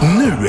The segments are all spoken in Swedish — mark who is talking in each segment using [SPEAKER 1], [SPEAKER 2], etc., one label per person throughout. [SPEAKER 1] nu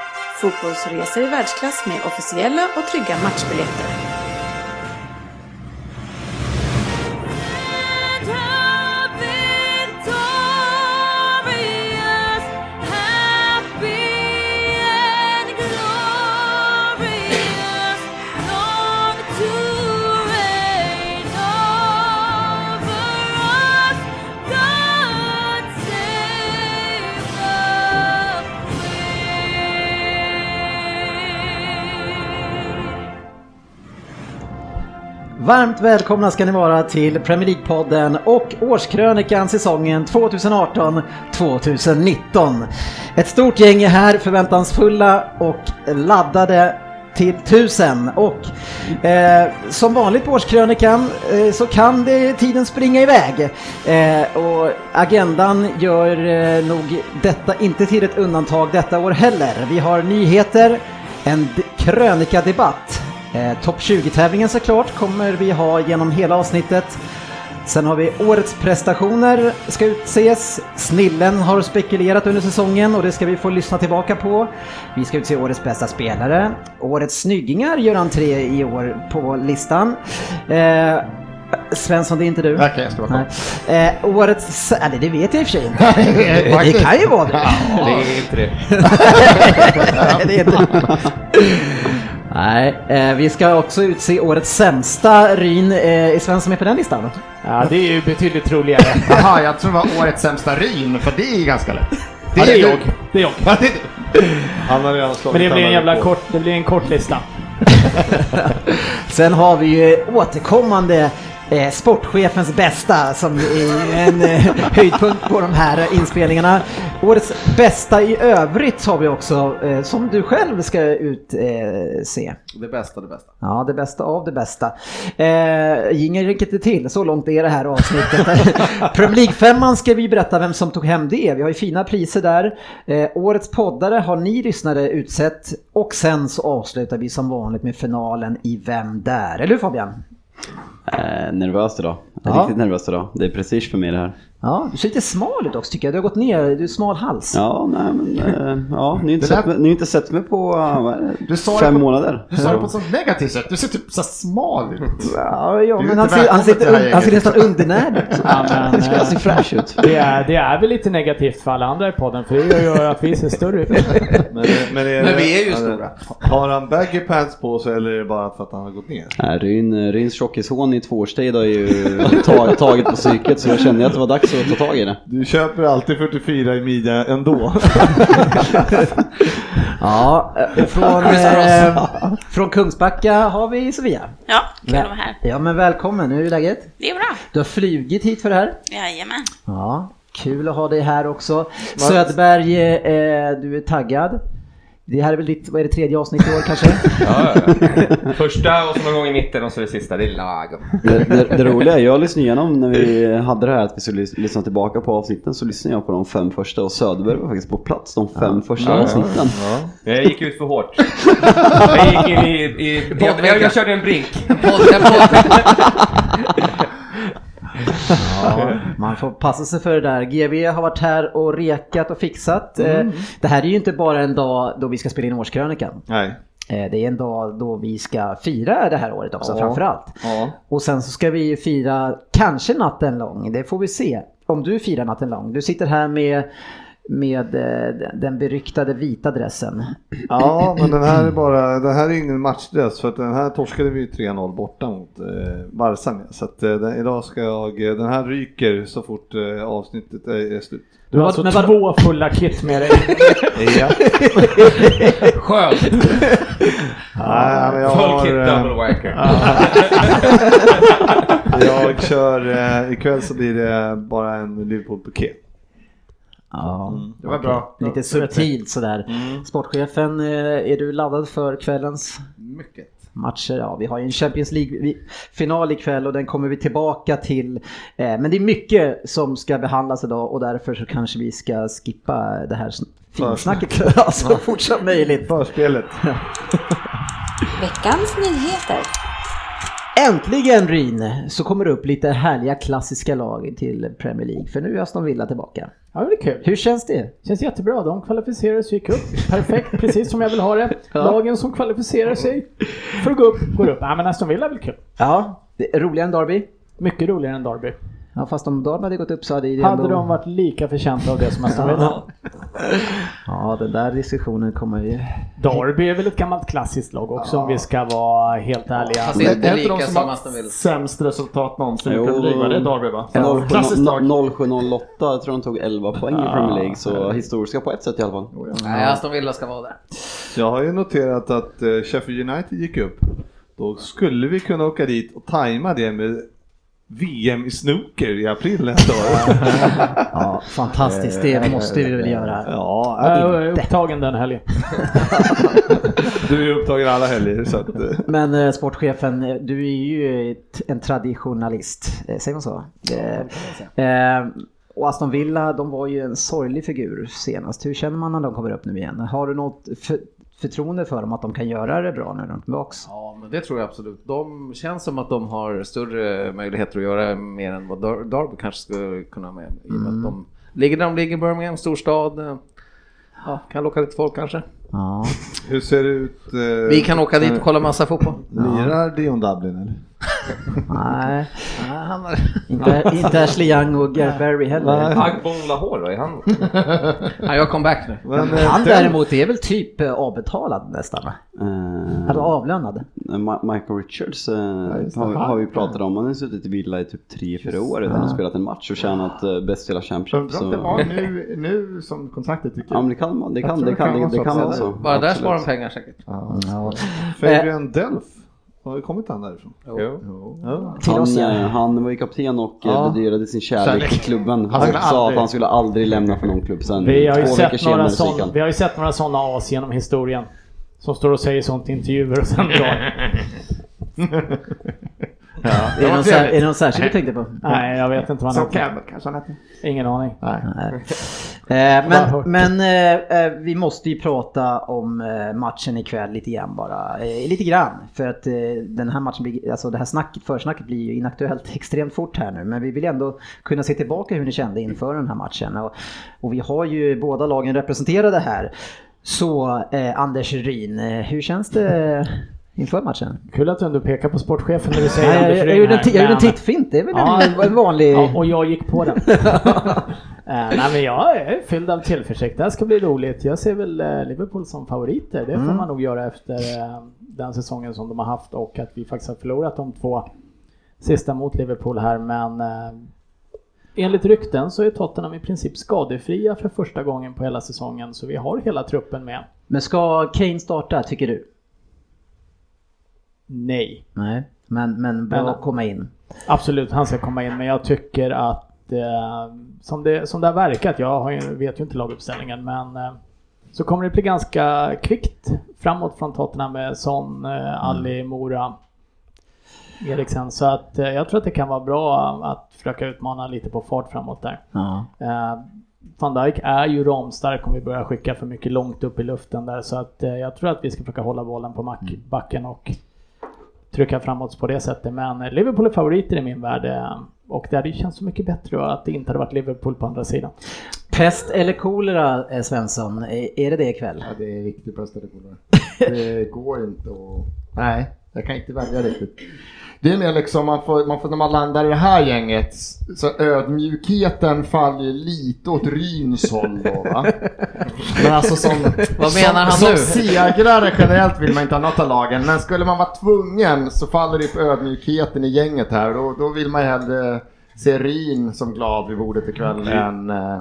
[SPEAKER 2] fotbollsresor i världsklass med officiella och trygga matchbiljetter.
[SPEAKER 3] Varmt välkomna ska ni vara till Premier League-podden och årskrönikan säsongen 2018-2019. Ett stort gäng är här, förväntansfulla och laddade till tusen. Och eh, som vanligt på årskrönikan eh, så kan det, tiden springa iväg. Eh, och agendan gör eh, nog detta inte till ett undantag detta år heller. Vi har nyheter, en d- krönikadebatt Eh, Topp 20-tävlingen såklart kommer vi ha genom hela avsnittet. Sen har vi årets prestationer ska utses. Snillen har spekulerat under säsongen och det ska vi få lyssna tillbaka på. Vi ska utse årets bästa spelare. Årets snyggingar gör entré i år på listan. Eh, Svensson, det är inte du.
[SPEAKER 4] Okej, jag ska vara kort.
[SPEAKER 3] Nej. Eh, årets... Eller det vet jag i och för sig inte. det kan ju vara du.
[SPEAKER 5] Det är inte det.
[SPEAKER 3] det är inte. Nej, eh, vi ska också utse årets sämsta ryn. Eh, är Svensson med på den listan?
[SPEAKER 5] Ja, det är ju betydligt troligare.
[SPEAKER 4] Jaha, jag tror det var årets sämsta ryn, för det är ju ganska lätt.
[SPEAKER 5] Ja, det är
[SPEAKER 4] ju-
[SPEAKER 5] jag. Det är jag.
[SPEAKER 4] Ja, det är du.
[SPEAKER 6] Han har redan slagit
[SPEAKER 5] Men det blir en
[SPEAKER 6] alla
[SPEAKER 5] jävla
[SPEAKER 6] rekord.
[SPEAKER 5] kort, det blir en kort lista.
[SPEAKER 3] Sen har vi ju återkommande eh, sportchefens bästa som är ju en eh, höjdpunkt på de här inspelningarna. Årets bästa i övrigt har vi också eh, som du själv ska utse.
[SPEAKER 4] Det bästa, det bästa.
[SPEAKER 3] Ja, det bästa av det bästa. Eh, Ingen räcker inte till, så långt är det här avsnittet. Premier League-femman ska vi berätta vem som tog hem det. Vi har ju fina priser där. Eh, årets poddare har ni lyssnare utsett och sen så avslutar vi som vanligt med finalen i Vem där? Eller hur Fabian?
[SPEAKER 7] Eh, nervös idag. Jag är
[SPEAKER 3] Ja.
[SPEAKER 7] Riktigt nervös idag. Det är prestige för mig det här.
[SPEAKER 3] Ja, du ser lite smal ut också tycker jag. Du har gått ner, du är smal hals.
[SPEAKER 7] Ja, nej men eh, ja, ni har inte,
[SPEAKER 4] Det där-
[SPEAKER 7] sett, mig- ni har inte sett mig på eh, vad är det?
[SPEAKER 4] Du sa det
[SPEAKER 7] fem
[SPEAKER 4] på-
[SPEAKER 7] månader.
[SPEAKER 4] Du sa det på
[SPEAKER 7] Ja.
[SPEAKER 4] ett sånt negativt sätt. Du ser typ så här smal ut.
[SPEAKER 3] Ja, ja
[SPEAKER 4] är
[SPEAKER 3] men
[SPEAKER 4] inte
[SPEAKER 3] han ser, han, ser,
[SPEAKER 4] välkommen till det här
[SPEAKER 3] inte- han ser
[SPEAKER 4] gänget.
[SPEAKER 3] nästan undernärd alltså ut.
[SPEAKER 5] Ja, men,
[SPEAKER 7] Jag tycker jag ser
[SPEAKER 5] eh,
[SPEAKER 7] fräsch ut.
[SPEAKER 5] det, är, det är väl lite negativt för alla andra i podden, för det gör ju att vi ser större ut.
[SPEAKER 6] Men, eh, men, är
[SPEAKER 4] Men
[SPEAKER 6] det-
[SPEAKER 4] vi är ju
[SPEAKER 6] ja,
[SPEAKER 4] stora.
[SPEAKER 6] det- Har han baggy pants på sig eller är det bara för att han har gått ner?
[SPEAKER 7] Nej, Ryn, eh, Ryns tjockishån i två års tid har ju tag, tagit på psyket så jag kände att det var dags att ta tag i det.
[SPEAKER 6] Du köper alltid 44 i midjan ändå.
[SPEAKER 3] Ja, eh, från, eh, från Kungsbacka har vi Sofia.
[SPEAKER 8] Ja, kul
[SPEAKER 3] Väl-
[SPEAKER 8] att vara här.
[SPEAKER 3] Ja men välkommen, hur är läget?
[SPEAKER 8] Det är bra.
[SPEAKER 3] Du har flugit hit för det här.
[SPEAKER 8] Jajamän.
[SPEAKER 3] Ja, kul att ha dig här också. Söderberg, eh, du är taggad. Det här är väl ditt, vad är det, tredje avsnitt i år kanske?
[SPEAKER 9] Ja, ja. Första och så någon gång i mitten och så det sista, det är lagom.
[SPEAKER 7] Det, det, det roliga är, jag lyssnade igenom när vi hade det här att vi skulle lys- lyssna tillbaka på avsnitten så lyssnade jag på de fem första och Söderberg var faktiskt på plats de fem första avsnitten.
[SPEAKER 9] Jag gick ut för hårt. Jag gick in i... i jag, jag, jag körde en brink.
[SPEAKER 3] Ja, man får passa sig för det där. GV har varit här och rekat och fixat.
[SPEAKER 9] Mm.
[SPEAKER 3] Eh, det här är ju inte bara en dag då vi ska spela in årskrönikan.
[SPEAKER 6] Nej.
[SPEAKER 3] Eh, det är en dag då vi ska fira det här året också framförallt.
[SPEAKER 6] Ja.
[SPEAKER 3] Och sen så ska vi ju fira kanske natten lång. Det får vi se. Om du firar natten lång. Du sitter här med, med eh, den beryktade vita dressen.
[SPEAKER 6] Ja, men den här är bara, den här är ingen matchdress för att den här torskade vi ju 3-0 borta mot eh, Barca med. Så att eh, den, idag ska jag, eh, den här ryker så fort eh, avsnittet är, är slut.
[SPEAKER 5] Du har
[SPEAKER 3] Vad-
[SPEAKER 5] alltså
[SPEAKER 3] men vad-
[SPEAKER 5] två fulla kit med dig.
[SPEAKER 6] Ja.
[SPEAKER 9] Skönt!
[SPEAKER 6] Nej, men jag har,
[SPEAKER 9] Full kit,
[SPEAKER 6] eh,
[SPEAKER 9] double wanker.
[SPEAKER 6] jag kör, eh, ikväll så blir det bara en Mm. Liverpool-buket.
[SPEAKER 3] Ja,
[SPEAKER 4] Det var bra.
[SPEAKER 3] lite subtilt sådär. Sportchefen, eh, är du laddad för kvällens?
[SPEAKER 4] Mycket.
[SPEAKER 3] matcher. Ja, vi har ju en Champions League-final ikväll och den kommer vi tillbaka till. Eh, Men det är mycket som ska behandlas idag och därför så kanske vi ska skippa det här sn- finsnacket ja, så fort som möjligt.
[SPEAKER 6] Förspelet.
[SPEAKER 2] Veckans nyheter.
[SPEAKER 3] Äntligen Ryn så kommer det upp lite härliga klassiska lag till Premier League för nu är Aston Villa tillbaka.
[SPEAKER 5] Ja, men det är kul.
[SPEAKER 3] Hur känns det?
[SPEAKER 5] Känns jättebra. De kvalificerar sig, gick upp. Perfekt, precis som jag vill ha det. Lagen som kvalificerar sig för att gå upp, går upp. Nej, men Aston Villa är väl kul.
[SPEAKER 3] Ja, det är roligare än Derby.
[SPEAKER 5] Mycket roligare än Derby.
[SPEAKER 3] Ja, fast om Derby hade gått upp så hade det
[SPEAKER 5] Hade
[SPEAKER 3] ändå...
[SPEAKER 5] de varit lika förtjänta av det som Aston Villa?
[SPEAKER 3] Ja, den där diskussionen kommer ju...
[SPEAKER 5] Derby är väl ett gammalt klassiskt lag också om vi ska vara helt ärliga.
[SPEAKER 8] Fast det är inte
[SPEAKER 4] är inte de
[SPEAKER 8] lika
[SPEAKER 4] som
[SPEAKER 8] som
[SPEAKER 4] har-
[SPEAKER 8] Aston Villa.
[SPEAKER 10] Sämst resultat någonsin i
[SPEAKER 7] Jo.
[SPEAKER 10] Premier League, va? det är Derby va?
[SPEAKER 7] Ja.
[SPEAKER 10] Klassiskt Ah, lag.
[SPEAKER 7] 07-08 tror jag de tog 11 poäng i Premier League, så historiska på ett sätt i alla fall.
[SPEAKER 8] Nej, Aston Villa ska vara där.
[SPEAKER 6] Jag har ju noterat att eh, Sheffield United gick upp. Då skulle vi kunna åka dit och tajma det med VM i snooker i april nästa år.
[SPEAKER 3] Ja, fantastiskt.
[SPEAKER 8] Eh,
[SPEAKER 3] Det måste vi väl göra. Eh,
[SPEAKER 6] Ja,
[SPEAKER 5] Jag
[SPEAKER 6] är
[SPEAKER 5] är Eh, upptagen den helgen.
[SPEAKER 6] du- du är ju upptagen alla helger så att... eh,
[SPEAKER 3] Men eh, sportchefen, eh, du är ju ett- en traditionalist. Eh, Säger man så? Eh, eh, och Aston Villa, de var ju en sorglig figur senast. Hur känner man när de kommer upp nu igen? Har du något för, förtroende för dem att de kan göra det bra när de är tillbaks?
[SPEAKER 8] Ja, men det tror jag absolut. De känns som att de har större möjligheter att göra mer än vad Dar- Derby kanske skulle kunna med. I och med
[SPEAKER 6] Mm.
[SPEAKER 8] att de ligger där de ligger, Birmingham, storstad. eh, Ja, kan locka lite folk kanske.
[SPEAKER 3] Ja.
[SPEAKER 6] Hur ser det ut? eh,
[SPEAKER 8] Vi kan åka dit och kolla massa fotboll.
[SPEAKER 6] Lirar Dion Dublin eller?
[SPEAKER 3] Nej,
[SPEAKER 8] Ja, han har-
[SPEAKER 3] inte, inte Ashley Young och Gary Barry heller.
[SPEAKER 9] Agbon Lahore, vad är han?
[SPEAKER 8] Ja, jag kom back nu.
[SPEAKER 6] Men, eh,
[SPEAKER 3] Han
[SPEAKER 6] den-
[SPEAKER 3] däremot är väl typ eh, avbetalad nästan? va?
[SPEAKER 7] Eh,
[SPEAKER 3] Eller avlönad?
[SPEAKER 7] Ma- Michael Richards eh,
[SPEAKER 6] just det.
[SPEAKER 7] har, vi- har vi pratat om. Han har suttit i Villa i typ 3-4 år utan att ha spelat en match och tjänat eh, bäst i hela Championship.
[SPEAKER 10] Undrar om det
[SPEAKER 7] Så...
[SPEAKER 10] var nu, nu som kontraktet gick ut.
[SPEAKER 7] Ja men det kan man, det
[SPEAKER 10] Jag
[SPEAKER 7] kan,
[SPEAKER 10] tror
[SPEAKER 7] det
[SPEAKER 10] det
[SPEAKER 7] kan,
[SPEAKER 10] kan
[SPEAKER 7] det,
[SPEAKER 10] vara
[SPEAKER 7] det
[SPEAKER 10] så
[SPEAKER 7] kan
[SPEAKER 10] att
[SPEAKER 7] vara
[SPEAKER 10] säga.
[SPEAKER 7] så.
[SPEAKER 8] Bara där sparar de
[SPEAKER 7] Absolut.
[SPEAKER 8] pengar säkert.
[SPEAKER 3] Ja.
[SPEAKER 6] Fabian Delph, har ju kommit han därifrån? Jo. Ja.
[SPEAKER 3] Till oss
[SPEAKER 7] han,
[SPEAKER 3] ja.
[SPEAKER 7] eh, han var ju kapten och ja.
[SPEAKER 10] Ja.
[SPEAKER 7] bedyrade sin kärlek till
[SPEAKER 10] Kärlek.
[SPEAKER 7] klubben.
[SPEAKER 10] Han
[SPEAKER 7] Han
[SPEAKER 10] skulle
[SPEAKER 7] sa att
[SPEAKER 10] aldrig-
[SPEAKER 7] han skulle aldrig lämna för någon klubb sen.
[SPEAKER 5] Vi har ju,
[SPEAKER 7] Två
[SPEAKER 5] sett några
[SPEAKER 7] så gick
[SPEAKER 5] sån,
[SPEAKER 7] han.
[SPEAKER 5] vi har ju sett några sådana as genom historien. Som står och säger sånt i intervjuer och sen drar.
[SPEAKER 3] Är det någon sär- är det någon särskild du tänkte på?
[SPEAKER 5] Nej, jag vet inte vad han
[SPEAKER 10] Som
[SPEAKER 5] heter.
[SPEAKER 10] Campbell kanske han hette.
[SPEAKER 5] Ingen aning.
[SPEAKER 3] Nej. Eh,
[SPEAKER 5] hört.
[SPEAKER 3] Men, men eh, eh, vi måste ju prata om eh, matchen ikväll lite grann bara. Eh, Lite grann. För att eh, den här matchen, blir, alltså det här snacket, försnacket blir ju inaktuellt extremt fort här nu. Men vi vill ändå kunna se tillbaka hur ni kände inför den här matchen. Och, och vi har ju båda lagen representerade här. Så eh, Anders Ryn, eh, hur känns det inför matchen?
[SPEAKER 5] Kul att du ändå pekar på sportchefen när du säger
[SPEAKER 3] Nej, jag, jag,
[SPEAKER 5] Anders
[SPEAKER 3] jag,
[SPEAKER 5] Rydh
[SPEAKER 3] gjorde en
[SPEAKER 5] här,
[SPEAKER 3] ti- jag gjorde en
[SPEAKER 5] men-
[SPEAKER 3] tittfint, det är väl
[SPEAKER 5] Ja.
[SPEAKER 3] en, en vanlig...
[SPEAKER 5] Ja, och jag gick på den. Eh, nej men jag är fylld av tillförsikt. Det här ska bli roligt. Jag ser väl eh, Liverpool som favoriter. Det får
[SPEAKER 3] Mm.
[SPEAKER 5] man nog göra efter eh, den säsongen som de har haft och att vi faktiskt har förlorat de två sista mot Liverpool här men eh, enligt rykten så är Tottenham i princip skadefria för första gången på hela säsongen så vi har hela truppen med.
[SPEAKER 3] Men ska Kane starta tycker du?
[SPEAKER 5] Nej.
[SPEAKER 3] Nej, men, men bra
[SPEAKER 5] Men-
[SPEAKER 3] att komma in.
[SPEAKER 5] Absolut, han ska komma in men jag tycker att eh, som, det, som det har verkat, jag har ju, vet ju inte laguppställningen men eh, så kommer det bli ganska kvickt framåt från Tottenham med Son, eh,
[SPEAKER 3] Mm.
[SPEAKER 5] Ali, Mora, Eriksen. Så att eh, jag tror att det kan vara bra att försöka utmana lite på fart framåt där.
[SPEAKER 3] Ja.
[SPEAKER 5] Eh, Van Dijk är ju ramstark om vi börjar skicka för mycket långt upp i luften där så att eh, jag tror att vi ska försöka hålla bollen på mack-
[SPEAKER 3] Mm.
[SPEAKER 5] backen och trycka framåt på det sättet. Men eh, Liverpool är favoriter i min värld eh, och det hade ju känts så mycket bättre att det inte hade varit Liverpool på andra sidan.
[SPEAKER 3] Pest eller kolera eh, Svensson, är är det det ikväll?
[SPEAKER 10] Ja, det är riktigt bra ställkolare. Det går inte att... Nej, jag kan inte välja riktigt. Det är mer liksom, man får, man får, när man landar i det här gänget, så ödmjukheten faller ju lite åt Ryns håll då va? Men alltså som,
[SPEAKER 8] Vad
[SPEAKER 10] som,
[SPEAKER 8] menar han
[SPEAKER 10] som
[SPEAKER 8] nu?
[SPEAKER 10] segrare generellt vill man inte ha något av lagen, men skulle man vara tvungen så faller det på ödmjukheten i gänget här. Då, då vill man ju hellre se Ryn som glad vid bordet ikväll än,
[SPEAKER 8] Mm.
[SPEAKER 10] äh,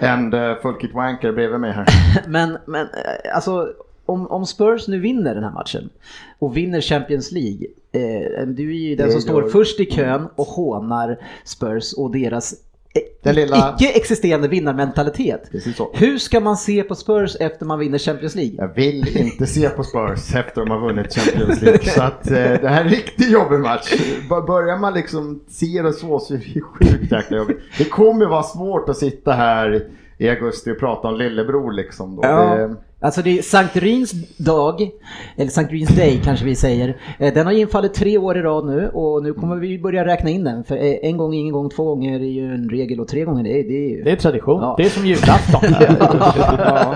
[SPEAKER 10] än äh, Fulkit Wanker bredvid mig här.
[SPEAKER 3] Men, men eh, alltså om, om Spurs nu vinner den här matchen och vinner Champions League, eh, du är ju den
[SPEAKER 10] Det
[SPEAKER 3] som står
[SPEAKER 10] gör-
[SPEAKER 3] först i kön och hånar Spurs och deras eh,
[SPEAKER 10] Den lilla-
[SPEAKER 3] icke-existerande vinnarmentalitet. Hur ska man se på Spurs efter man vinner Champions League?
[SPEAKER 10] Jag vill inte se på Spurs efter de har vunnit Champions League. Så att eh, det här är en riktigt jobbig match. B- Börjar man liksom se det så så är det sjukt jäkla jobbigt. Det kommer vara svårt att sitta här i augusti och prata om lillebror liksom då.
[SPEAKER 3] Ja.
[SPEAKER 10] Det,
[SPEAKER 3] Alltså det är Sankt Ryns dag, eller Sankt Ryns Day kanske vi säger. Eh, Den har infallit tre år i rad nu och nu kommer vi börja räkna in den. För eh, en gång, ingen gång, två gånger är ju en regel och tre gånger det är, det är ju...
[SPEAKER 5] Det är tradition. Det är som julafton.
[SPEAKER 3] ja.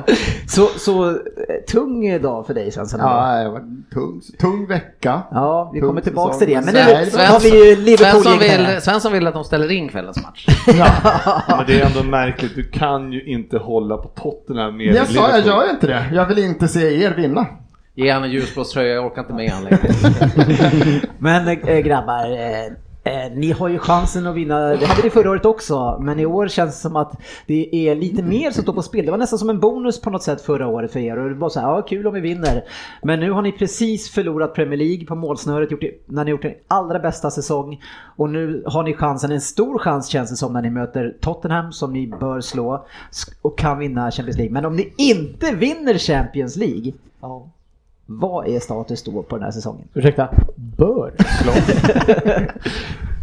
[SPEAKER 3] Så, så eh, tung dag för dig Svensson.
[SPEAKER 10] ja, det var en tung, tung vecka.
[SPEAKER 3] Ja, vi
[SPEAKER 10] Tung
[SPEAKER 3] kommer tillbaks till
[SPEAKER 10] säsong.
[SPEAKER 3] det. Men nu
[SPEAKER 10] Nej, det var-
[SPEAKER 3] har vi ju Liverpool
[SPEAKER 8] Svensson vill,
[SPEAKER 3] gäng
[SPEAKER 8] Svensson vill att de ställer in kvällens match.
[SPEAKER 6] Men det är ändå märkligt, du kan ju inte hålla på Tottenham med
[SPEAKER 10] Jag sa, jag
[SPEAKER 6] Liverpool.
[SPEAKER 10] gör inte det. Jag vill inte se er vinna.
[SPEAKER 8] Ge han en ljusblå tröja, jag orkar inte med han längre.
[SPEAKER 3] Men eh, grabbar, eh, eh, ni har ju chansen att vinna. Det hade ni förra året också, men i år känns det som att det är lite mer som står på spel. Det var nästan som en bonus på något sätt förra året för er och det var så här, ja kul om vi vinner. Men nu har ni precis förlorat Premier League på målsnöret gjort det, när ni gjort den allra bästa säsong och nu har ni chansen, en stor chans känns det som när ni möter Tottenham som ni bör slå sk- och kan vinna Champions League. Men om ni inte vinner Champions League, vad är status då på den här säsongen?
[SPEAKER 5] Ursäkta, bör?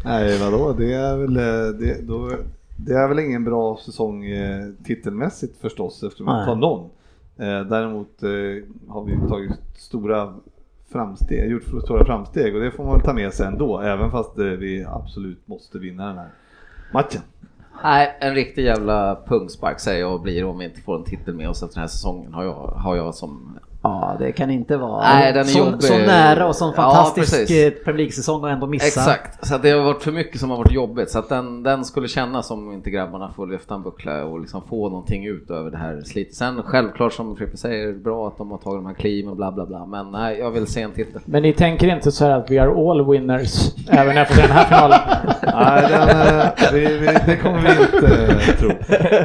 [SPEAKER 6] Nej, vadå? Det är väl, eh, det, då, det är väl ingen bra säsong eh, titelmässigt förstås eftersom vi
[SPEAKER 3] Nej.
[SPEAKER 6] inte tar någon. Eh, Däremot eh, har vi tagit stora framsteg, gjort stora framsteg och det får man väl ta med sig ändå, även fast eh, vi absolut måste vinna den här matchen.
[SPEAKER 8] Nej, en riktig jävla pungspark säger jag och blir om vi inte får en titel med oss efter den här säsongen har jag, har jag som...
[SPEAKER 3] Ja, det kan inte vara
[SPEAKER 8] Nej, den är
[SPEAKER 3] så,
[SPEAKER 8] jobbig.
[SPEAKER 3] så nära och sån
[SPEAKER 8] Ja,
[SPEAKER 3] fantastisk
[SPEAKER 8] precis.
[SPEAKER 3] eh, Premier League-säsong och ändå missa.
[SPEAKER 8] Exakt, så att det har varit för mycket som har varit jobbigt så att den, den skulle kännas om inte grabbarna får lyfta en buckla och liksom få någonting ut över det här slitet. Sen självklart som Frippe säger, bra att de har tagit de här kliven och bla bla bla, men nej, jag vill se en titel.
[SPEAKER 5] Men ni tänker inte så här att we are all winners även efter den här finalen?
[SPEAKER 6] Nej, den, eh, vi, vi, det kommer vi inte eh, tro.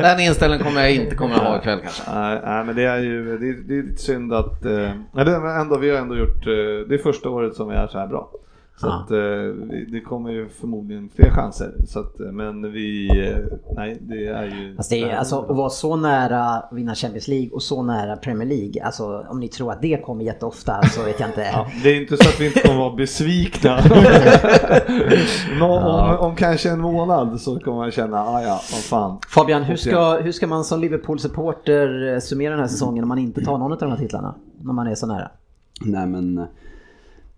[SPEAKER 8] Den inställningen kommer jag inte kommer att ha ikväll kanske.
[SPEAKER 6] Nej, nej, men det är ju det är, det är lite synd att... Eh, nej, det, men ändå, vi har ändå gjort... Eh, det är första året som vi är så här bra. Så
[SPEAKER 3] Ja.
[SPEAKER 6] att, eh, vi- det kommer ju förmodligen fler chanser. Så att, eh, men vi... Eh, nej, det är ju...
[SPEAKER 3] Fast det är, alltså, att vara så nära att vinna Champions League och så nära Premier League. Alltså, om ni tror att det kommer jätteofta så vet jag inte.
[SPEAKER 6] Ja, det är inte så att vi inte kommer vara besvikna. Nå, om, om kanske en månad så kommer man känna, ah ja, vad fan.
[SPEAKER 3] Fabian, hur ska, hur ska man som Liverpool-supporter eh, summera den här säsongen om man inte tar någon av de här titlarna? När man är så nära.
[SPEAKER 7] Nej men eh,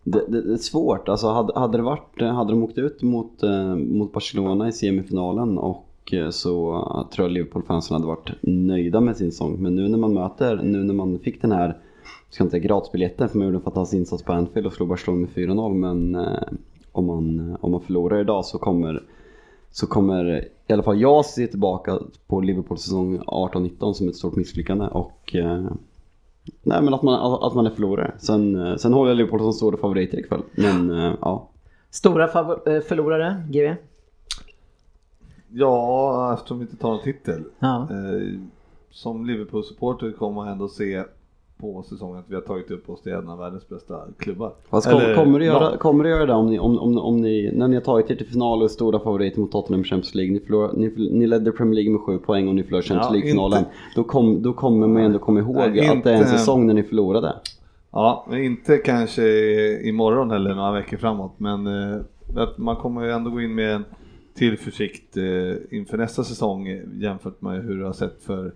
[SPEAKER 7] det, det, det är svårt. Alltså, hade, hade, det varit, hade de åkt ut mot, eh, mot Barcelona i semifinalen och eh, så eh, tror jag Liverpool-fansen hade varit nöjda med sin säsong. Men nu när man möter, nu när man fick den här, ska inte säga gratisbiljetten för man gjorde en fantastisk insats på Anfield och slog Barcelona med 4-0. Men eh, om man, eh, om man förlorar idag så kommer så kommer i alla fall jag se tillbaka på Liverpool säsong 18-19 som ett stort misslyckande och eh, Nej men att man, att man är förlorare. Sen, eh, sen håller jag Liverpool som stora favoriter ikväll. Men eh, ja.
[SPEAKER 3] Stora fav- eh, förlorare, GV?
[SPEAKER 6] Ja, eftersom vi inte tar någon titel.
[SPEAKER 3] Ja.
[SPEAKER 6] Eh, som Liverpool-supporter kommer man ändå se på säsongen att vi har tagit upp oss till en av världens bästa klubbar.
[SPEAKER 7] Fast kom,
[SPEAKER 6] Eller
[SPEAKER 7] kommer, det göra,
[SPEAKER 6] lag.
[SPEAKER 7] kommer det göra det om ni, om, om, om ni, när ni har tagit er till final och är stora favoriter mot Tottenham i Champions League. Ni, förlorar, ni, ni ledde Premier League med 7 poäng och ni förlorade Champions
[SPEAKER 6] Ja,
[SPEAKER 7] League-finalen.
[SPEAKER 6] inte-
[SPEAKER 7] Då, kom, då kommer man ju ändå komma ihåg
[SPEAKER 6] Nej,
[SPEAKER 7] att det är en
[SPEAKER 6] inte-
[SPEAKER 7] säsong när ni förlorade.
[SPEAKER 6] Ja, men inte kanske imorgon eller några veckor framåt men eh, att man kommer ju ändå gå in med en tillförsikt eh, inför nästa säsong eh, jämfört med hur det har sett för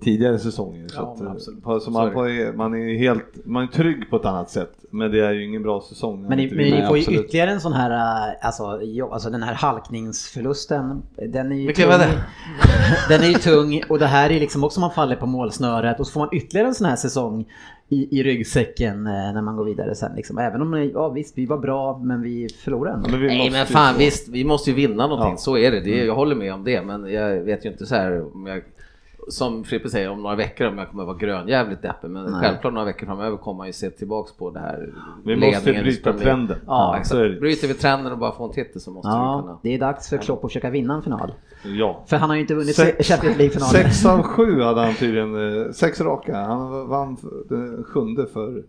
[SPEAKER 6] tidigare säsonger. Så
[SPEAKER 5] Ja, men
[SPEAKER 6] att, eh,
[SPEAKER 5] absolut.
[SPEAKER 6] på- så
[SPEAKER 8] Så är
[SPEAKER 6] man,
[SPEAKER 8] det.
[SPEAKER 6] på, man är ju helt man är trygg på ett annat sätt men det är ju ingen bra säsong. när
[SPEAKER 3] Men ni,
[SPEAKER 6] inte
[SPEAKER 3] men
[SPEAKER 6] vinner.
[SPEAKER 3] ni får ju
[SPEAKER 7] absolut.
[SPEAKER 3] ytterligare en sån här, eh, alltså, jo, alltså den här halkningsförlusten. Den är ju
[SPEAKER 8] Vilken var det?
[SPEAKER 3] Den är ju tung och det här är liksom också man faller på målsnöret och så får man ytterligare en sån här säsong i, i ryggsäcken eh, när man går vidare sen liksom. Även om, ja visst vi var bra men vi förlorade ändå.
[SPEAKER 6] Men vi
[SPEAKER 8] Nej
[SPEAKER 6] måste
[SPEAKER 8] men
[SPEAKER 6] ju
[SPEAKER 8] fan
[SPEAKER 6] få-
[SPEAKER 8] visst, vi måste ju vinna någonting,
[SPEAKER 6] Ja. Mm.
[SPEAKER 8] så är det. det. Jag håller med om det, men jag vet ju inte så här om jag, som Frippe säger, om några veckor om jag kommer vara grönjävligt deppig. Men självklart några veckor framöver kommer man ju se tillbaks på det här.
[SPEAKER 6] Vi måste
[SPEAKER 8] ledningen i
[SPEAKER 6] bryta
[SPEAKER 8] Premier League.
[SPEAKER 6] trenden.
[SPEAKER 8] Ja,
[SPEAKER 6] Ja, så är det.
[SPEAKER 8] exakt. Bryter vi trenden och bara får en titel så måste vi kunna.
[SPEAKER 3] Ja, det är dags för Klopp att försöka vinna en final.
[SPEAKER 6] Ja.
[SPEAKER 3] För han har ju inte vunnit
[SPEAKER 6] Sex-
[SPEAKER 3] Champions League-finalen.
[SPEAKER 6] Sex av sju hade han tydligen, eh, sex raka. Han vann för- den sjunde för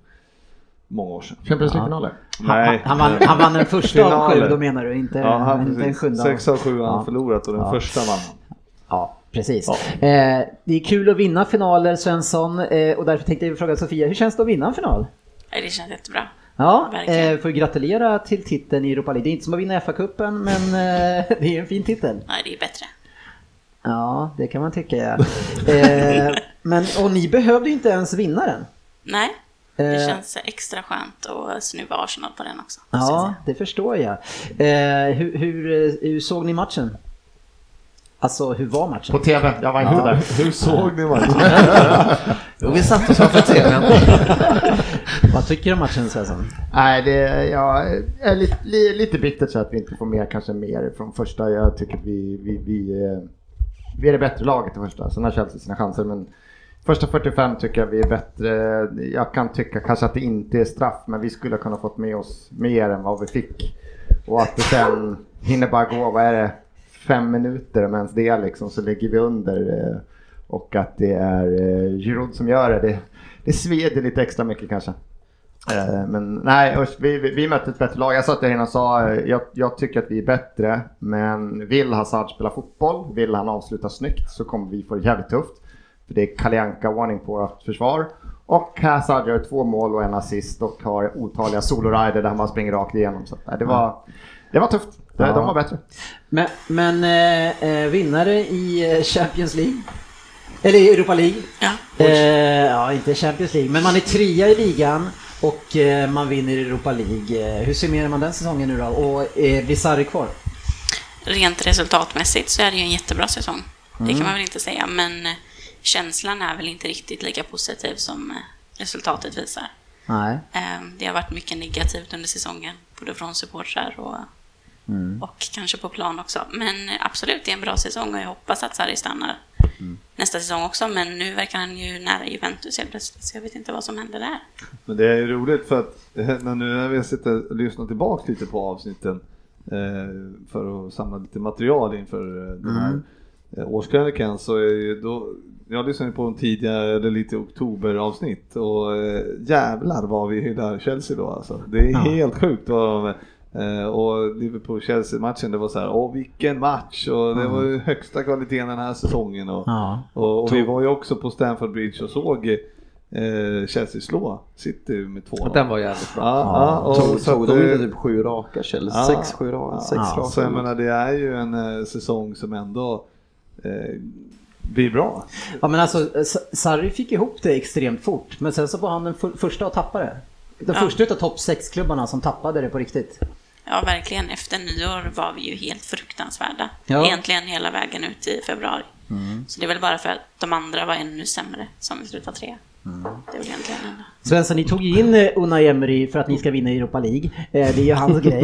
[SPEAKER 6] många år sedan.
[SPEAKER 10] Champions League-finaler?
[SPEAKER 6] Nej.
[SPEAKER 3] Han vann- han vann den första av sju,
[SPEAKER 6] Finaler.
[SPEAKER 3] då menar du, inte-
[SPEAKER 6] ja, han,
[SPEAKER 3] inte den
[SPEAKER 6] precis.
[SPEAKER 3] sjunde av-
[SPEAKER 6] Sex av sju har han
[SPEAKER 3] Ja.
[SPEAKER 6] förlorat och den
[SPEAKER 3] Ja.
[SPEAKER 6] första vann han.
[SPEAKER 3] Ja, precis. Eh, det är kul att vinna finaler Svensson eh, och därför tänkte jag fråga Sofia, hur känns det att vinna en final?
[SPEAKER 11] Nej, det känns jättebra.
[SPEAKER 3] Ja,
[SPEAKER 11] Verkligen.
[SPEAKER 3] eh, får gratulera till titeln i Europa League. Det är inte som att vinna FA-cupen, men eh, det är en fin titel.
[SPEAKER 11] Nej, det är bättre.
[SPEAKER 3] Ja, det kan man tycka ja. eh, men, och ni behövde ju inte ens vinna den.
[SPEAKER 11] Nej, det
[SPEAKER 3] Eh.
[SPEAKER 11] känns extra skönt att snuva Arsenal på den också.
[SPEAKER 3] Ja, det förstår jag. Eh, hur, hur, eh, hur såg ni matchen? Alltså, hur var matchen?
[SPEAKER 10] På TV, jag var inte
[SPEAKER 3] Ja.
[SPEAKER 10] där.
[SPEAKER 6] Hur såg ni matchen?
[SPEAKER 10] Jo, vi satt oss framför TV:n.
[SPEAKER 3] Vad tycker du om matchen Svensson?
[SPEAKER 10] Nej, det ja, är lite, li, lite bittert så att vi inte får med kanske mer från första. Jag tycker att vi, vi, vi, eh, vi är det bättre laget i första. Sen har Chelsea sina chanser. Men första 45 tycker jag vi är bättre. Jag kan tycka kanske att det inte är straff, men vi skulle ha kunnat fått med oss mer än vad vi fick. Och att det sen hinner bara gå, vad är det, fem minuter om ens det liksom, så ligger vi under. eh, Och att det är eh, Giroud som gör det. det. Det sveder lite extra mycket kanske. Eh, Men nej, usch, vi, vi, vi mötte ett bättre lag. Jag satt där inne och sa eh, jag, jag tycker att vi är bättre, men vill Hazard spela fotboll, vill han avsluta snyggt så kommer vi få det jävligt tufft. För det är kalianka varning på vårt försvar. Och Hazard gör två mål och en assist och har otaliga solorider där han bara springer rakt igenom. Så, eh, det, var, det var tufft. De-
[SPEAKER 3] Ja.
[SPEAKER 10] De var bättre.
[SPEAKER 3] Men, men eh, eh, vinnare i eh, Champions League? Eller i Europa League? Ja. Eh, ja, inte Champions League, men man är trea i ligan och eh, man vinner i Europa League. Eh, Hur summerar man den säsongen nu då? Och eh, blir Sarri kvar?
[SPEAKER 11] Rent resultatmässigt så är det ju en jättebra säsong. Det
[SPEAKER 3] Mm.
[SPEAKER 11] kan man väl inte säga, men eh, känslan är väl inte riktigt lika positiv som eh, resultatet visar.
[SPEAKER 3] Nej.
[SPEAKER 11] Eh, Det har varit mycket negativt under säsongen, både från supportrar och, och kanske på plan också. Men absolut, det är en bra säsong och jag hoppas att Sarri stannar nästa säsong också. Men nu verkar han ju nära Juventus helt plötsligt, så jag vet inte vad som händer där.
[SPEAKER 6] Men det är ju roligt för att eh, när nu när vi sitter och lyssnar tillbaka lite på avsnitten eh, för att samla lite material inför eh, den här
[SPEAKER 1] Mm.
[SPEAKER 6] eh, årskrönikan så är ju då jag lyssnade på en tidigare, eller lite oktoberavsnitt och eh, jävlar vad vi hyllar Chelsea då alltså. Det är
[SPEAKER 1] Ja.
[SPEAKER 6] helt sjukt vad de, eh, och Liverpool-Chelsea-matchen det var så här, åh vilken match och det
[SPEAKER 1] Mm.
[SPEAKER 6] var ju högsta kvaliteten den här säsongen och,
[SPEAKER 1] Ja.
[SPEAKER 6] och, och vi var ju också på Stamford Bridge och såg eh, Chelsea slå City med två
[SPEAKER 8] Och den var jävligt bra.
[SPEAKER 6] Ja, ja, och
[SPEAKER 7] tog,
[SPEAKER 6] så
[SPEAKER 7] tog
[SPEAKER 6] att,
[SPEAKER 7] de
[SPEAKER 6] eh,
[SPEAKER 7] inte typ sju raka Chelsea?
[SPEAKER 6] Ja.
[SPEAKER 7] sex, sju raka?
[SPEAKER 6] Ja.
[SPEAKER 7] sex raka?
[SPEAKER 6] Så jag menar det är ju en eh, säsong som ändå eh, blir bra.
[SPEAKER 3] Ja men alltså, eh, Sa- Sarri fick ihop det extremt fort, men sen så var han den fu- första att tappa det. Den
[SPEAKER 11] Ja.
[SPEAKER 3] första utav topp 6-klubbarna som tappade det på riktigt.
[SPEAKER 11] Ja, verkligen. Efter nyår var vi ju helt fruktansvärda.
[SPEAKER 3] Ja.
[SPEAKER 11] Egentligen hela vägen ut i februari.
[SPEAKER 6] Mm.
[SPEAKER 11] Så det är väl bara för att de andra var ännu sämre som vi slutade tre. Det är väl egentligen enda.
[SPEAKER 3] Svensson, ni tog ju in eh, Unai Emery för att ni ska vinna Europa League. Eh, Det är ju hans grej.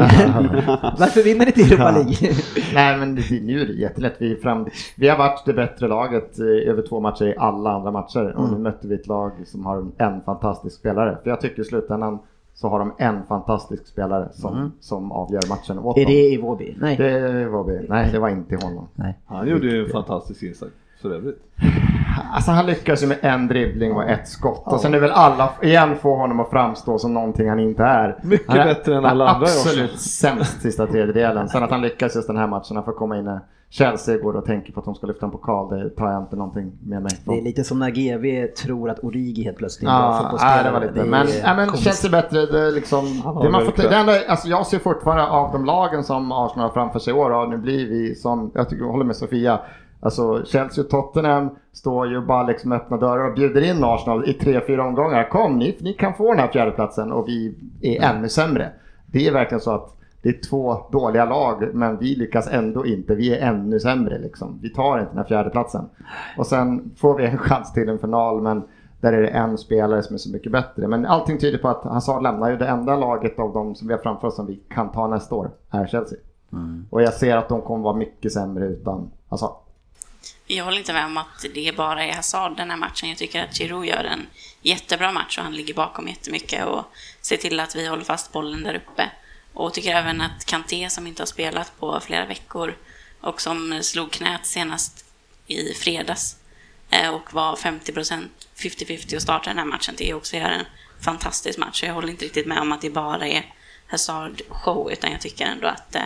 [SPEAKER 3] Varför vinner ni inte Europa League?
[SPEAKER 10] Nej men det, nu är det jättelätt. Vi, är fram, vi har varit det bättre laget eh, över två matcher i alla andra matcher. Och nu
[SPEAKER 3] Mm.
[SPEAKER 10] mötte vi ett lag som har en fantastisk spelare. För jag tycker i slutändan så har de en fantastisk spelare som,
[SPEAKER 3] Mm.
[SPEAKER 10] som avgör matchen åt
[SPEAKER 3] Är
[SPEAKER 10] dem.
[SPEAKER 3] det Iwobi? Nej.
[SPEAKER 10] Det är Iwobi. Nej, det var inte honom.
[SPEAKER 3] Nej.
[SPEAKER 6] Han gjorde ju en fantastisk insats för övrigt.
[SPEAKER 10] Alltså han lyckas ju med en dribbling och ett skott.
[SPEAKER 6] Ja.
[SPEAKER 10] Och sen är väl alla, igen få honom att framstå som någonting han inte är.
[SPEAKER 6] Mycket
[SPEAKER 10] han är,
[SPEAKER 6] bättre än
[SPEAKER 10] han är
[SPEAKER 6] alla andra i år.
[SPEAKER 10] Absolut sämst sista tredjedelen. Sen att han lyckas just den här matchen, han får komma in när Chelsea går och tänker på att de ska lyfta en pokal, det tar jag inte någonting med mig
[SPEAKER 3] Det är
[SPEAKER 10] från.
[SPEAKER 3] lite som när GV tror att Origi helt plötsligt är en bra
[SPEAKER 10] Ja, nej,
[SPEAKER 3] fotbollsspelare.
[SPEAKER 10] det var lite.
[SPEAKER 3] är
[SPEAKER 10] Men, ja, men
[SPEAKER 3] komiskt.
[SPEAKER 10] känns det bättre? Det är liksom,
[SPEAKER 3] var
[SPEAKER 10] det man får,
[SPEAKER 3] verkligen.
[SPEAKER 10] det enda, alltså jag ser fortfarande av de lagen som Arsenal har framför sig i år, och nu blir vi som, jag tycker, jag håller med Sofia, alltså Chelsea och Tottenham står ju bara liksom med öppna dörrar och bjuder in Arsenal i tre, fyra omgångar. Kom, ni, ni kan få den här fjärdeplatsen och vi är ännu sämre. Det är verkligen så att det är två dåliga lag, men vi lyckas ändå inte. Vi är ännu sämre liksom. Vi tar inte den här fjärdeplatsen. Och sen får vi en chans till en final, men där är det en spelare som är så mycket bättre. Men allting tyder på att Hazard lämnar ju det enda laget av de som vi har framför oss som vi kan ta nästa år, är Chelsea. Och jag ser att de kommer vara mycket sämre utan Hazard.
[SPEAKER 11] Jag håller inte med om att det bara är Hazard den här matchen. Jag tycker att Giroud gör en jättebra match och han ligger bakom jättemycket och ser till att vi håller fast bollen där uppe. Och tycker även att Kanté som inte har spelat på flera veckor och som slog knät senast i fredags eh, och var 50% 50-50 att starta den här matchen till också är en fantastisk match. Jag håller inte riktigt med om att det bara är Hazard-show, utan jag tycker ändå att, eh,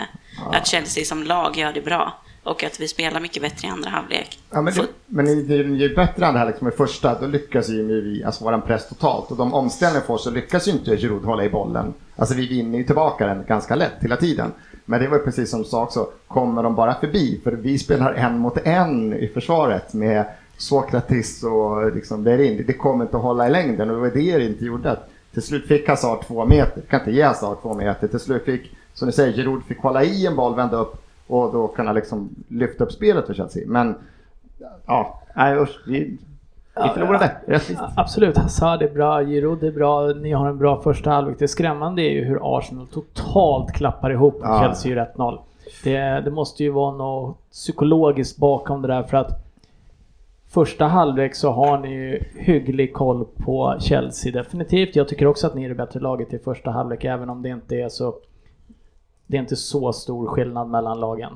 [SPEAKER 11] att Chelsea som lag gör det bra och att vi spelar mycket bättre i andra halvlek.
[SPEAKER 10] Ja, men, det, men i- det är ju bättre än det här liksom i första, då lyckas ju vi, alltså våran press totalt. Och de omställningar vi får så lyckas ju inte Giroud hålla i bollen. Alltså vi vinner ju tillbaka den ganska lätt hela tiden. Men det var ju precis som du sa också, kommer de bara förbi? För vi spelar en mot en i försvaret med Sokratis och liksom Lerin. Det kommer inte att hålla i längden och det var det det inte gjorde. Till slut fick Hazard två meter, kan inte ge Hazard två meter. Till slut fick, som ni säger, Giroud fick hålla i en boll, vända upp och då kunna liksom lyfta upp spelet för Chelsea. Men ja, nej usch, vi, vi förlorade. Rättvist.
[SPEAKER 5] Absolut, Hazard är bra, Giroud är bra, ni har en bra första halvlek. Det skrämmande är ju hur Arsenal totalt klappar ihop
[SPEAKER 12] Ja.
[SPEAKER 5] Chelsea gör 1-0. Det, det måste ju vara något psykologiskt bakom det där för att första halvlek så har ni ju hygglig koll på Chelsea definitivt. Jag tycker också att ni är det bättre laget i första halvlek även om det inte är så det är inte så stor skillnad mellan lagen.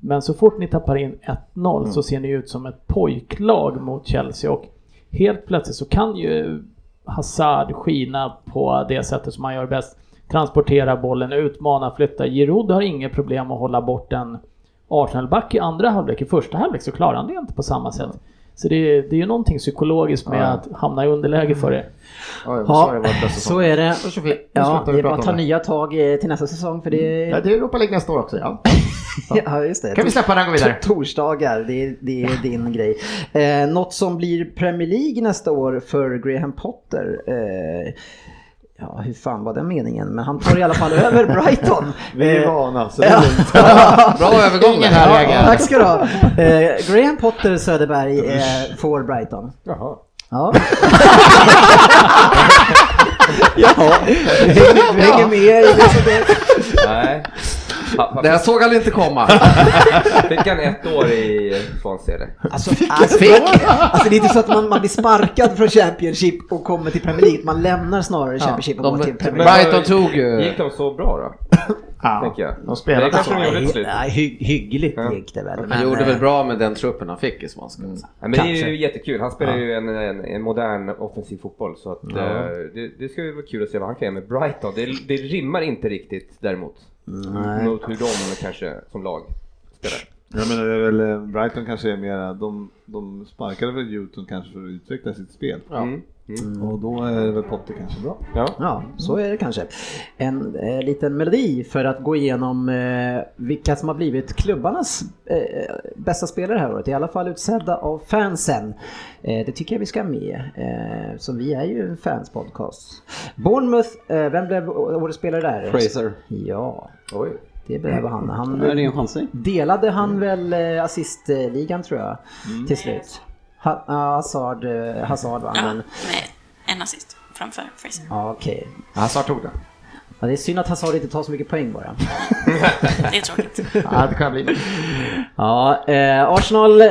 [SPEAKER 5] Men så fort ni tappar in 1-0
[SPEAKER 12] Mm.
[SPEAKER 5] så ser ni ut som ett pojklag mot Chelsea och helt plötsligt så kan ju Hazard skina på det sättet som han gör bäst. Transportera bollen, utmana, flytta. Giroud har inget problem att hålla bort en Arsenal-back i andra halvlek. I första halvlek så klarar han det inte på samma sätt. Så det är, det är ju någonting psykologiskt med
[SPEAKER 3] Ja.
[SPEAKER 5] att hamna i underläge för det.
[SPEAKER 3] Ja, så är det. Ja, det är bara att ta nya tag eh, till nästa säsong för det...
[SPEAKER 10] Ja, det är Europa League nästa år också ja.
[SPEAKER 3] Ja, just det.
[SPEAKER 10] Kan vi släppa den och gå vidare?
[SPEAKER 3] T- Torsdagar, det är, det är din grej. Eh, något som blir Premier League nästa år för Graham Potter. Eh, ja, hur fan var den meningen? Men han tar i alla fall över Brighton.
[SPEAKER 6] Vi är
[SPEAKER 3] Eh,
[SPEAKER 6] vana, så det är
[SPEAKER 3] ja.
[SPEAKER 6] lugnt.
[SPEAKER 10] Bra övergång,
[SPEAKER 3] Ingen
[SPEAKER 10] här,
[SPEAKER 3] ja,
[SPEAKER 10] Jäger.
[SPEAKER 3] Tack ska du ha. Eh, Graham Potter Söderberg eh, får Brighton.
[SPEAKER 10] Jaha.
[SPEAKER 3] Ja. Jaha, vi hänger- vi hänger med i det som det
[SPEAKER 9] Nej.
[SPEAKER 8] Det jag såg aldrig inte komma.
[SPEAKER 9] Fick han ett år i Swansea eller?
[SPEAKER 3] Alltså, alltså, alltså det är inte så att man, man blir sparkad från Championship och kommer till Premier League. Man lämnar snarare Championship och går till Premier League.
[SPEAKER 9] Gick de så bra då?
[SPEAKER 3] Ja,
[SPEAKER 9] Tänker jag.
[SPEAKER 10] de
[SPEAKER 3] spelade
[SPEAKER 9] det kanske
[SPEAKER 3] så.
[SPEAKER 9] de gjorde till slut.
[SPEAKER 3] Nej, hy- hyggligt gick det väl. eh,
[SPEAKER 8] Han gjorde väl bra med den truppen han fick i Swansea.
[SPEAKER 9] Men det är ju jättekul. Han spelar ju en, en, en modern offensiv fotboll så att
[SPEAKER 8] Ja.
[SPEAKER 9] eh, det, det ska ju vara kul att se vad han kan göra med Brighton. Det, det rimmar inte riktigt däremot.
[SPEAKER 6] Nej.
[SPEAKER 9] Mot hur de kanske som lag spelar.
[SPEAKER 6] Jag menar, det är väl, eh, Brighton kanske är mera, de, de sparkade väl Newton kanske för att utveckla sitt spel.
[SPEAKER 9] Ja. Mm. Mm.
[SPEAKER 6] Och då är det väl Potter kanske bra.
[SPEAKER 3] Ja, så är det kanske. En eh, liten melodi för att gå igenom eh, vilka som har blivit klubbarnas eh, bästa spelare här året. I alla fall utsedda av fansen. Eh, det tycker jag vi ska ha med. Eh, så vi är ju en fanspodcast. Bournemouth, eh, vem blev å- årets spelare där?
[SPEAKER 7] Fraser.
[SPEAKER 3] Ja. Det behöver han. han
[SPEAKER 7] Är det en Mm. chans?
[SPEAKER 3] Delade han väl eh, assistligan tror jag till slut. Ha, ja, Hazard, eh, Hazard vann den.
[SPEAKER 11] En assist framför Fraser.
[SPEAKER 3] Ja, okej.
[SPEAKER 10] Hazard tog den.
[SPEAKER 3] Ja, det är synd att Hazard inte tar så mycket poäng bara.
[SPEAKER 11] Det är tråkigt.
[SPEAKER 10] Ja, det kan bli.
[SPEAKER 3] Ja, eh, Arsenal,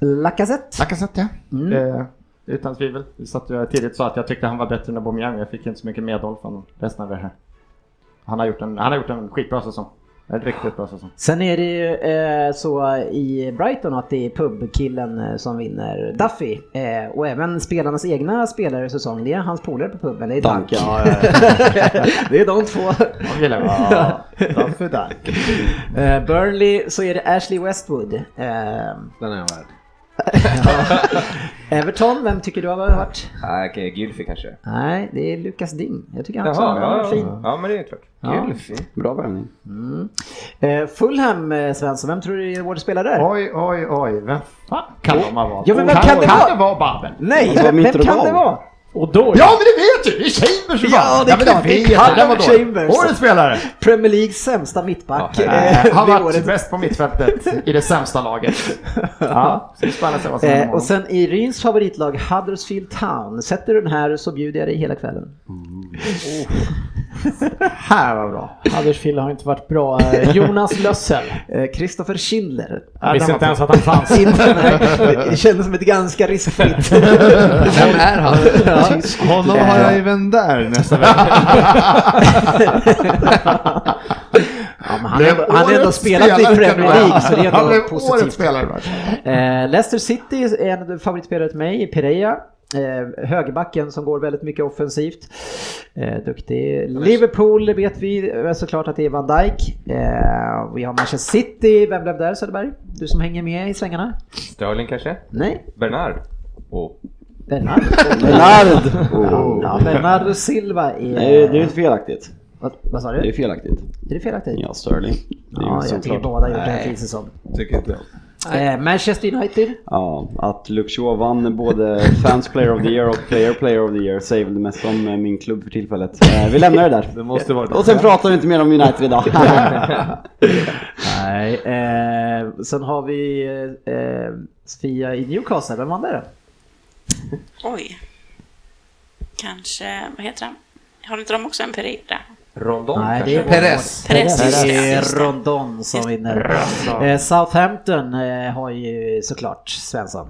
[SPEAKER 3] Lacazette.
[SPEAKER 10] Lacazette ja.
[SPEAKER 3] Mm.
[SPEAKER 10] Eh, utan tvivel. Vi satt ju här tidigt och sa att jag tyckte han var bättre än Aubameyang. Jag fick inte så mycket medhåll från resten av er här. Han har gjort en, han har gjort en skitbra säsong. En riktigt bra säsong.
[SPEAKER 3] Sen är det ju eh, så i Brighton att det är pubkillen eh, som vinner Duffy. Eh, och även spelarnas egna spelare i säsongen, det är hans polare på puben, det är Dunk.
[SPEAKER 7] Dunk, ja, ja, ja.
[SPEAKER 3] det är de två.
[SPEAKER 10] De gillar vi. Ja, Duffy,
[SPEAKER 3] Dunk. Eh, Burnley så är det Ashley Westwood. Eh, Den
[SPEAKER 8] är jag värd.
[SPEAKER 3] Everton, vem tycker du har varit?
[SPEAKER 9] Nej, okay, Gylfi kanske.
[SPEAKER 3] Nej, det är Lukas Ding. Jag tycker han också
[SPEAKER 9] Jaha,
[SPEAKER 3] var
[SPEAKER 9] ja,
[SPEAKER 3] fin.
[SPEAKER 9] ja. ja men det är klart.
[SPEAKER 3] Ja.
[SPEAKER 9] Gylfi.
[SPEAKER 7] Bra värvning.
[SPEAKER 3] Mm. Eh, Fulham, eh, Svensson, vem tror du är vår spelare där?
[SPEAKER 10] Oj, oj, oj, vem fan kan de ha varit?
[SPEAKER 3] Ja, men vem
[SPEAKER 10] kan,
[SPEAKER 3] kan det vara?
[SPEAKER 10] det vara Babben?
[SPEAKER 3] Nej, vem, vem kan det vara?
[SPEAKER 5] Och då?
[SPEAKER 10] Ja, men det vet ju! Det är Chambers som
[SPEAKER 3] Ja,
[SPEAKER 10] vann.
[SPEAKER 3] det är
[SPEAKER 10] men
[SPEAKER 3] klart. Det
[SPEAKER 10] vet
[SPEAKER 3] är
[SPEAKER 10] jag. Den var
[SPEAKER 3] Carl
[SPEAKER 10] dålig.
[SPEAKER 3] Chambers.
[SPEAKER 10] Årets spelare!
[SPEAKER 3] Premier Leagues sämsta mittback.
[SPEAKER 10] Ja,
[SPEAKER 3] eh,
[SPEAKER 10] han
[SPEAKER 3] det
[SPEAKER 10] har varit
[SPEAKER 3] året.
[SPEAKER 10] bäst på mittfältet i det sämsta laget. Ja, så det är spännande att se vad som händer
[SPEAKER 3] Eh, och
[SPEAKER 10] imorgon.
[SPEAKER 3] sen i Ryns favoritlag Huddersfield Town. Sätter du den här så bjuder jag dig hela kvällen.
[SPEAKER 10] här var bra.
[SPEAKER 5] Huddersfield har inte varit bra. Eh, Jonas Lössel.
[SPEAKER 3] Eh, Christopher Schindler.
[SPEAKER 5] Jag visste inte ens att han fanns.
[SPEAKER 3] Inte, nej. det kändes som ett ganska riskfritt.
[SPEAKER 5] Vem är han?
[SPEAKER 3] Tysk.
[SPEAKER 6] Honom har jag även där nästa vecka.
[SPEAKER 3] Ja, men han, är, han har ändå spelat i Premier League så det är ändå positivt. Eh, Leicester City är en favoritspelare till mig, Pereira. Eh, högerbacken som går väldigt mycket offensivt. Eh, duktig. Liverpool vet vi eh, såklart att det är Van Dijk. Eh, vi har Manchester City. Vem blev där Söderberg? Du som hänger med i svängarna?
[SPEAKER 9] Sterling kanske?
[SPEAKER 3] Nej.
[SPEAKER 9] Bernard? Oh.
[SPEAKER 3] Bernard.
[SPEAKER 7] Bernard.
[SPEAKER 3] Ja, Ja, Bernardo Silva är...
[SPEAKER 7] Nej, det är inte felaktigt.
[SPEAKER 3] Vad, vad sa du?
[SPEAKER 7] Det är felaktigt.
[SPEAKER 3] Är det felaktigt?
[SPEAKER 7] Ja, Sterling. Det är ju
[SPEAKER 3] Ja, jag
[SPEAKER 7] såklart.
[SPEAKER 3] tycker båda gjort en
[SPEAKER 7] Nej.
[SPEAKER 3] fin säsong.
[SPEAKER 6] Tycker inte jag.
[SPEAKER 3] Eh, Manchester United.
[SPEAKER 7] Ja, att Luke Shaw vann både Fans Player of the Year och Player Player of the Year säger väl det mest om eh, min klubb för tillfället. Eh, Vi lämnar det där.
[SPEAKER 6] Det måste vara det.
[SPEAKER 7] Och sen pratar vi inte mer om United idag.
[SPEAKER 3] Nej, eh, sen har vi eh, eh, Sofia i Newcastle. Vem vann där?
[SPEAKER 11] Oj. Kanske, vad heter han? Har inte de också en period där?
[SPEAKER 9] Rondon
[SPEAKER 3] Nej, det
[SPEAKER 9] kanske?
[SPEAKER 3] är Perez. Det är Rondon som vinner. Eh, Southampton eh, har ju såklart Svensson.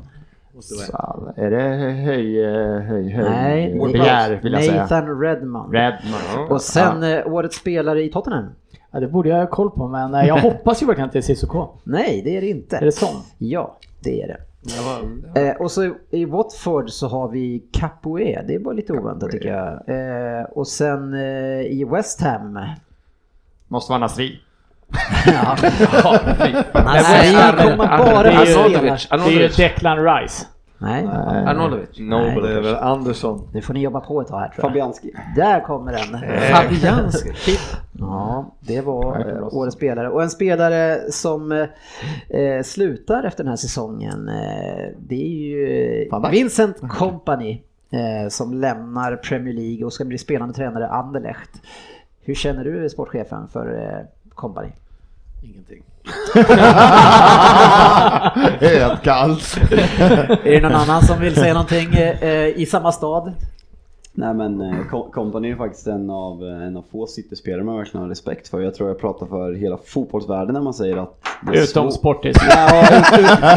[SPEAKER 10] Fan, är det höj, eh, höj, höj?
[SPEAKER 3] Nej,
[SPEAKER 10] Vår
[SPEAKER 3] det
[SPEAKER 10] Pierre,
[SPEAKER 3] är
[SPEAKER 10] vill jag säga.
[SPEAKER 3] Nathan Redman.
[SPEAKER 10] Redman.
[SPEAKER 3] Och sen eh, årets spelare i Tottenham.
[SPEAKER 5] Ja, det borde jag ha koll på, men eh, jag hoppas ju verkligen att det är Cissoko.
[SPEAKER 3] Nej, det är det inte.
[SPEAKER 5] Är det sån?
[SPEAKER 3] Ja, det är det. Eh, och så i- i Watford så har vi Capoe. Det var lite oväntat tycker jag. Eh, och sen eh, i West Ham.
[SPEAKER 4] Måste vara Nasri.
[SPEAKER 3] Ja.
[SPEAKER 5] Nej,
[SPEAKER 3] Nasri kommer bara att spela.
[SPEAKER 5] Det är ju Declan Rice.
[SPEAKER 3] Nej.
[SPEAKER 5] Eh,
[SPEAKER 9] Arnautovic.
[SPEAKER 6] Nej, det är väl Andersson.
[SPEAKER 3] Nu får ni jobba på ett tag här tror jag.
[SPEAKER 7] Fabianski.
[SPEAKER 3] Där kommer den.
[SPEAKER 5] Fabianski.
[SPEAKER 3] Ja, det var eh, årets spelare. Och en spelare som eh, eh, slutar efter den här säsongen, eh, det är ju eh, Vincent Company eh, som lämnar Premier League och ska bli spelande tränare i Anderlecht. Hur känner du sportchefen för eh, Company?
[SPEAKER 8] Ingenting.
[SPEAKER 10] Helt kallt.
[SPEAKER 3] är det någon annan som vill säga någonting eh, eh, i samma stad?
[SPEAKER 7] Nej men eh, Co- Company är faktiskt en av, eh, en av få City-spelare man verkligen har respekt för. Jag tror jag pratar för hela fotbollsvärlden när man säger att... det är
[SPEAKER 5] Utom
[SPEAKER 7] svårt-
[SPEAKER 5] Sportis.
[SPEAKER 7] Ja,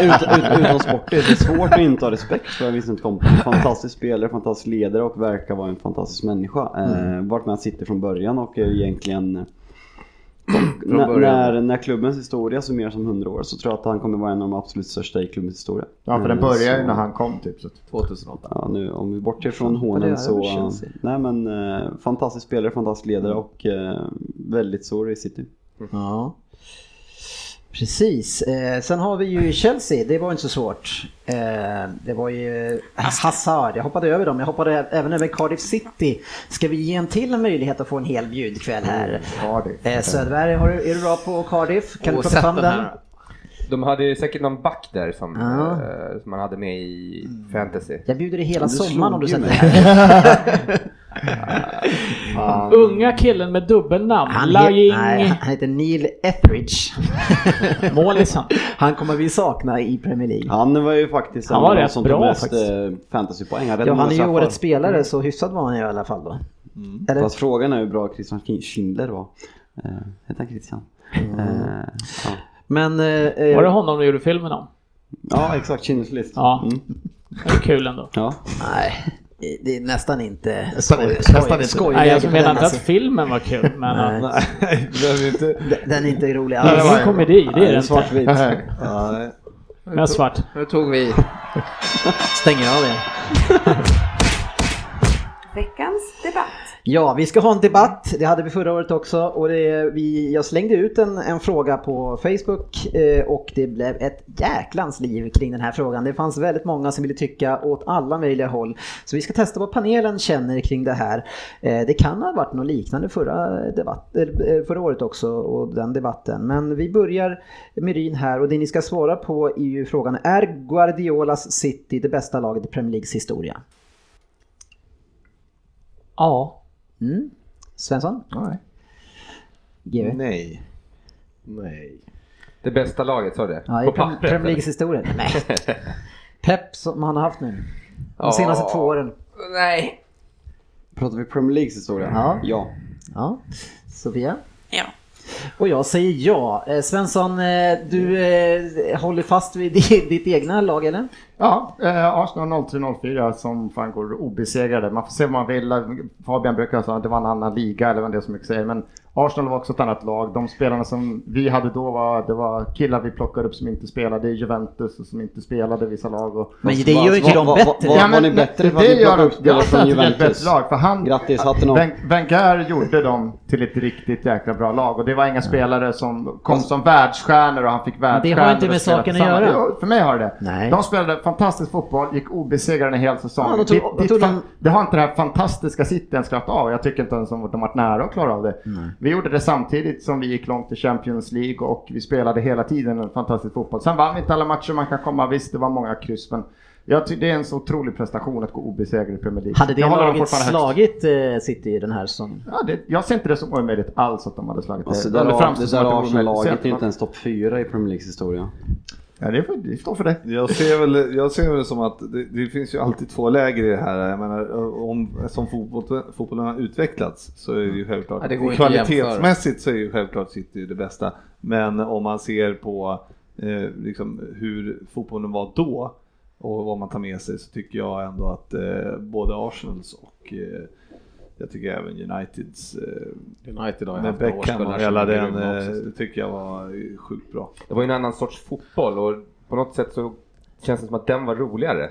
[SPEAKER 7] ut, ut, ut, ut, utom Sportis. Det är svårt att inte ha respekt för Vincent Company. Fantastisk spelare, fantastisk ledare och verkar vara en fantastisk människa. Eh, varit med City från början och är egentligen... eh,
[SPEAKER 8] Från
[SPEAKER 7] När,
[SPEAKER 8] början.
[SPEAKER 7] när, när klubbens historia summeras om 100 år så tror jag att han kommer vara en av de absolut största i klubbens historia.
[SPEAKER 10] Ja, för den
[SPEAKER 7] Eh,
[SPEAKER 10] börjar ju
[SPEAKER 7] så-
[SPEAKER 10] när han kom typ. Så.
[SPEAKER 8] 2008.
[SPEAKER 7] Ja, nu, om vi bortser från
[SPEAKER 3] det är
[SPEAKER 7] hånen så...
[SPEAKER 3] över Chelsea. Mm.
[SPEAKER 7] Nej men, eh, fantastisk spelare, fantastisk ledare och eh, väldigt sår i city.
[SPEAKER 3] Ja. Precis. Eh, sen har vi ju Chelsea, det var inte så svårt. Eh, det var ju eh, Hazard, jag hoppade över dem. Jag hoppade ä- även över Cardiff City. Ska vi ge en till en möjlighet att få en hel bjudkväll här?
[SPEAKER 10] Mm, Cardiff.
[SPEAKER 3] Eh, Söderberg, har du, är du bra på Cardiff? Kan du plocka fram den?
[SPEAKER 9] De hade ju säkert någon back där som,
[SPEAKER 3] Ja. Mm.
[SPEAKER 9] eh, som man hade med i fantasy.
[SPEAKER 3] Jag bjuder dig hela
[SPEAKER 7] Du
[SPEAKER 3] sommaren
[SPEAKER 7] slog
[SPEAKER 3] om du
[SPEAKER 7] ju
[SPEAKER 3] sätter
[SPEAKER 7] mig.
[SPEAKER 3] dig här.
[SPEAKER 5] Unga killen med dubbelnamn.
[SPEAKER 3] Han, he, nej,
[SPEAKER 5] Lying
[SPEAKER 3] han heter Neil Etheridge.
[SPEAKER 5] Målisen.
[SPEAKER 3] Han kommer vi sakna i Premier League.
[SPEAKER 7] Han var ju faktiskt
[SPEAKER 5] Han
[SPEAKER 7] en
[SPEAKER 5] var
[SPEAKER 7] av de
[SPEAKER 5] rätt
[SPEAKER 7] som
[SPEAKER 5] bra
[SPEAKER 7] tog mest
[SPEAKER 5] faktiskt.
[SPEAKER 7] eh, fantasypoäng. Han
[SPEAKER 3] Ja,
[SPEAKER 7] räddade
[SPEAKER 3] han är
[SPEAKER 7] många
[SPEAKER 3] ju
[SPEAKER 7] straffar.
[SPEAKER 3] årets spelare så hyfsad var han ju i alla fall då. Eller?
[SPEAKER 7] Mm. Fast frågan är hur bra Christian Kin- Schindler var. Eh, Hette han Christian?
[SPEAKER 3] Mm.
[SPEAKER 7] Eh, ja.
[SPEAKER 3] Men... eh, eh,
[SPEAKER 5] Var det honom du gjorde filmen om?
[SPEAKER 7] ja, exakt. Schindlers list.
[SPEAKER 5] Ja.
[SPEAKER 7] Mm.
[SPEAKER 5] Det är kul ändå.
[SPEAKER 7] ja.
[SPEAKER 3] Nej, det- det är nästan inte
[SPEAKER 10] Nästan
[SPEAKER 3] skoj-
[SPEAKER 10] inte-
[SPEAKER 3] skoj-
[SPEAKER 10] nästan inte.
[SPEAKER 5] Nej,
[SPEAKER 3] skojläge
[SPEAKER 5] jag
[SPEAKER 3] på
[SPEAKER 5] menar
[SPEAKER 3] den.
[SPEAKER 5] inte att
[SPEAKER 3] Alltså.
[SPEAKER 5] filmen var kul, men
[SPEAKER 3] Nej.
[SPEAKER 5] att
[SPEAKER 6] Nej, behöver inte.
[SPEAKER 3] Den- Den är inte rolig
[SPEAKER 5] det
[SPEAKER 3] alls.
[SPEAKER 5] är en komedi, det är det inte.
[SPEAKER 7] svartvitt.
[SPEAKER 6] Nej.
[SPEAKER 5] Men svart.
[SPEAKER 8] Nu tog vi
[SPEAKER 3] Stänger av det.
[SPEAKER 2] Veckans debatt.
[SPEAKER 3] Ja, vi ska ha en debatt. Det hade vi förra året också. Och det, vi, jag slängde ut en, en fråga på Facebook eh, och det blev ett jäklans liv kring den här frågan. Det fanns väldigt många som ville tycka åt alla möjliga håll. Så vi ska testa vad panelen känner kring det här. Eh, det kan ha varit något liknande förra, debatt, eller, eh, förra året också och den debatten. Men vi börjar med Ryn här och det ni ska svara på är ju frågan är Guardiolas City det bästa laget i Premier Leagues historia?
[SPEAKER 5] Ja.
[SPEAKER 3] Mm. Svensson?
[SPEAKER 10] Nej.
[SPEAKER 3] GW?
[SPEAKER 6] Nej.
[SPEAKER 8] Nej.
[SPEAKER 9] Det bästa laget sa du det?
[SPEAKER 3] Ja, i
[SPEAKER 9] På
[SPEAKER 3] Prem-
[SPEAKER 9] pappret?
[SPEAKER 3] Premier
[SPEAKER 9] eller?
[SPEAKER 3] Leagues historia. Nej. Pep som han har haft nu. De
[SPEAKER 9] Ja.
[SPEAKER 3] senaste två åren.
[SPEAKER 9] Nej.
[SPEAKER 7] Pratar vi Premier Leagues historia?
[SPEAKER 3] Ja.
[SPEAKER 7] ja.
[SPEAKER 3] Ja. Sofia?
[SPEAKER 11] Ja.
[SPEAKER 3] Och jag säger ja. Eh, Svensson, eh, du eh, håller fast vid ditt, ditt egna lag eller?
[SPEAKER 10] Ja, eh, Arsenal 03-04 som fan går obesegrade. Man får se vad man vill. Fabian brukar säga att det var en annan liga eller vad det är som mycket säger. Men Arsenal var också ett annat lag. De spelarna som vi hade då var, det var killar vi plockade upp som inte spelade i Juventus och som inte spelade i vissa lag. Och,
[SPEAKER 13] Men det gör ju inte de bättre.
[SPEAKER 10] Ja,
[SPEAKER 7] Var, var
[SPEAKER 10] men
[SPEAKER 7] ni bättre för att
[SPEAKER 10] det
[SPEAKER 7] ni
[SPEAKER 10] gör
[SPEAKER 7] plockade
[SPEAKER 10] de.
[SPEAKER 7] upp
[SPEAKER 10] Jag
[SPEAKER 7] spelare
[SPEAKER 10] sa
[SPEAKER 7] från
[SPEAKER 10] att det är ett
[SPEAKER 7] Juventus?
[SPEAKER 10] bättre lag. För han,
[SPEAKER 7] Grattis, hatten av.
[SPEAKER 10] Ben- Wenger gjorde dem till ett riktigt jäkla bra lag. Och det var inga spelare som kom som världsstjärnor och han fick
[SPEAKER 13] har
[SPEAKER 10] världsstjärnor.
[SPEAKER 13] inte med
[SPEAKER 10] och spelade
[SPEAKER 13] saken att
[SPEAKER 10] tillsammans.
[SPEAKER 13] göra.
[SPEAKER 10] Jo, För mig har det
[SPEAKER 13] Nej.
[SPEAKER 10] De spelade fantastisk fotboll, gick obesegrade en hel säsong.
[SPEAKER 13] Ja, de tog-
[SPEAKER 10] Ditt-
[SPEAKER 13] de
[SPEAKER 10] ditt
[SPEAKER 13] tog
[SPEAKER 10] fan-
[SPEAKER 13] dem-
[SPEAKER 10] Det har inte det här fantastiska City ens klarat av. Jag tycker inte ens att de varit nära att klara av det. Vi gjorde det samtidigt som vi gick långt i Champions League och vi spelade hela tiden en fantastisk fotboll. Sen vann vi inte alla matcher man kan komma. Visst, det var många kryss, men jag tycker det är en så otrolig prestation att gå obesegrad i Premier League.
[SPEAKER 3] Hade det
[SPEAKER 10] jag håller dem
[SPEAKER 3] laget
[SPEAKER 10] fortfarande högst.
[SPEAKER 3] slagit eh, City den här säsongen?
[SPEAKER 10] Ja, det, jag ser inte det som omöjligt alls att de hade
[SPEAKER 5] Eh,
[SPEAKER 10] slagit
[SPEAKER 7] Alltså,
[SPEAKER 10] det.
[SPEAKER 7] det där,
[SPEAKER 10] framstår
[SPEAKER 7] det
[SPEAKER 10] som
[SPEAKER 7] där
[SPEAKER 10] att det vore omöjligt.
[SPEAKER 7] Arsenal-laget
[SPEAKER 10] Så
[SPEAKER 7] är
[SPEAKER 10] jag-
[SPEAKER 7] inte ens topp fyra i Premier Leagues historia.
[SPEAKER 10] Ja, det, får, det står för det.
[SPEAKER 6] Jag ser väl, jag ser väl det som att det, det finns ju alltid två läger i det här. Jag menar, om, som fotboll, fotbollen har utvecklats så är det ju självklart,
[SPEAKER 8] Ja, det går inte att
[SPEAKER 6] kvalitetsmässigt så är ju självklart City det bästa. Men om man ser på eh, liksom, hur fotbollen var då och vad man tar med sig så tycker jag ändå att eh, både Arsenals och eh, jag tycker även Uniteds eh,
[SPEAKER 8] United har ju
[SPEAKER 6] med
[SPEAKER 8] haft några
[SPEAKER 6] Beckham
[SPEAKER 8] årskullar
[SPEAKER 6] och
[SPEAKER 8] som
[SPEAKER 6] hela
[SPEAKER 8] är
[SPEAKER 6] den
[SPEAKER 8] grymma
[SPEAKER 6] eh,
[SPEAKER 8] också.
[SPEAKER 6] tycker jag var sjukt bra.
[SPEAKER 9] Det var ju en annan sorts fotboll och på något sätt så känns det som att den var roligare.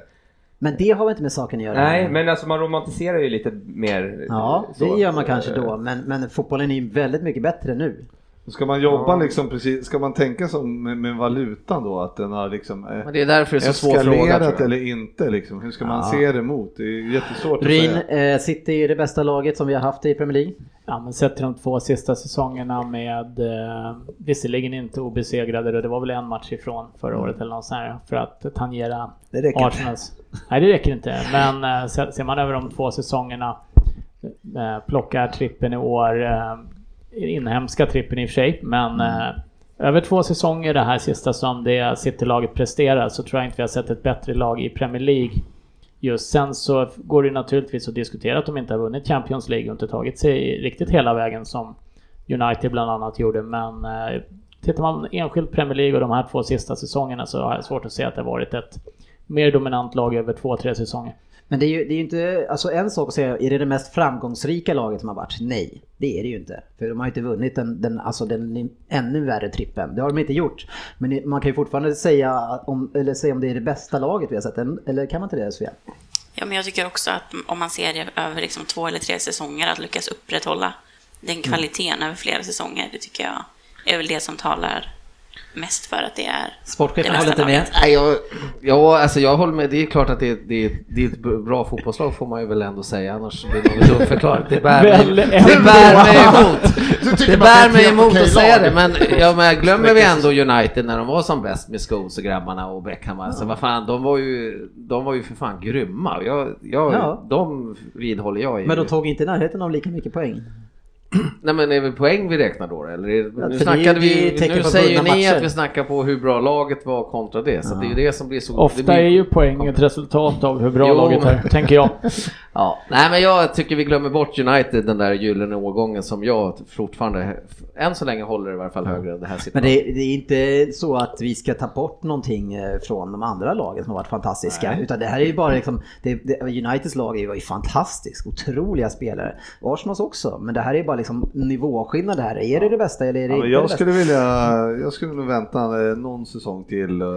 [SPEAKER 3] Men det har väl inte med saken att göra?
[SPEAKER 9] Nej, men alltså man romantiserar ju lite mer.
[SPEAKER 3] Ja, det
[SPEAKER 9] så.
[SPEAKER 3] gör man kanske då, men, men fotbollen är ju väldigt mycket bättre nu.
[SPEAKER 6] Ska man jobba liksom precis, ska man tänka som med, med valutan då att den har liksom eh,
[SPEAKER 3] Men det är därför det är så svår
[SPEAKER 6] eskalerat
[SPEAKER 3] fråga, tror jag.
[SPEAKER 6] eller inte liksom? Hur ska man
[SPEAKER 3] Ja.
[SPEAKER 6] se det mot? Det är jättesvårt
[SPEAKER 3] Bryn,
[SPEAKER 6] att säga.
[SPEAKER 3] eh, City är det bästa laget som vi har haft i Premier League.
[SPEAKER 5] Ja, men sett till de två sista säsongerna med eh, visserligen inte obesegrade, det var väl en match ifrån förra året eller något sånt här, för att tangera
[SPEAKER 3] Mm. Det räcker inte.
[SPEAKER 5] Arsenals. Nej, det räcker inte. Men eh, se- ser man över de två säsongerna, eh, plockar trippen i år, eh, inhemska trippen i och för sig,
[SPEAKER 3] Mm.
[SPEAKER 5] men eh, över två säsonger det här sista som det City-laget presterar så tror jag inte vi har sett ett bättre lag i Premier League Just sen så går det naturligtvis att diskutera att de inte har vunnit Champions League och inte tagit sig riktigt hela vägen som United bland annat gjorde. Men eh, tittar man enskilt Premier League och de här två sista säsongerna så har jag svårt att se att det har varit ett mer dominant lag över två, tre säsonger.
[SPEAKER 3] Men det är ju, det är ju inte, alltså en sak att säga, är det det mest framgångsrika laget som har varit? Nej, det är det ju inte. För de har ju inte vunnit den, den, alltså den ännu värre trippen. Det har de inte gjort. Men det- man kan ju fortfarande säga om, eller säga om det är det bästa laget vi har sett, en- eller kan man inte det Sofia?
[SPEAKER 11] Ja, men jag tycker också att om man ser det över liksom två eller tre säsonger, att lyckas upprätthålla
[SPEAKER 5] Mm.
[SPEAKER 11] den kvaliteten över flera säsonger, det tycker jag är väl det som talar mest för att det är det bästa laget.
[SPEAKER 8] Nej, jag, ja, alltså jag håller med. Det är klart att det, är- det, är- det är ett bra fotbollslag får man ju väl ändå säga. Annars blir det något dumt förklarat. Det bär mig,
[SPEAKER 5] Väl
[SPEAKER 8] det
[SPEAKER 5] ändå.
[SPEAKER 8] bär mig emot.
[SPEAKER 5] Du tycker
[SPEAKER 8] Det
[SPEAKER 5] bara att det är
[SPEAKER 8] bär
[SPEAKER 5] ett
[SPEAKER 8] mig
[SPEAKER 5] helt
[SPEAKER 8] emot
[SPEAKER 5] okej
[SPEAKER 8] att säga
[SPEAKER 5] lag.
[SPEAKER 8] det. Men, ja, men glömmer vi ändå United när de var som bäst med Scholes och grabbarna och Beckham. Alltså, vad fan, de var ju, de var ju för fan grymma. Jag, jag,
[SPEAKER 3] Ja.
[SPEAKER 8] De vidhåller jag i.
[SPEAKER 3] Men de tog inte i närheten av lika mycket poäng.
[SPEAKER 8] Nej men är det poäng vi räknar då eller? Är-
[SPEAKER 3] för det
[SPEAKER 8] Nu,
[SPEAKER 3] är-
[SPEAKER 8] snackade
[SPEAKER 3] det är
[SPEAKER 8] vi,
[SPEAKER 3] ett tecken
[SPEAKER 8] nu
[SPEAKER 3] på
[SPEAKER 8] säger ju
[SPEAKER 3] vunna
[SPEAKER 8] ni
[SPEAKER 3] matcher.
[SPEAKER 8] att vi snackar på hur bra laget var kontra det. Så
[SPEAKER 5] Ja.
[SPEAKER 8] det är ju det som blir så... det
[SPEAKER 5] Ofta
[SPEAKER 8] blir...
[SPEAKER 5] är ju poäng ett resultat av hur bra
[SPEAKER 8] Jo.
[SPEAKER 5] laget är, tänker jag.
[SPEAKER 8] Ja, nej men jag tycker vi glömmer bort United, den där gyllene årgången som jag fortfarande, än så länge håller i varje fall högre än det här sitter.
[SPEAKER 3] Men det, det är inte så att vi ska ta bort någonting eh, från de andra lagen som har varit fantastiska.
[SPEAKER 8] Nej.
[SPEAKER 3] Utan det här är ju bara liksom, det, det, Uniteds lag är ju fantastiskt, otroliga spelare. Arsenals också, men det här är bara liksom nivåskillnad här. Är det det bästa eller är det
[SPEAKER 6] Ja,
[SPEAKER 3] inte
[SPEAKER 6] men
[SPEAKER 3] det
[SPEAKER 6] jag,
[SPEAKER 3] bästa?
[SPEAKER 6] skulle vilja, jag skulle nog vänta eh, någon säsong till eh,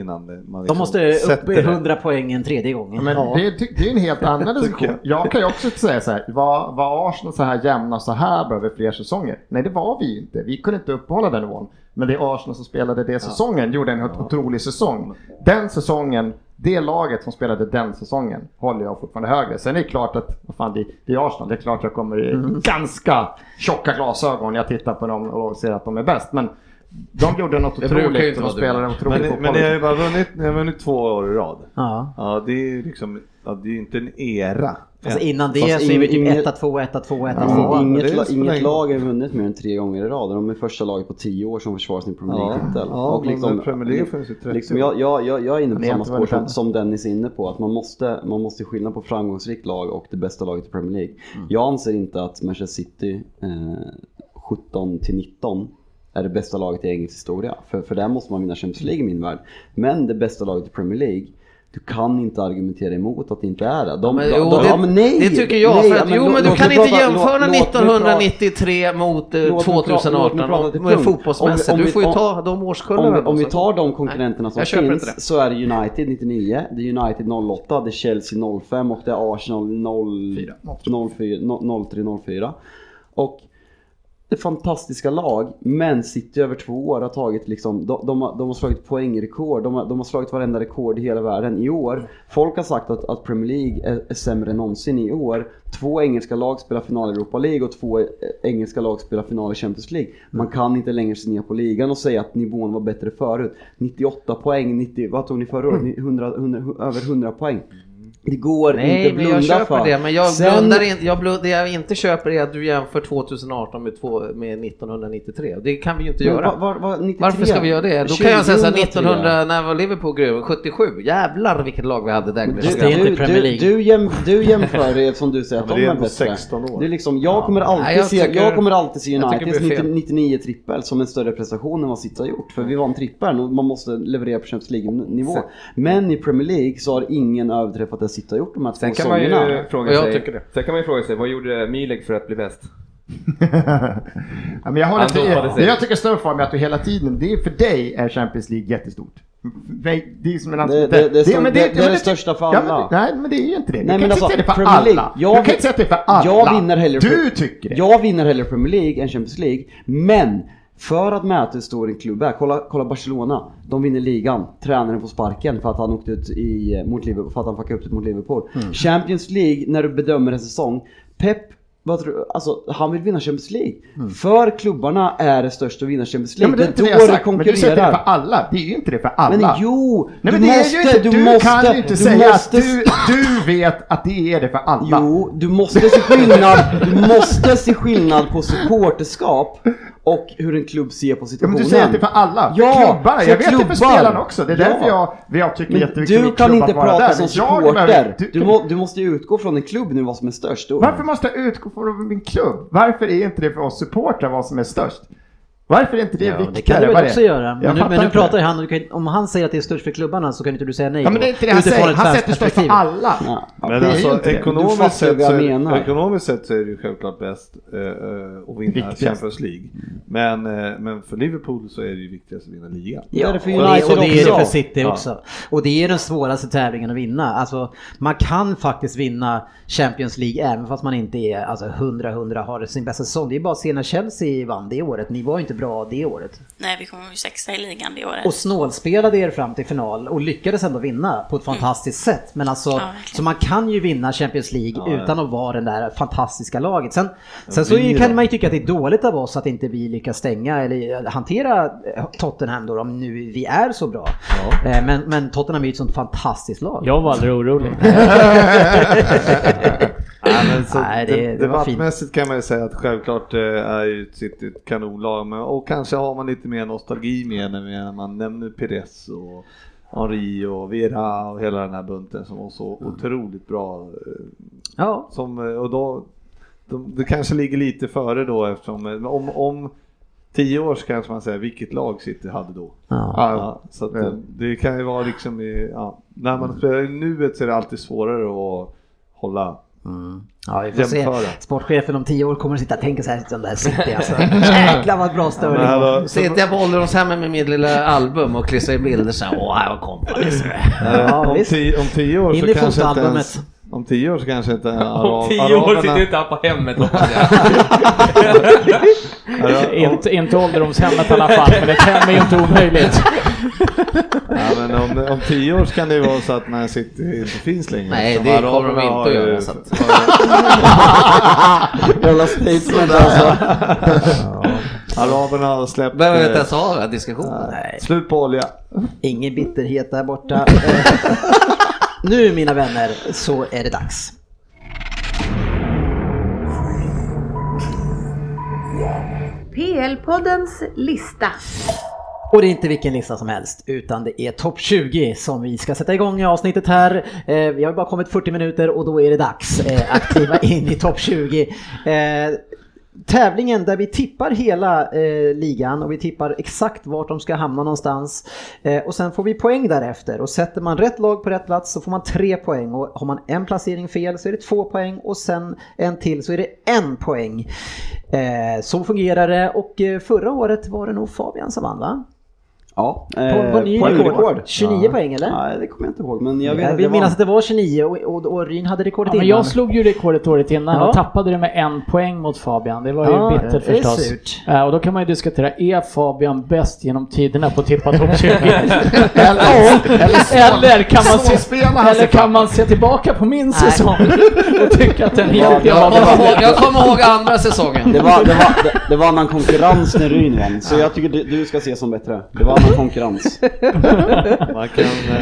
[SPEAKER 6] innan man
[SPEAKER 3] De
[SPEAKER 6] liksom
[SPEAKER 3] måste upp
[SPEAKER 6] sätter
[SPEAKER 3] i
[SPEAKER 6] det.
[SPEAKER 3] 100 poäng en tredje gång.
[SPEAKER 6] Men
[SPEAKER 3] Ja.
[SPEAKER 6] det
[SPEAKER 10] Det, ty- det är en helt annan diskussion. Jag kan ju också säga så här, var, var Arsenal så här jämna så här bra över fler säsonger? Nej, det var vi ju inte. Vi kunde inte uppehålla den nivån. Men det Arsenal som spelade det säsongen gjorde en helt otrolig säsong. Den säsongen, det laget som spelade den säsongen håller jag fortfarande högre. Sen är det klart att, vad fan, det, det är Arsenal. Det är klart jag kommer i
[SPEAKER 3] Mm.
[SPEAKER 10] ganska tjocka glasögon när jag tittar på dem och ser att de är bäst. Men de gjorde något
[SPEAKER 6] Det brukar ju
[SPEAKER 10] otroligt
[SPEAKER 6] inte
[SPEAKER 10] och de
[SPEAKER 6] vara
[SPEAKER 10] spelade
[SPEAKER 6] dumt.
[SPEAKER 10] otroligt typ-
[SPEAKER 6] Men, men ni har ju
[SPEAKER 3] liksom.
[SPEAKER 6] bara vunnit, ni har vunnit två år i rad.
[SPEAKER 3] Ja.
[SPEAKER 6] det är ju liksom, ja, det är ju inte en era.
[SPEAKER 3] Alltså innan det
[SPEAKER 6] Fast
[SPEAKER 3] så är vi
[SPEAKER 6] ing-
[SPEAKER 3] typ
[SPEAKER 6] inget-
[SPEAKER 3] 1-2, 1-2, 1-2.
[SPEAKER 6] Ja, men det
[SPEAKER 7] inget,
[SPEAKER 6] är
[SPEAKER 7] la,
[SPEAKER 6] så länge.
[SPEAKER 7] inget lag har vunnit mer än tre gånger i rad. De är första laget på tio år som försvarar sin Premier
[SPEAKER 6] Ja,
[SPEAKER 7] League-titel.
[SPEAKER 6] ja, men Premier League finns ju 30
[SPEAKER 7] liksom, jag, jag, jag, jag är inne på
[SPEAKER 6] Men det är
[SPEAKER 7] samma
[SPEAKER 6] inte
[SPEAKER 7] spår
[SPEAKER 6] väldigt
[SPEAKER 7] som,
[SPEAKER 6] än.
[SPEAKER 7] som Dennis är inne på. Att man måste, man måste skilja på framgångsrikt lag och det bästa laget i Premier League.
[SPEAKER 6] Mm.
[SPEAKER 7] Jag anser inte att Manchester City eh, 17 till 19 är det bästa laget i engelsk historia. För, för där måste man vinna Champions League i min värld. Men det bästa laget i Premier League du kan inte argumentera emot att det inte är det. De,
[SPEAKER 8] Men,
[SPEAKER 7] de,
[SPEAKER 8] jo,
[SPEAKER 7] de,
[SPEAKER 8] det,
[SPEAKER 7] ja, men nej!
[SPEAKER 8] det tycker jag.
[SPEAKER 7] nej,
[SPEAKER 8] för att,
[SPEAKER 7] ja,
[SPEAKER 8] jo,
[SPEAKER 7] låt-
[SPEAKER 8] men du
[SPEAKER 7] låt
[SPEAKER 8] kan
[SPEAKER 7] mig
[SPEAKER 8] inte
[SPEAKER 7] prata-
[SPEAKER 8] jämföra
[SPEAKER 7] låt- låt mig prata-
[SPEAKER 8] 1993 mot eh,
[SPEAKER 7] Låt mig prata- låt mig
[SPEAKER 8] 2018
[SPEAKER 7] prata till
[SPEAKER 8] med
[SPEAKER 7] punkt.
[SPEAKER 8] fotbollsmässigt.
[SPEAKER 7] Om vi- om
[SPEAKER 8] du får ju
[SPEAKER 7] vi-
[SPEAKER 8] ta de årskullarna.
[SPEAKER 7] Om, vi- om vi
[SPEAKER 8] också.
[SPEAKER 7] tar de
[SPEAKER 8] Nej,
[SPEAKER 7] konkurrenterna som
[SPEAKER 8] jag köper
[SPEAKER 7] finns
[SPEAKER 8] inte det.
[SPEAKER 7] så är det United 99, det är United 08, det är Chelsea 05 och det är Arsenal 04, 03-04. Och det är fantastiska lag, men City över två år har tagit liksom, de, de, har, de har slagit poängrekord, de har, de har slagit varenda rekord i hela världen i år. Folk har sagt att, att Premier League är, är sämre än någonsin i år. Två engelska lag spelar final i Europa League och två eh, engelska lag spelar final i Champions League. Man kan inte längre se ner på ligan och säga att nivån var bättre förut. 98 poäng, 90, vad tog ni förra året? Ni- 100, 100, över 100 poäng. Det går
[SPEAKER 8] Nej,
[SPEAKER 7] inte
[SPEAKER 8] men
[SPEAKER 7] blunda
[SPEAKER 8] jag köper
[SPEAKER 7] för.
[SPEAKER 8] det. Men jag
[SPEAKER 7] Sen-
[SPEAKER 8] blundar in, jag blund, det jag inte köper är att du jämför 2018 med, två, med 1993. Det kan vi ju inte
[SPEAKER 7] Men
[SPEAKER 8] göra.
[SPEAKER 7] vad- vad- vad- 93?
[SPEAKER 8] Varför ska vi göra det? Då kan jag säga så här,
[SPEAKER 7] 2003.
[SPEAKER 8] 1900, när var Liverpool grym? 77. Jävlar vilket lag vi hade där.
[SPEAKER 7] Du, du, du, du, jäm, du jämför det som du säger att
[SPEAKER 8] Ja,
[SPEAKER 7] de
[SPEAKER 8] men det är
[SPEAKER 7] är
[SPEAKER 8] ändå
[SPEAKER 7] bättre.
[SPEAKER 8] 16 år.
[SPEAKER 7] Det är liksom, jag, kommer
[SPEAKER 8] Ja.
[SPEAKER 7] alltid
[SPEAKER 8] Nej, jag
[SPEAKER 7] se,
[SPEAKER 8] tycker-
[SPEAKER 7] jag kommer alltid se
[SPEAKER 8] jag tycker det
[SPEAKER 7] Uniteds
[SPEAKER 8] blir fel.
[SPEAKER 7] 99 trippel som en större prestation än vad City har gjort. För vi vann trippeln och man måste leverera på Champions League-nivå.
[SPEAKER 8] Sen-
[SPEAKER 7] Men i Premier League så har ingen överträffat det City har gjort de här
[SPEAKER 9] Sen
[SPEAKER 7] två
[SPEAKER 9] kan, man ju
[SPEAKER 7] säsongerna.
[SPEAKER 9] fråga sig, sen kan man ju fråga sig, vad gjorde Milik för att bli bäst?
[SPEAKER 10] Ja, men jag
[SPEAKER 9] Han
[SPEAKER 3] Alltså,
[SPEAKER 10] håller
[SPEAKER 9] dopade
[SPEAKER 10] med.
[SPEAKER 9] sig.
[SPEAKER 10] Det jag tycker är större form är att du hela tiden, det är för dig är Champions League jättestort. Nej, Det är som en annan-
[SPEAKER 7] alltså Det- det- det är
[SPEAKER 10] det-
[SPEAKER 7] stort-
[SPEAKER 10] men
[SPEAKER 7] det- det är
[SPEAKER 10] men
[SPEAKER 7] det största för
[SPEAKER 10] ja,
[SPEAKER 7] alla.
[SPEAKER 10] men- Nej, men det är ju inte det. Du
[SPEAKER 7] Nej,
[SPEAKER 10] kan
[SPEAKER 7] men
[SPEAKER 10] inte
[SPEAKER 7] alltså,
[SPEAKER 10] säga det för
[SPEAKER 7] Premier League,
[SPEAKER 10] alla.
[SPEAKER 7] jag,
[SPEAKER 10] Du kan inte säga att det är för alla.
[SPEAKER 7] Jag vinner hellre,
[SPEAKER 10] Du tycker det.
[SPEAKER 7] Jag vinner hellre Premier League än Champions League. Men för att mäta hur stor en klubb är, kolla, kolla Barcelona. De vinner ligan, tränaren får sparken för att han åkte ut i, mot Liverpool, för att han fuckade upp det mot Liverpool.
[SPEAKER 3] Mm.
[SPEAKER 7] Champions League, när du bedömer en säsong. Pep, vad tror du? Alltså, han vill vinna Champions League. För klubbarna är det störst att vinna Champions
[SPEAKER 10] Mm. Ja,
[SPEAKER 7] League.
[SPEAKER 10] men det är inte
[SPEAKER 7] då
[SPEAKER 10] det jag har
[SPEAKER 7] det
[SPEAKER 10] sagt. Men du säger att det är
[SPEAKER 7] konkurrerar.
[SPEAKER 10] för alla. Det är ju inte det för alla.
[SPEAKER 7] Men jo,
[SPEAKER 10] Nej,
[SPEAKER 7] du
[SPEAKER 10] men det är
[SPEAKER 7] måste-
[SPEAKER 10] ju inte,
[SPEAKER 7] du
[SPEAKER 10] du,
[SPEAKER 7] måste-
[SPEAKER 10] kan ju inte
[SPEAKER 7] du
[SPEAKER 10] säga
[SPEAKER 7] måste-
[SPEAKER 10] att du, du vet att det är det för alla.
[SPEAKER 7] Jo, du måste se skillnad, du måste se skillnad på supporterskap och hur en klubb ser på
[SPEAKER 10] Ja,
[SPEAKER 7] situationen.
[SPEAKER 10] men du säger att det är för alla.
[SPEAKER 7] Ja,
[SPEAKER 10] klubbar.
[SPEAKER 7] för
[SPEAKER 10] Jag vet det
[SPEAKER 7] klubbar.
[SPEAKER 10] för spelarna också. Det är
[SPEAKER 7] Ja.
[SPEAKER 10] därför jag, jag tycker
[SPEAKER 7] Men
[SPEAKER 10] jätteviktigt
[SPEAKER 7] du
[SPEAKER 10] med
[SPEAKER 7] kan
[SPEAKER 10] klubbar
[SPEAKER 7] inte
[SPEAKER 10] att vara
[SPEAKER 7] prata
[SPEAKER 10] där.
[SPEAKER 7] som
[SPEAKER 10] Men jag
[SPEAKER 7] supporter.
[SPEAKER 10] behöver-
[SPEAKER 7] Du, må, du måste ju utgå från en klubb nu vad som är störst. Då-
[SPEAKER 10] Varför måste jag utgå från min klubb? Varför är inte det för oss supportrar vad som är störst? Varför är inte det viktigare?
[SPEAKER 3] Det kan du
[SPEAKER 10] Vad
[SPEAKER 3] väl
[SPEAKER 10] är
[SPEAKER 3] också
[SPEAKER 10] det?
[SPEAKER 3] göra.
[SPEAKER 10] Jag
[SPEAKER 3] Men nu,
[SPEAKER 10] fattar
[SPEAKER 3] men nu
[SPEAKER 10] inte.
[SPEAKER 3] pratar han, du kan, om han säger att det är störst för klubbarna så kan inte du säga nej.
[SPEAKER 10] Ja, men det är inte det han
[SPEAKER 3] Utifrån
[SPEAKER 10] säger.
[SPEAKER 3] ett
[SPEAKER 10] Han
[SPEAKER 3] svenskt
[SPEAKER 10] sätter störst för
[SPEAKER 3] perspektiv.
[SPEAKER 10] alla.
[SPEAKER 6] Men
[SPEAKER 10] det är ju
[SPEAKER 6] alltså
[SPEAKER 10] inte det.
[SPEAKER 7] Du
[SPEAKER 6] ekonomiskt
[SPEAKER 7] fattar ju
[SPEAKER 6] sett,
[SPEAKER 7] vad
[SPEAKER 6] så
[SPEAKER 7] jag
[SPEAKER 6] är,
[SPEAKER 7] menar.
[SPEAKER 6] ekonomiskt sett så är det ju självklart bäst eh, eh, att vinna
[SPEAKER 7] Viktigast.
[SPEAKER 6] Champions League. Men, eh, men för Liverpool så är det ju viktigast att vinna ligan.
[SPEAKER 3] Ja, och, det, och det är det för City också. Och det är den svåraste tävlingen att vinna. Alltså, man kan faktiskt vinna Champions League även fast man inte är alltså, 100-100 har sin bästa säsong. Det är bara att se när Chelsea vann det året. Ni var ju inte bra det året.
[SPEAKER 11] Nej, vi kommer ju sexa i ligan det året.
[SPEAKER 3] Och snålspelade er fram till final och lyckades ändå vinna på ett fantastiskt sätt. Men alltså,
[SPEAKER 11] Ja, verkligen.
[SPEAKER 3] så man kan ju vinna Champions League
[SPEAKER 11] Ja, ja.
[SPEAKER 3] utan att vara det där fantastiska laget. Sen, sen
[SPEAKER 7] Ja,
[SPEAKER 3] så
[SPEAKER 7] vi
[SPEAKER 3] är- kan
[SPEAKER 7] då?
[SPEAKER 3] man ju tycka att det är dåligt av oss att inte vi lyckas stänga eller hantera eh, Tottenham då, om nu vi är så bra. Eh, Men, men Tottenham är ju ett sånt fantastiskt lag.
[SPEAKER 5] Jag var aldrig orolig.
[SPEAKER 6] Nej, men så
[SPEAKER 3] Nej, det-
[SPEAKER 6] det,
[SPEAKER 3] det var fint.
[SPEAKER 6] debattmässigt kan man ju säga att självklart eh, är ju City ett kanonlag men, och kanske har man lite mer nostalgi med när vi- när man nämner Pires och Henri och Vera och hela den här bunten som var så otroligt bra. eh,
[SPEAKER 3] Ja.
[SPEAKER 6] Som, eh, och då, de, det kanske ligger lite före då eftersom eh, om, om tio år så kanske man säger vilket lag City hade då.
[SPEAKER 3] Ja.
[SPEAKER 6] så att, eh, det kan ju vara liksom i, ja, när man spelar i nuet så är det alltid svårare att hålla
[SPEAKER 3] Mm. Ja, vi får se.
[SPEAKER 6] jämföra.
[SPEAKER 3] Sportchefen om tio år kommer att sitta och tänka så här, den där City alltså. Jäklar vad bra Sterling
[SPEAKER 8] Ja,
[SPEAKER 3] var.
[SPEAKER 8] men- alltså, Sitter jag på ålderdomshemmet med mitt lilla album och klistrar i bilder så här, åh, här var kompis.
[SPEAKER 6] Eh, om, tio, om tio år
[SPEAKER 8] In
[SPEAKER 6] så
[SPEAKER 8] i
[SPEAKER 6] kanske inte
[SPEAKER 8] fotoalbumet.
[SPEAKER 6] ens, Om tio år så kanske inte
[SPEAKER 9] Om
[SPEAKER 6] arab,
[SPEAKER 9] tio år sitter
[SPEAKER 6] araberna...
[SPEAKER 9] du inte här på hemmet hoppas
[SPEAKER 5] inte, inte ålderdomshemmet i alla fall, men ett hem är ju inte omöjligt.
[SPEAKER 6] Ja, men om, om tio år så kan det ju vara så att Man City inte finns längre.
[SPEAKER 8] Nej,
[SPEAKER 6] Som
[SPEAKER 8] det kommer
[SPEAKER 6] araberna
[SPEAKER 8] de inte
[SPEAKER 6] har
[SPEAKER 8] att göra,
[SPEAKER 6] ju-
[SPEAKER 8] så att-
[SPEAKER 7] Jävla statement alltså.
[SPEAKER 6] Araberna har släppt...
[SPEAKER 8] Behöver vi inte
[SPEAKER 6] eh,
[SPEAKER 8] ens ha den här diskussionen?
[SPEAKER 3] Nej.
[SPEAKER 6] Slut på olja.
[SPEAKER 3] Ingen bitterhet där borta. nu mina vänner så är det dags.
[SPEAKER 2] PL-poddens lista.
[SPEAKER 3] Och det är inte vilken lista som helst, utan det är topp 20 som vi ska sätta igång i avsnittet här. Eh, vi har bara kommit 40 minuter och då är det dags eh, att kliva in i topp 20. Eh, tävlingen där vi tippar hela eh, ligan och vi tippar exakt vart de ska hamna någonstans. Eh, och sen får vi poäng därefter och sätter man rätt lag på rätt plats så får man tre poäng och har man en placering fel så är det två poäng och sen en till så är det en poäng. Eh, så fungerar det och eh, förra året var det nog Fabian som vann va?
[SPEAKER 7] Ja, eh,
[SPEAKER 3] På, på ny rekord. 29 poäng eller?
[SPEAKER 7] Nej, det kommer jag inte ihåg. Men jag
[SPEAKER 3] Jag,
[SPEAKER 7] vet att det
[SPEAKER 3] vill
[SPEAKER 7] var-
[SPEAKER 3] minnas att det var 29 och, och, och Ryn hade rekordet
[SPEAKER 5] Ja, men
[SPEAKER 3] innan.
[SPEAKER 5] jag slog ju rekordet året innan
[SPEAKER 3] Ja.
[SPEAKER 5] och tappade det med en poäng mot Fabian. Det var ju
[SPEAKER 3] Ja,
[SPEAKER 5] bittert
[SPEAKER 3] det är
[SPEAKER 5] förstås.
[SPEAKER 3] surt.
[SPEAKER 5] Eh, Och då kan man ju diskutera, är Fabian bäst genom tiderna på att tippa topp 20?
[SPEAKER 3] eller-
[SPEAKER 5] eller, kan man se,
[SPEAKER 3] småspelar han
[SPEAKER 5] eller
[SPEAKER 3] sig
[SPEAKER 5] kan man se tillbaka på min säsong och tycka att den
[SPEAKER 7] Ja,
[SPEAKER 5] egentligen
[SPEAKER 7] det
[SPEAKER 5] var
[SPEAKER 7] var- det var-
[SPEAKER 5] bäst?
[SPEAKER 7] Jag kommer ihåg
[SPEAKER 8] andra säsongen.
[SPEAKER 7] Det var, det, var, det, det var annan konkurrens när Ryn vann, så jag tycker du, du ska se som bättre. Det var annan konkurrens.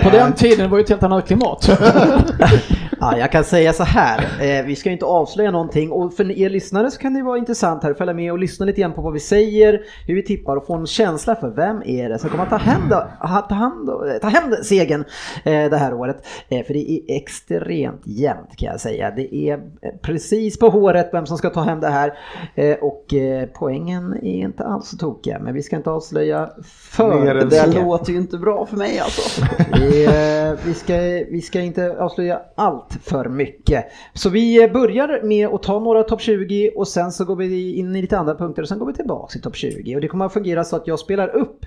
[SPEAKER 5] På den tiden var ju ett helt annat klimat.
[SPEAKER 3] eh, Ja, jag kan säga så här, eh, vi ska ju inte avslöja någonting och för er lyssnare så kan det vara intressant här att följa med och lyssna lite grann på vad vi säger, hur vi tippar och få en känsla för vem är det som kommer att ta hem, ha- ta hand, eh, ta hem segern eh, det här året. Eh, för det är extremt jämnt kan jag säga. Det är eh, precis på håret vem som ska ta hem det här eh, och eh, poängen är inte alls så tokiga men vi ska inte avslöja för
[SPEAKER 7] Mer än Det där
[SPEAKER 3] mycket.
[SPEAKER 7] låter ju inte bra för mig alltså.
[SPEAKER 3] Vi, eh, vi, ska, vi ska inte avslöja allt för mycket. Så vi eh, börjar med att ta några topp 20 och sen så går vi in i lite andra punkter och sen går vi tillbaka till topp 20. Och det kommer att fungera så att jag spelar upp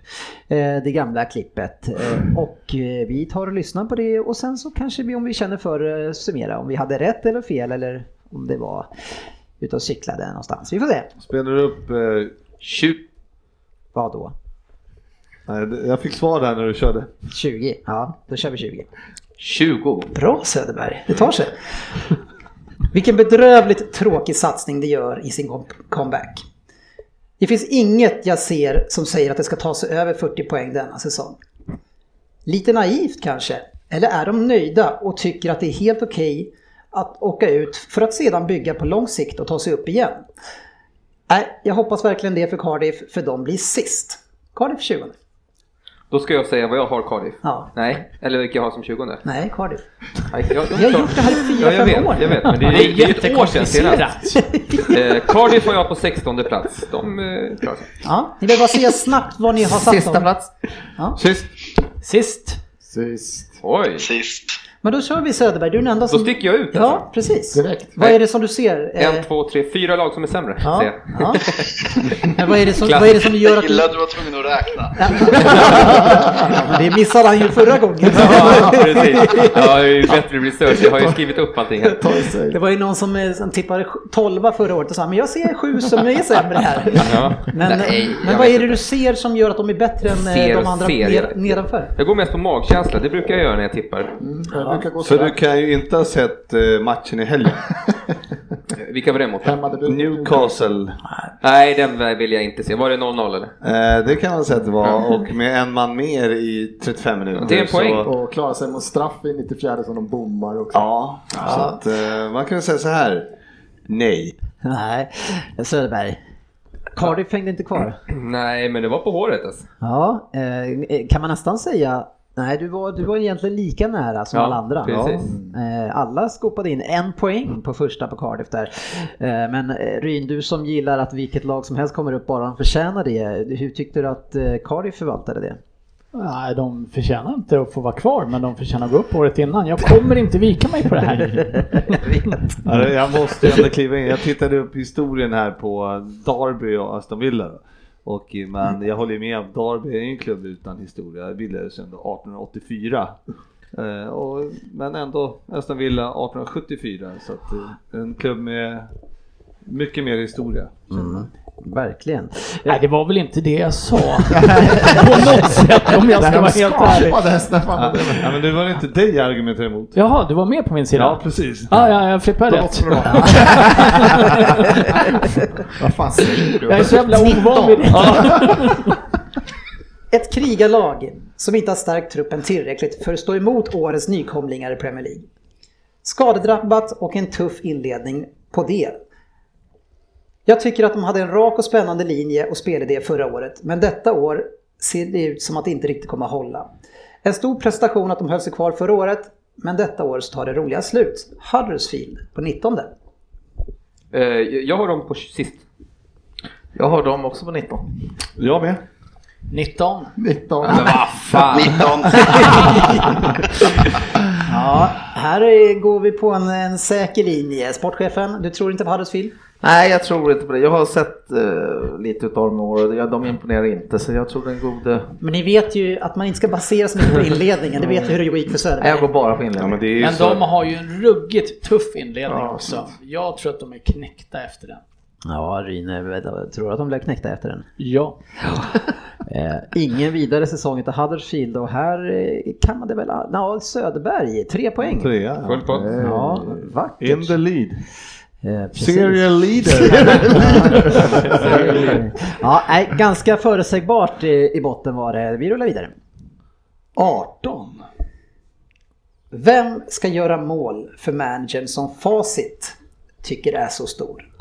[SPEAKER 3] eh, det gamla klippet eh, och eh, vi tar och lyssnar på det och sen så kanske vi om vi känner för eh, summera om vi hade rätt eller fel eller om det var ute och cyklade någonstans. Vi får se.
[SPEAKER 6] Spelar du upp... Eh...
[SPEAKER 9] Tjup.
[SPEAKER 3] Vad då?
[SPEAKER 6] Nej, det- jag fick svar där när du körde.
[SPEAKER 3] 20? Ja, då kör vi 20.
[SPEAKER 9] 20.
[SPEAKER 3] Bra Söderberg, det tar sig. Vilken bedrövligt tråkig satsning det gör i sin com- comeback. Det finns inget jag ser som säger att det ska ta sig över 40 poäng denna säsong. Lite naivt kanske, eller är de nöjda och tycker att det är helt okej att åka ut för att sedan bygga på lång sikt och ta sig upp igen? Nej, jag hoppas verkligen det för Cardiff, för de blir sist. Cardiff 20.
[SPEAKER 9] Då ska jag säga vad jag har Cardiff.
[SPEAKER 3] Ja.
[SPEAKER 9] Nej, eller vilka jag har som 20
[SPEAKER 3] Nej, Cardiff.
[SPEAKER 9] Nej, jag,
[SPEAKER 3] Vi har gjort det här i fyra,
[SPEAKER 9] ja, jag
[SPEAKER 3] fem
[SPEAKER 9] vet,
[SPEAKER 3] år.
[SPEAKER 9] Jag vet, men det är,
[SPEAKER 3] Det
[SPEAKER 9] det
[SPEAKER 3] är
[SPEAKER 9] är ett år sedan
[SPEAKER 3] jättekomplicerat.
[SPEAKER 9] senast. Eh, Cardiff var jag på 16 plats. De eh, klarar sig.
[SPEAKER 3] Ja, ni behöver bara säga snabbt vad ni har satt
[SPEAKER 9] Sista
[SPEAKER 3] dem.
[SPEAKER 9] plats.
[SPEAKER 3] Ja.
[SPEAKER 6] Sist.
[SPEAKER 5] Sist.
[SPEAKER 10] Sist.
[SPEAKER 9] Oj.
[SPEAKER 10] Sist.
[SPEAKER 3] Men då kör vi Söderberg, du är den enda som...
[SPEAKER 9] Då sticker jag ut alltså.
[SPEAKER 3] Ja, precis.
[SPEAKER 10] Direkt.
[SPEAKER 3] Vad är det som du ser? Eh,
[SPEAKER 9] En, två, tre, fyra lag som är sämre.
[SPEAKER 3] Ja,
[SPEAKER 9] säger jag.
[SPEAKER 3] ja. Men vad är det som, vad är det som gör att
[SPEAKER 14] Jag
[SPEAKER 3] du...
[SPEAKER 14] gillar att du var tvungen att räkna.
[SPEAKER 3] Men det missade han ju förra gången.
[SPEAKER 9] Ja, precis. Ja, det är ju bättre research. Jag har ju skrivit upp allting här.
[SPEAKER 3] Det var ju någon som, eh, som tippade 12 förra året och sa men jag ser sju som är sämre här.
[SPEAKER 9] Ja.
[SPEAKER 3] Men, eh,
[SPEAKER 9] Nej, jag
[SPEAKER 3] men vad
[SPEAKER 9] vet
[SPEAKER 3] är det du ser som gör att de är bättre än eh,
[SPEAKER 9] Ser
[SPEAKER 3] de
[SPEAKER 9] och
[SPEAKER 3] andra
[SPEAKER 9] ser,
[SPEAKER 3] ner,
[SPEAKER 9] jag-
[SPEAKER 3] nedanför? Mm.
[SPEAKER 9] Jag går mest på magkänsla. Det brukar jag göra när jag tippar.
[SPEAKER 6] För du kan ju inte ha sett eh, matchen i helgen.
[SPEAKER 9] Vilka var det mot?
[SPEAKER 6] Newcastle.
[SPEAKER 9] Nej, den där vill jag inte se. Var det 0-0 eller?
[SPEAKER 6] Eh, det kan man säga att det var. Och med en man mer i 35 minuter. Så,
[SPEAKER 10] Och klara sig mot straff i 94 som de bommar också.
[SPEAKER 6] Ja. så att, eh, man kan säga så här. Nej.
[SPEAKER 3] Nej, Söderberg. Cardiff hängde inte kvar.
[SPEAKER 9] Nej, men det var på håret alltså.
[SPEAKER 3] Ja, eh, kan man nästan säga. Nej, du var, du var egentligen lika nära som
[SPEAKER 9] Ja,
[SPEAKER 3] alla andra.
[SPEAKER 9] precis.
[SPEAKER 3] Eh, alla skopade in en poäng på första på Cardiff där. Eh, men eh, Ryn, du som gillar att vilket lag som helst kommer upp bara de förtjänar det. Hur tyckte du att eh, Cardiff förvaltade det?
[SPEAKER 5] Nej, de förtjänar inte att få vara kvar, men de förtjänar att gå upp året innan. Jag kommer inte vika mig på det här.
[SPEAKER 6] Ja, det- Jag måste ju ändå kliva in. Jag tittade upp historien här på Derby och Aston Villa. då. Och, men jag håller ju med, om Derby är ju en klubb utan historia. Det bildades ju ändå 1884. Eh, och, men ändå Aston Villa 1874. Så att, eh, en klubb med mycket mer historia.
[SPEAKER 5] Mm.
[SPEAKER 3] Verkligen.
[SPEAKER 5] Nej, det var väl inte det jag sa. på något sätt, om jag ska vara helt ärlig.
[SPEAKER 6] Ja, ja, men det var inte dig jag argumenterade emot.
[SPEAKER 5] Jaha, du var med på min sida?
[SPEAKER 6] Ja, precis.
[SPEAKER 5] Ah, ja, jag flippar
[SPEAKER 6] Då
[SPEAKER 5] rätt.
[SPEAKER 6] måste det vara.
[SPEAKER 10] Vad fan säger du?
[SPEAKER 5] Jag är så jävla ovan vid det.
[SPEAKER 3] Ett krigarlag som inte har stärkt truppen tillräckligt för att stå emot årets nykomlingar i Premier League. Skadedrabbat och en tuff inledning på det. Jag tycker att de hade en rak och spännande linje och spelidé förra året, men detta år ser det ut som att det inte riktigt kommer att hålla. En stor prestation att de höll sig kvar förra året, men detta år så tar det roliga slut. Huddersfield på 19.
[SPEAKER 9] Eh, jag har dem på sist.
[SPEAKER 8] Jag har dem också på 19.
[SPEAKER 6] Jag med.
[SPEAKER 5] 19.
[SPEAKER 10] 19.
[SPEAKER 8] Men vad fan. 19.
[SPEAKER 3] ja, här är- går vi på en, en säker linje. Sportchefen, du tror inte på Huddersfield?
[SPEAKER 8] Nej, jag tror inte på det. Jag har sett eh, lite utav dem i år och jag- de imponerar inte så jag tror den gode...
[SPEAKER 3] Men ni vet ju att man inte ska basera sig mycket på inledningen. Det vet ju hur det gick för Söderberg.
[SPEAKER 8] Nej, jag går bara på inledningen.
[SPEAKER 6] men det är
[SPEAKER 5] Men de har ju en ruggigt tuff inledning också. Jag tror att de är knäckta efter den.
[SPEAKER 12] Ja, Ryne, jag tror att de blev knäckta efter den?
[SPEAKER 5] Ja.
[SPEAKER 12] Eh, ingen vidare säsong utav Huddersfield och här eh, kan man det väl... Ja, Söderberg, tre poäng.
[SPEAKER 6] Trea, ja. Eh, Full pott.
[SPEAKER 12] Ja, vackert.
[SPEAKER 6] In the lead.
[SPEAKER 12] precis.
[SPEAKER 6] Serial leader.
[SPEAKER 12] Serial leader. ja, nej, ganska förutsägbart i, i botten var det. Vi rullar vidare.
[SPEAKER 3] 18. Vem ska göra mål för managern som facit tycker är så stor?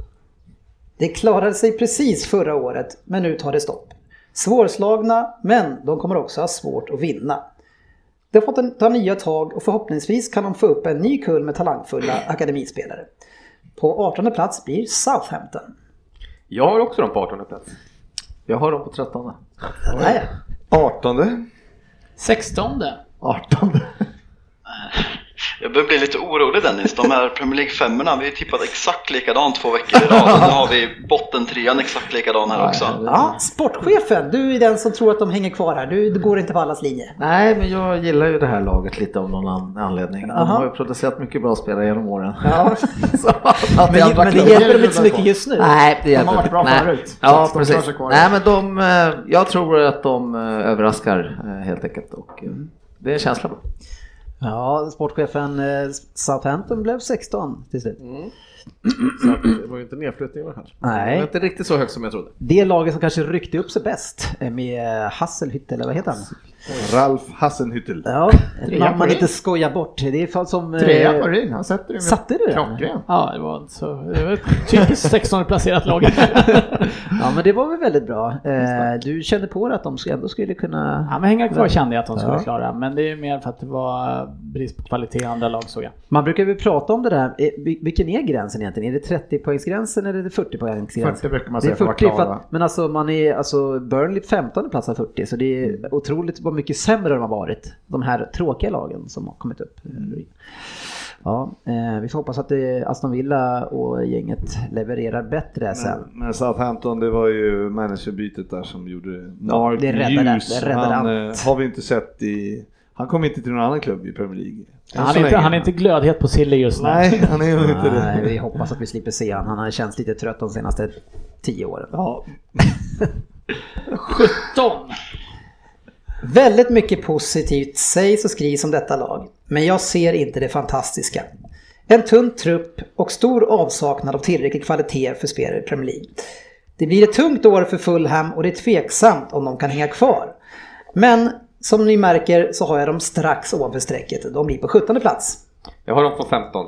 [SPEAKER 3] Det klarade sig precis förra året, men nu tar det stopp. Svårslagna, men de kommer också ha svårt att vinna. De har fått ta nya tag och förhoppningsvis kan de få upp en ny kull med talangfulla akademispelare. På 18 plats blir Southampton.
[SPEAKER 9] Jag har också dem på 18 plats.
[SPEAKER 8] Jag har dem på 13.
[SPEAKER 6] 18.
[SPEAKER 5] 16.
[SPEAKER 10] 18.
[SPEAKER 7] Jag börjar bli lite orolig Dennis. De här Premier League femmorna, vi tippade exakt likadant två veckor i rad. Nu har vi bottentrean exakt likadan här också.
[SPEAKER 3] Ja, sportchefen, du är den som tror att de hänger kvar här. Du, du går inte på allas linje.
[SPEAKER 8] Nej, men jag gillar ju det här laget lite av någon an- anledning. De
[SPEAKER 3] Aha.
[SPEAKER 8] har ju producerat mycket bra spelare genom åren.
[SPEAKER 3] Ja.
[SPEAKER 8] Så att
[SPEAKER 3] Men-
[SPEAKER 8] jag
[SPEAKER 3] men det
[SPEAKER 8] backar upp.
[SPEAKER 3] hjälper dem inte så mycket just nu.
[SPEAKER 8] Nej, det
[SPEAKER 3] De
[SPEAKER 8] hjälper
[SPEAKER 3] har varit
[SPEAKER 8] inte.
[SPEAKER 3] bra
[SPEAKER 8] Nej.
[SPEAKER 3] förut.
[SPEAKER 8] Ja,
[SPEAKER 3] Så de tar
[SPEAKER 8] precis.
[SPEAKER 3] sig kvar.
[SPEAKER 8] Nej, men de, eh, jag tror att de eh, överraskar eh, helt enkelt och eh,
[SPEAKER 3] Mm.
[SPEAKER 8] det är en känsla bra.
[SPEAKER 12] Ja, sportchefen eh, Southampton blev 16 till slut.
[SPEAKER 14] Mm. Så att det var ju inte nedflyttning kanske.
[SPEAKER 12] Nej.
[SPEAKER 14] Det var inte riktigt så högt som jag trodde.
[SPEAKER 12] Det laget som kanske ryckte upp sig bäst eh, med Hasselhütte, eller vad heter han?
[SPEAKER 6] Ralf Hassenhüttel.
[SPEAKER 12] Ja,
[SPEAKER 6] Trea
[SPEAKER 12] man, man
[SPEAKER 6] på
[SPEAKER 12] inte
[SPEAKER 6] ring.
[SPEAKER 12] skojar bort. Det är fan som... eh,
[SPEAKER 10] Trea på ring, han sätter ju med-
[SPEAKER 12] Satte du den?
[SPEAKER 10] Klockren.
[SPEAKER 5] Ja, det var, så, det var ett typiskt 16 placerat lag.
[SPEAKER 12] ja, men det var väl väldigt bra. Eh, du kände på det att de ändå skulle kunna...
[SPEAKER 5] Ja, men hänga kvar kände jag att de skulle
[SPEAKER 12] Ja.
[SPEAKER 5] klara, men det är mer för att det var eh, brist på kvalitet i andra lag såg jag.
[SPEAKER 12] Man brukar väl prata om det där, eh, vil- vilken är gränsen egentligen? Är det 30-poängsgränsen eller är det 40-poängsgränsen?
[SPEAKER 10] 40 brukar man
[SPEAKER 12] Det är
[SPEAKER 10] säga för att
[SPEAKER 12] 40
[SPEAKER 10] vara
[SPEAKER 12] för
[SPEAKER 10] klara.
[SPEAKER 12] att, men alltså, man är, alltså Burnley 15 plats av 40 så det är
[SPEAKER 10] Mm.
[SPEAKER 12] otroligt vad mycket sämre de har varit. De här tråkiga lagen som har kommit upp.
[SPEAKER 10] Mm.
[SPEAKER 12] Ja, eh, vi får hoppas att det, Aston Villa och gänget levererar bättre sen.
[SPEAKER 6] Men, men Southampton, det var ju managerbytet där som gjorde det. Mark
[SPEAKER 12] det räddade-
[SPEAKER 6] Hughes,
[SPEAKER 12] det räddade
[SPEAKER 6] han,
[SPEAKER 12] allt.
[SPEAKER 6] eh, har vi inte sett i... Han kom inte till någon annan klubb i Premier League. Än
[SPEAKER 5] Han
[SPEAKER 6] så
[SPEAKER 5] är, inte,
[SPEAKER 6] länge.
[SPEAKER 5] han är inte glödhet på Silly just nu.
[SPEAKER 6] Nej, han är ju inte det.
[SPEAKER 12] Nej, vi hoppas att vi slipper se han. Han har känts lite trött de senaste 10 åren.
[SPEAKER 6] Ja.
[SPEAKER 5] 17!
[SPEAKER 3] Väldigt mycket positivt sägs och skrivs om detta lag, men jag ser inte det fantastiska. En tunn trupp och stor avsaknad av tillräcklig kvalitet för spelare i Premier League. Det blir ett tungt år för Fulham och det är tveksamt om de kan hänga kvar. Men som ni märker så har jag dem strax ovanför strecket. De blir på 17 plats.
[SPEAKER 9] Jag har dem på 15.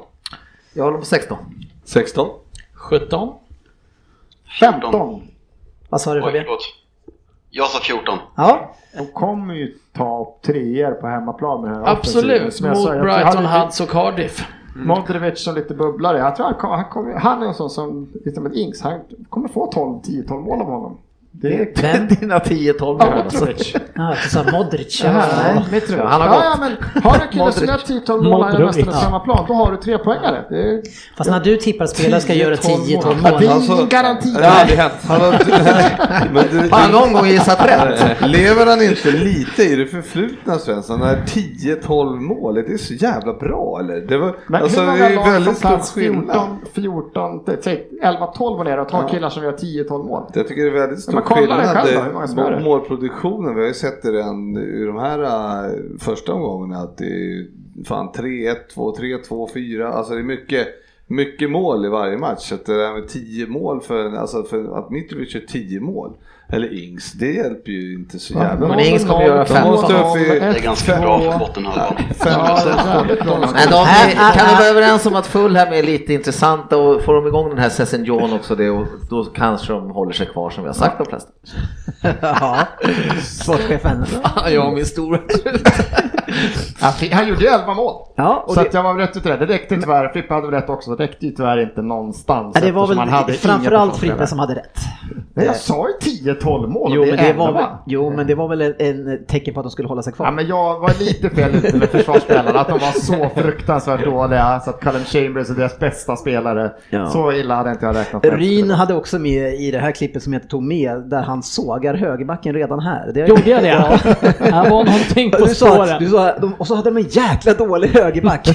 [SPEAKER 8] Jag håller på 16.
[SPEAKER 9] 16.
[SPEAKER 5] 17.
[SPEAKER 10] 15.
[SPEAKER 3] Vad sa du
[SPEAKER 7] Oj, förlåt. Jag sa 14.
[SPEAKER 3] Ja.
[SPEAKER 10] De kommer ju ta treor på hemmaplan med den här offensiven.
[SPEAKER 14] Absolut,
[SPEAKER 10] Som jag
[SPEAKER 14] mot
[SPEAKER 10] sa, jag tror
[SPEAKER 14] Brighton,
[SPEAKER 10] han-
[SPEAKER 14] Hudds och Cardiff.
[SPEAKER 10] Modric som lite bubblare. Jag tror han, kom, han, kommer- han är en sån som, lite med Ings, han kommer få 12, 10-12 mål av honom. Det är
[SPEAKER 8] Vem? dina 10-12
[SPEAKER 10] Ja, Modric.
[SPEAKER 3] Ja, du sa Modric.
[SPEAKER 10] Ja, nej, Mitrovic. ja, ja, men har du en kille som gör 10-12 mål här i
[SPEAKER 3] Modric.
[SPEAKER 10] mästarnas hemmaplan, då har du tre poängare. Det är...
[SPEAKER 3] Fast när du tippar spelare ska göra 10-12 mål.
[SPEAKER 10] Ja, Alltså, Det är ingen garanti.
[SPEAKER 6] Det har aldrig hänt. Han har- Men du-
[SPEAKER 8] Fan, någon gång gissat rätt.
[SPEAKER 6] Lever han inte lite i det förflutna Svensson? Det här 10-12 målet, det är så jävla bra eller? Det var,
[SPEAKER 10] Men
[SPEAKER 6] alltså,
[SPEAKER 10] hur
[SPEAKER 6] det
[SPEAKER 10] många
[SPEAKER 6] är
[SPEAKER 10] lag
[SPEAKER 6] väldigt
[SPEAKER 10] som
[SPEAKER 6] stor
[SPEAKER 10] plats typ, 14,
[SPEAKER 6] skillnad.
[SPEAKER 10] 14, säg 11-12 och neråt har killar som gör 10-12 mål?
[SPEAKER 6] Jag tycker det är väldigt stor
[SPEAKER 10] Men kolla det
[SPEAKER 6] skillnad
[SPEAKER 10] själv då, hur många som är
[SPEAKER 6] på
[SPEAKER 10] det?
[SPEAKER 6] målproduktionen. Vi har ju sett det redan i de här äh, första omgångarna att det är ju fan 3-1, 2-3, 2-4. Alltså det är mycket, mycket mål i varje match. Så att det där med 10 mål för, en- alltså för att Mitrovic gör 10 mål. Eller Ings, det hjälper ju inte så
[SPEAKER 10] Ja,
[SPEAKER 6] jävla
[SPEAKER 10] men Ings kommer göra
[SPEAKER 6] De
[SPEAKER 10] fem.
[SPEAKER 6] måste upp i-
[SPEAKER 10] Det är ganska bra för
[SPEAKER 7] bottenhalvan.
[SPEAKER 8] Men de, kan vi vara överens om att Fulham är lite intressanta och får de igång den här Sessignon också det, och då kanske de håller sig kvar som vi har sagt de flesta.
[SPEAKER 12] ja, sportchefen.
[SPEAKER 8] Fan, jag och min stora
[SPEAKER 10] Han, fi- han gjorde ju 11 mål.
[SPEAKER 12] Ja, och
[SPEAKER 10] så
[SPEAKER 12] det-
[SPEAKER 10] att jag var rätt ute där. Det räckte tyvärr. Frippe hade väl rätt också. Det räckte ju tyvärr inte någonstans.
[SPEAKER 12] Ja, det var
[SPEAKER 10] eftersom han
[SPEAKER 12] väl
[SPEAKER 10] hade inga
[SPEAKER 12] framförallt
[SPEAKER 10] försvarsspelare.
[SPEAKER 12] Frippe som hade rätt.
[SPEAKER 10] Nej, jag sa ju 10-12 mål.
[SPEAKER 3] Jo,
[SPEAKER 10] det är
[SPEAKER 3] men det
[SPEAKER 10] elva. Eh.
[SPEAKER 3] var väl, jo, men det var väl en, en tecken på att de skulle hålla sig kvar.
[SPEAKER 10] Ja, men jag var lite fel ute med försvarsspelarna, att de var så fruktansvärt dåliga så att Callum Chambers är deras bästa spelare.
[SPEAKER 3] Ja.
[SPEAKER 10] Så illa hade inte jag räknat med.
[SPEAKER 3] Ryn hade också med i det här klippet som jag inte tog med, där han sågar högerbacken redan här. Det
[SPEAKER 5] Gjorde jag det? Här var någonting på
[SPEAKER 3] du sa, att-
[SPEAKER 5] spåren.
[SPEAKER 3] du sa, att de, Och så hade de en jäkla dålig högerback.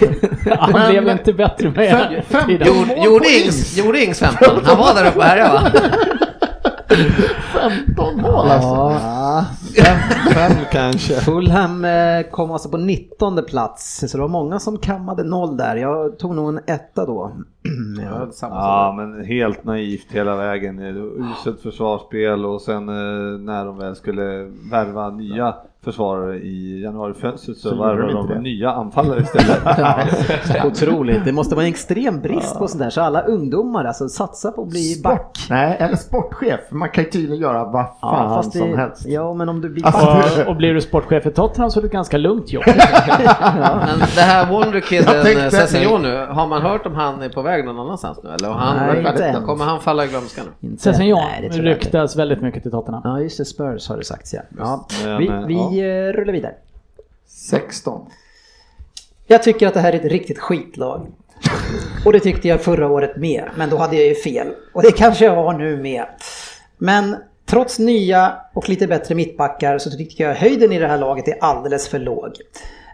[SPEAKER 5] Han blev inte bättre med
[SPEAKER 3] fem-
[SPEAKER 5] tiden.
[SPEAKER 3] Gjorde- mål gjorde på Ings-
[SPEAKER 8] Gjorde Ings 15? Han var där uppe här ja va?
[SPEAKER 10] 15 mål alltså.
[SPEAKER 3] Ja. Ah, Fem, kanske. Fulham eh, kom alltså på 19 plats, så det var många som kammade noll där. Jag tog nog en etta då.
[SPEAKER 6] Ja, men helt naivt hela vägen. Det var Uselt försvarsspel och sen eh, när de väl skulle värva nya försvarare i januarifönstret så,
[SPEAKER 3] Så
[SPEAKER 6] värvade
[SPEAKER 3] gjorde de
[SPEAKER 6] de
[SPEAKER 3] inte det.
[SPEAKER 6] nya anfallare istället.
[SPEAKER 3] Ja, Otroligt, det måste vara en extrem brist på sånt där. Så alla ungdomar alltså satsa på att bli back.
[SPEAKER 10] Nej, eller sportchef. Man kan ju tydligen göra vad fan
[SPEAKER 5] fast det-
[SPEAKER 10] som helst. Alltså-
[SPEAKER 3] Ja, men om du blir
[SPEAKER 5] Alltså, Och, och blir du sportchef i Tottenham så är det ett ganska lugnt jobb.
[SPEAKER 8] Men det här
[SPEAKER 5] Jag
[SPEAKER 9] eh,
[SPEAKER 5] tänkte-
[SPEAKER 8] Wonderkidden Cessignon nu, har man hört om han är på väg någon annanstans nu eller? Och han,
[SPEAKER 5] Nej, inte än.
[SPEAKER 8] kommer han falla i glömska nu?
[SPEAKER 5] Cessignon
[SPEAKER 3] Nej, det tror jag
[SPEAKER 5] ryktas väldigt mycket till Tottenham.
[SPEAKER 3] Ja, just det. Spurs har det sagts ja. ja.
[SPEAKER 5] Men,
[SPEAKER 3] Vi,
[SPEAKER 5] eh,
[SPEAKER 3] vi eh, rullar vidare.
[SPEAKER 10] 16.
[SPEAKER 3] Jag tycker att det här är ett riktigt skitlag. Och det tyckte jag förra året med, men då hade jag ju fel. Och det kanske jag har nu med. Men trots nya och lite bättre mittbackar så tycker jag höjden i det här laget är alldeles för låg.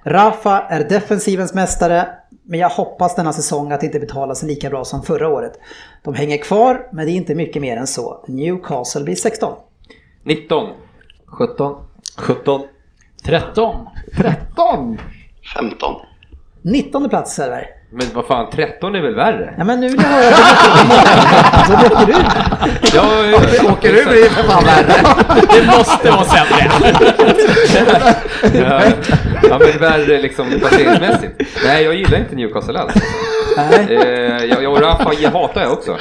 [SPEAKER 3] Rafa är defensivens mästare, men jag hoppas denna säsong att det inte betalas lika bra som förra året. De hänger kvar, men det är inte mycket mer än så. Newcastle blir 16.
[SPEAKER 9] 19.
[SPEAKER 10] 17.
[SPEAKER 15] 17.
[SPEAKER 5] 13.
[SPEAKER 10] 13!
[SPEAKER 15] 15.
[SPEAKER 3] 19 plats Server.
[SPEAKER 9] Men vad fan, 13 är väl värre?
[SPEAKER 3] Ja men nu vill jag höra Så åker du
[SPEAKER 9] Ja, åker du blir det för fan värre.
[SPEAKER 5] Det måste vara sämre.
[SPEAKER 9] ja, ja, men värre liksom placeringsmässigt. Nej, jag gillar inte Newcastle alls. Eh, jag, jag och Rafa jag hatar jag också.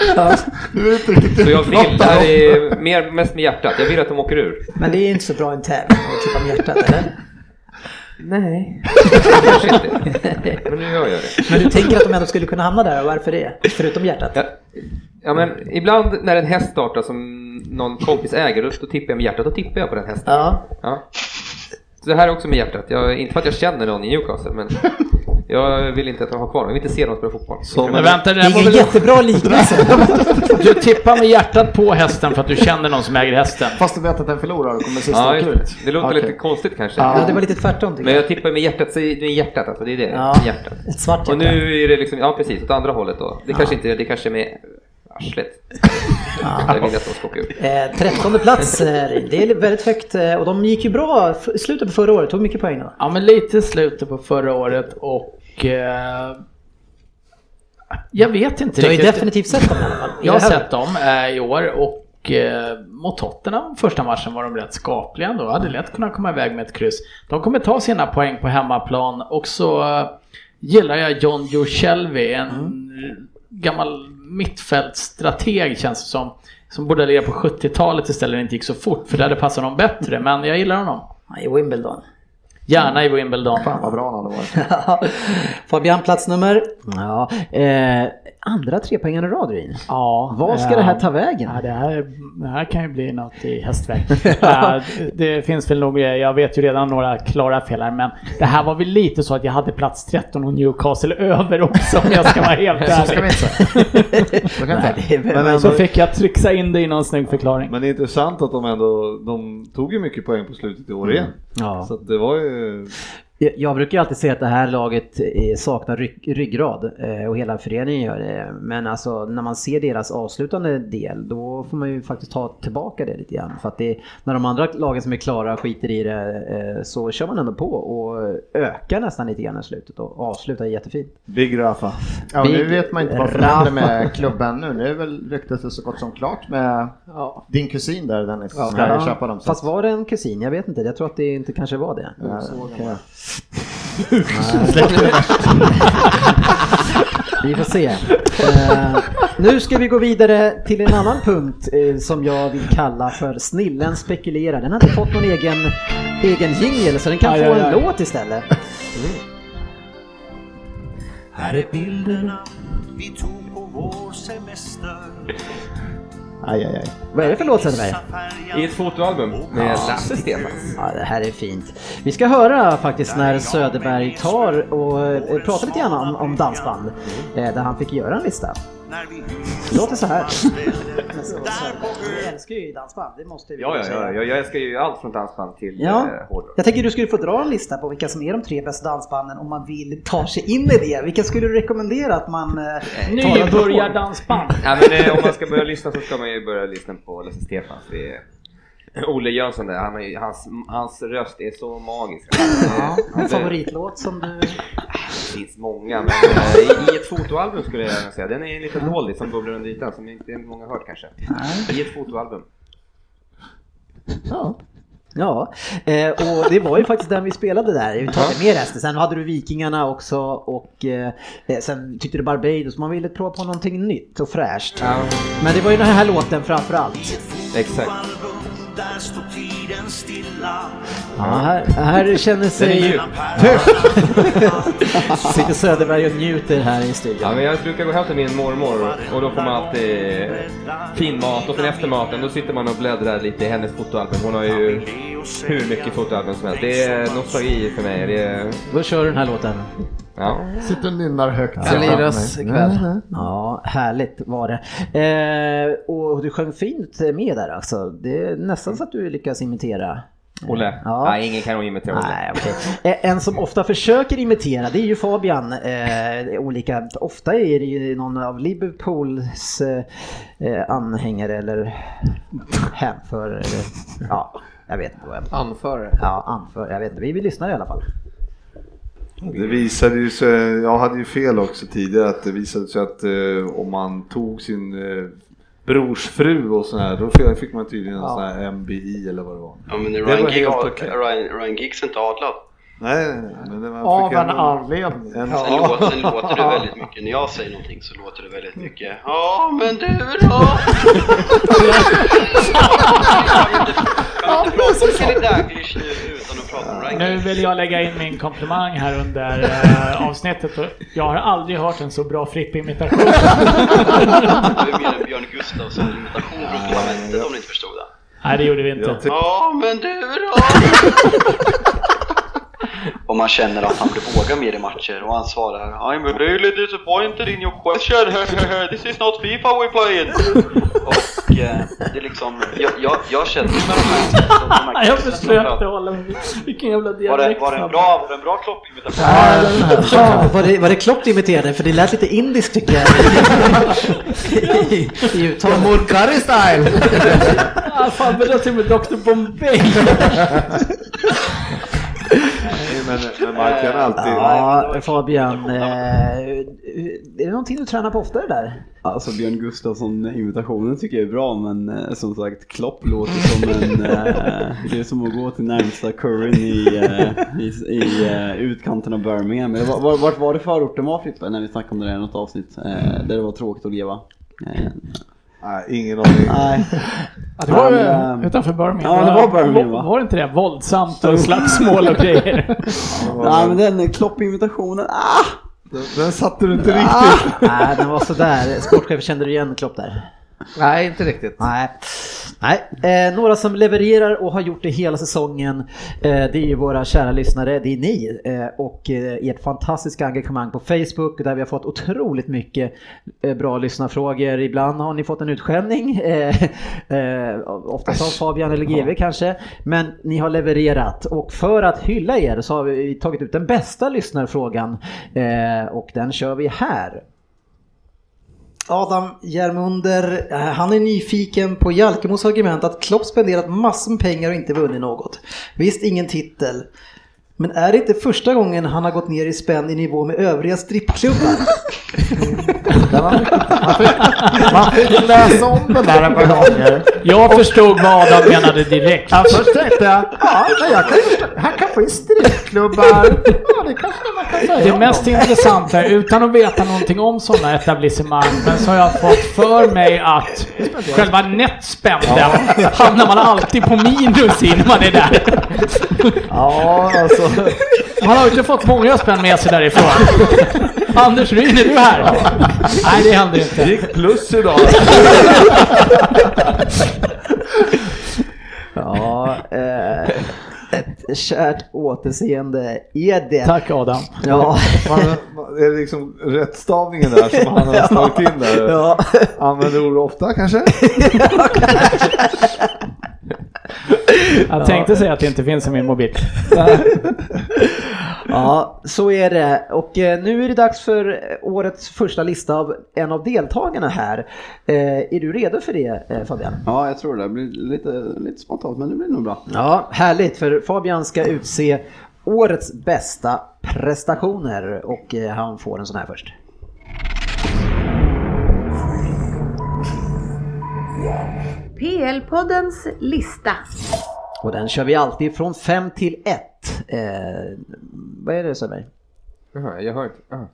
[SPEAKER 9] Så jag vill, det här är mer, mest med hjärtat, jag vill att de åker ur.
[SPEAKER 3] Men det är inte så bra en tävling att klippa med hjärtat eller? Nej.
[SPEAKER 9] Kanske inte. Men nu gör jag det.
[SPEAKER 3] Men du tänker att de ändå skulle kunna hamna där och varför det? Förutom hjärtat?
[SPEAKER 9] Ja, ja, men ibland när en häst startar som någon kompis äger, då, då tippar jag med hjärtat. Då tippar jag på den hästen.
[SPEAKER 3] Ja.
[SPEAKER 9] Så det här är också med hjärtat. Jag, inte för att jag känner någon i Newcastle, men jag vill inte att de har kvar dem. Jag vill inte se dem spela fotboll.
[SPEAKER 5] Men vänta, det
[SPEAKER 3] Det
[SPEAKER 5] där
[SPEAKER 3] är
[SPEAKER 5] var
[SPEAKER 3] en
[SPEAKER 5] väl...
[SPEAKER 3] jättebra liknelse.
[SPEAKER 5] Du tippar med hjärtat på hästen för att du känner någon som äger hästen.
[SPEAKER 10] Fast du vet att den förlorar och kommer
[SPEAKER 9] Ja, just det. det låter lite konstigt kanske.
[SPEAKER 3] Ja, det var lite tvärtom tycker
[SPEAKER 9] Men
[SPEAKER 3] jag.
[SPEAKER 9] jag tippar med hjärtat, så det är hjärtat alltså, det är det.
[SPEAKER 3] Ja,
[SPEAKER 9] Med hjärtat.
[SPEAKER 3] ett svart
[SPEAKER 9] Och
[SPEAKER 3] hjärta.
[SPEAKER 9] nu är det liksom, ja precis, åt andra hållet då. Det kanske inte, det kanske är med arslet. Jag vill att de ska åka ut.
[SPEAKER 3] Eh, trettonde plats, eh, det är väldigt högt eh, och de gick ju bra f- i slutet på förra året, tog mycket poäng då.
[SPEAKER 5] Ja, men lite slutet på förra året och... Eh, jag vet inte
[SPEAKER 3] Du har ju definitivt sett dem i alla fall.
[SPEAKER 5] Jag har
[SPEAKER 3] I det här-
[SPEAKER 5] sett dem eh, i år och eh, mot Tottenham första matchen var de rätt skapliga ändå. Hade lätt kunnat komma iväg med ett kryss. De kommer ta sina poäng på hemmaplan och så eh, gillar jag John Joe Shelby, en
[SPEAKER 3] Mm.
[SPEAKER 5] gammal mittfältstrateg känns det som. Som borde ha legat på 70-talet istället när det inte gick så fort för det hade passat honom bättre. Men jag gillar honom.
[SPEAKER 3] I Wimbledon.
[SPEAKER 5] Gärna i Wimbledon. Fan
[SPEAKER 10] vad bra han hade varit.
[SPEAKER 3] Fabian, plats nummer? Ja, eh, andra trepoängaren i rad Ryn.
[SPEAKER 5] Ja.
[SPEAKER 3] Vad ska
[SPEAKER 5] Ja.
[SPEAKER 3] det här ta vägen?
[SPEAKER 5] Ja, det, här, det här kan ju bli något i hästväg. Ja, det finns väl nog, jag vet ju redan några klara fel här, men det här var väl lite så att jag hade plats 13 och Newcastle över också om jag ska vara helt
[SPEAKER 6] Så ska
[SPEAKER 5] ärlig.
[SPEAKER 10] kan
[SPEAKER 6] inte.
[SPEAKER 5] Nej, det är väl-
[SPEAKER 6] Men ändå-
[SPEAKER 5] så fick jag trixa in det i någon snygg förklaring.
[SPEAKER 6] Men det är intressant att de ändå, de tog ju mycket poäng på slutet i år igen.
[SPEAKER 3] Mm. Ja.
[SPEAKER 6] Så att det var ju...
[SPEAKER 3] Jag- Jag brukar ju alltid säga att det här laget eh, saknar ryck, ryggrad eh, och hela föreningen gör det. Men alltså när man ser deras avslutande del då får man ju faktiskt ta tillbaka det lite grann. För att det, när de andra lagen som är klara skiter i det eh, så kör man ändå på och ökar nästan lite grann i slutet och avslutar jättefint.
[SPEAKER 6] Big Rafa.
[SPEAKER 10] Ja, och nu vet man inte vad som
[SPEAKER 3] Rafa.
[SPEAKER 10] händer med klubben nu. Nu är väl ryktet så gott som klart med din kusin där Dennis. Ja, ska ju köpa dem. Så.
[SPEAKER 3] Fast var det en kusin? Jag vet inte. Jag tror att det inte kanske var det.
[SPEAKER 10] Ja, okej.
[SPEAKER 3] Vi får se. Eh, nu ska vi gå vidare till en annan punkt eh, som jag vill kalla för Snillen spekulerar. Den har inte fått någon egen, egen jingel så den kan
[SPEAKER 5] Aj,
[SPEAKER 3] få
[SPEAKER 5] aj,
[SPEAKER 3] en
[SPEAKER 5] aj.
[SPEAKER 3] låt istället.
[SPEAKER 1] Här är bilderna vi tog på vår semester
[SPEAKER 3] Aj, aj, aj. Vad är det för låt Zetterberg?
[SPEAKER 9] I ett fotoalbum med Lasse Stefans.
[SPEAKER 3] Ja, det här är fint. Vi ska höra faktiskt när Söderberg tar och eh, pratar lite grann om, om dansband. eh, Där han fick göra en lista. Det låter så här. Du älskar ju dansband, det måste vi
[SPEAKER 9] Ja, ja, ja, jag, jag älskar ju allt från dansband till
[SPEAKER 3] Ja.
[SPEAKER 9] eh, hårdrock.
[SPEAKER 3] Jag tänker du skulle få dra en lista på vilka som är de tre bästa dansbanden om man vill ta sig in i det. Vilka skulle du rekommendera att man... eh, tar en telefon?
[SPEAKER 5] Nybörjardansband.
[SPEAKER 9] Ja, men, eh, om man ska börja lyssna så ska man ju börja lyssna på Lasse Stefans. Det är Olle Jönsson där, han har ju, hans, hans röst är så magisk. Ja,
[SPEAKER 3] En favoritlåt som du...
[SPEAKER 9] Det finns många, men eh, i- i ett fotoalbum skulle jag gärna säga. Den är en liten doldis som bubblar under ytan som inte många har hört kanske. I ett fotoalbum.
[SPEAKER 3] Ja. Ja, eh, och det var ju faktiskt den vi spelade där. Vi tar inte med resten. Sen hade du Vikingarna också och eh, sen tyckte du Barbados. Man ville prova på någonting nytt och fräscht.
[SPEAKER 9] Ja.
[SPEAKER 3] Men det var ju den här låten framför allt.
[SPEAKER 9] Exakt.
[SPEAKER 16] Där står tiden stilla
[SPEAKER 3] Ja, här, här känner sig...
[SPEAKER 9] Den är djup.
[SPEAKER 3] Sitter Söderberg och njuter här i studion.
[SPEAKER 9] Ja, men jag brukar gå hem till min mormor och då får man alltid eh, fin mat och sen efter maten då sitter man och bläddrar lite i hennes fotoalbum. Hon har ju hur mycket fotoalbum som helst. Det är nostalgi för mig. Det är...
[SPEAKER 3] Då kör du den här låten.
[SPEAKER 9] Ja.
[SPEAKER 10] Sitter och nynnar högt.
[SPEAKER 3] Ja. Ja, härligt var det. Eh, och du sjöng fint med där alltså. Det är nästan så att du lyckas imitera.
[SPEAKER 9] Olle?
[SPEAKER 3] Ja.
[SPEAKER 9] Nej, ingen kan imitera Olle.
[SPEAKER 3] Nej, okej. Eh, En som ofta försöker imitera det är ju Fabian. Eh, olika, ofta är det ju någon av Liverpools eh, anhängare eller hänför. eller- Ja, jag vet inte vad jag
[SPEAKER 14] Anförare.
[SPEAKER 3] Ja, anför. Jag vet inte. Vi vill lyssna i alla fall.
[SPEAKER 6] Det visade ju sig, jag hade ju fel också tidigare, att det visade sig att eh, om man tog sin eh, brors fru och sån här, då fick- fick man tydligen en
[SPEAKER 7] Ja.
[SPEAKER 6] sån här MBI eller vad det var.
[SPEAKER 7] Ja men
[SPEAKER 6] det
[SPEAKER 7] Ryan,
[SPEAKER 6] var
[SPEAKER 7] Giggs,
[SPEAKER 6] helt okej.
[SPEAKER 7] Ryan, Ryan Giggs är inte adlad.
[SPEAKER 6] Nej, nej, nej, men det var
[SPEAKER 7] Av
[SPEAKER 6] fick
[SPEAKER 7] en
[SPEAKER 6] ändå-
[SPEAKER 7] anledning.
[SPEAKER 6] en-
[SPEAKER 7] Sen, låter, sen låter det väldigt mycket, när jag säger någonting så låter det väldigt mycket Ja men du då!
[SPEAKER 5] Nu vill jag lägga in min komplimang här under eh, avsnittet. och Jag har aldrig hört en så bra Frippe-imitation.
[SPEAKER 7] Det är mer en Björn Gustafsson-imitation från Parlamentet om ni inte förstod det.
[SPEAKER 5] Nej, det gjorde vi inte.
[SPEAKER 7] Ja men du då! Och man känner att han blir vågad mer i matcher och han svarar I'm really disappointed in your question, this is not FIFA we played! Och eh, det är liksom, jag, jag, jag känner med de här, de här
[SPEAKER 5] Nej, jag
[SPEAKER 7] killarna som
[SPEAKER 5] försökte
[SPEAKER 7] pratar-
[SPEAKER 5] hålla mig. Vilken jävla
[SPEAKER 7] var det,
[SPEAKER 5] dialekt.
[SPEAKER 7] var det en bra, var det en bra kloppimitation?
[SPEAKER 3] Ja, var, det, var det Klopp du imiterade? För det lät lite indiskt tycker jag. I, i, i uttalet.
[SPEAKER 5] style! ah, fan, men jag till och med Dr Bombay.
[SPEAKER 6] Nej, Men, men man kan alltid...
[SPEAKER 3] Ja, Fabian. Eh, är det någonting du tränar på oftare där?
[SPEAKER 7] Alltså Björn Gustafsson-imitationen tycker jag är bra men eh, som sagt Klopp låter som en... Eh, det är som att gå till närmsta curryn i, eh, i, i eh, utkanten av Birmingham. Men var, var, vart var det förorten var Frippe? När vi snackade om det där i något avsnitt. Eh, där det var tråkigt att leva. Eh,
[SPEAKER 6] Nej, ingen aning.
[SPEAKER 7] Nej.
[SPEAKER 5] Ja, det var ju
[SPEAKER 7] Men, eh,
[SPEAKER 5] utanför Birmingham.
[SPEAKER 7] Ja, det var Birmingham
[SPEAKER 5] Var,
[SPEAKER 7] va?
[SPEAKER 5] var det inte det? Våldsamt och slagsmål och grejer.
[SPEAKER 7] Nej men den Klopp-imitationen, ah!
[SPEAKER 6] Den, satte du inte
[SPEAKER 3] riktigt. Ah, Nej, den var sådär. Sportchef, kände du igen Klopp där?
[SPEAKER 8] Nej, inte riktigt.
[SPEAKER 3] Nej. Nej. Eh, några som levererar och har gjort det hela säsongen, eh, det är ju våra kära lyssnare, det är ni. Eh, och eh, ert fantastiska engagemang på Facebook där vi har fått otroligt mycket eh, bra lyssnarfrågor. Ibland har ni fått en utskällning, eh, eh, oftast av Fabian eller GV kanske. Men ni har levererat och för att hylla er så har vi tagit ut den bästa lyssnarfrågan eh, och den kör vi här. Adam Järmunder, eh, han är nyfiken på Jalkemos argument att Klopp spenderat massor med pengar och inte vunnit något. Visst, ingen titel. Men är det inte första gången han har gått ner i spänn i nivå med övriga strippklubbar?
[SPEAKER 10] Man fick läsa om den där ett par gånger.
[SPEAKER 5] Jag förstod vad Adam menade direkt.
[SPEAKER 10] Ja, först tänkte jag, ja, men jag kan, ju- här kanske är strippklubbar. Ja, det kanske man kan säga.
[SPEAKER 5] Det
[SPEAKER 10] om
[SPEAKER 5] mest
[SPEAKER 10] dem.
[SPEAKER 5] intressanta, är, utan att veta någonting om sådana etablissemang, men så har jag fått för mig att själva nettspänden hamnar man alltid på minus i när man är där.
[SPEAKER 10] Ja, alltså
[SPEAKER 5] Han har ju inte fått många spänn med sig därifrån. Anders Ryn, är du här? Nej, det händer inte.
[SPEAKER 6] Det gick plus idag.
[SPEAKER 3] Ja, eh, ett kärt återseende är det.
[SPEAKER 5] Tack Adam.
[SPEAKER 3] Ja.
[SPEAKER 6] Man, man, är det liksom rättstavningen där som han har slagit in där?
[SPEAKER 3] Ja.
[SPEAKER 6] Använder ord ofta kanske?
[SPEAKER 5] Jag tänkte säga att det inte finns i min mobil.
[SPEAKER 3] Ja, så är det. Och eh, nu är det dags för eh, årets första lista av en av deltagarna här. Eh, Är du redo för det eh, Fabian?
[SPEAKER 7] Ja, jag tror det. Det blir lite, lite spontant, men det blir nog bra.
[SPEAKER 3] Ja, härligt för Fabian ska utse årets bästa prestationer och eh, han får en sån här först.
[SPEAKER 2] PL-poddens lista.
[SPEAKER 3] Och den kör vi alltid från 5 till 1. Eh, vad är det Söderberg?
[SPEAKER 9] Jaha, jag hör inte. Ah,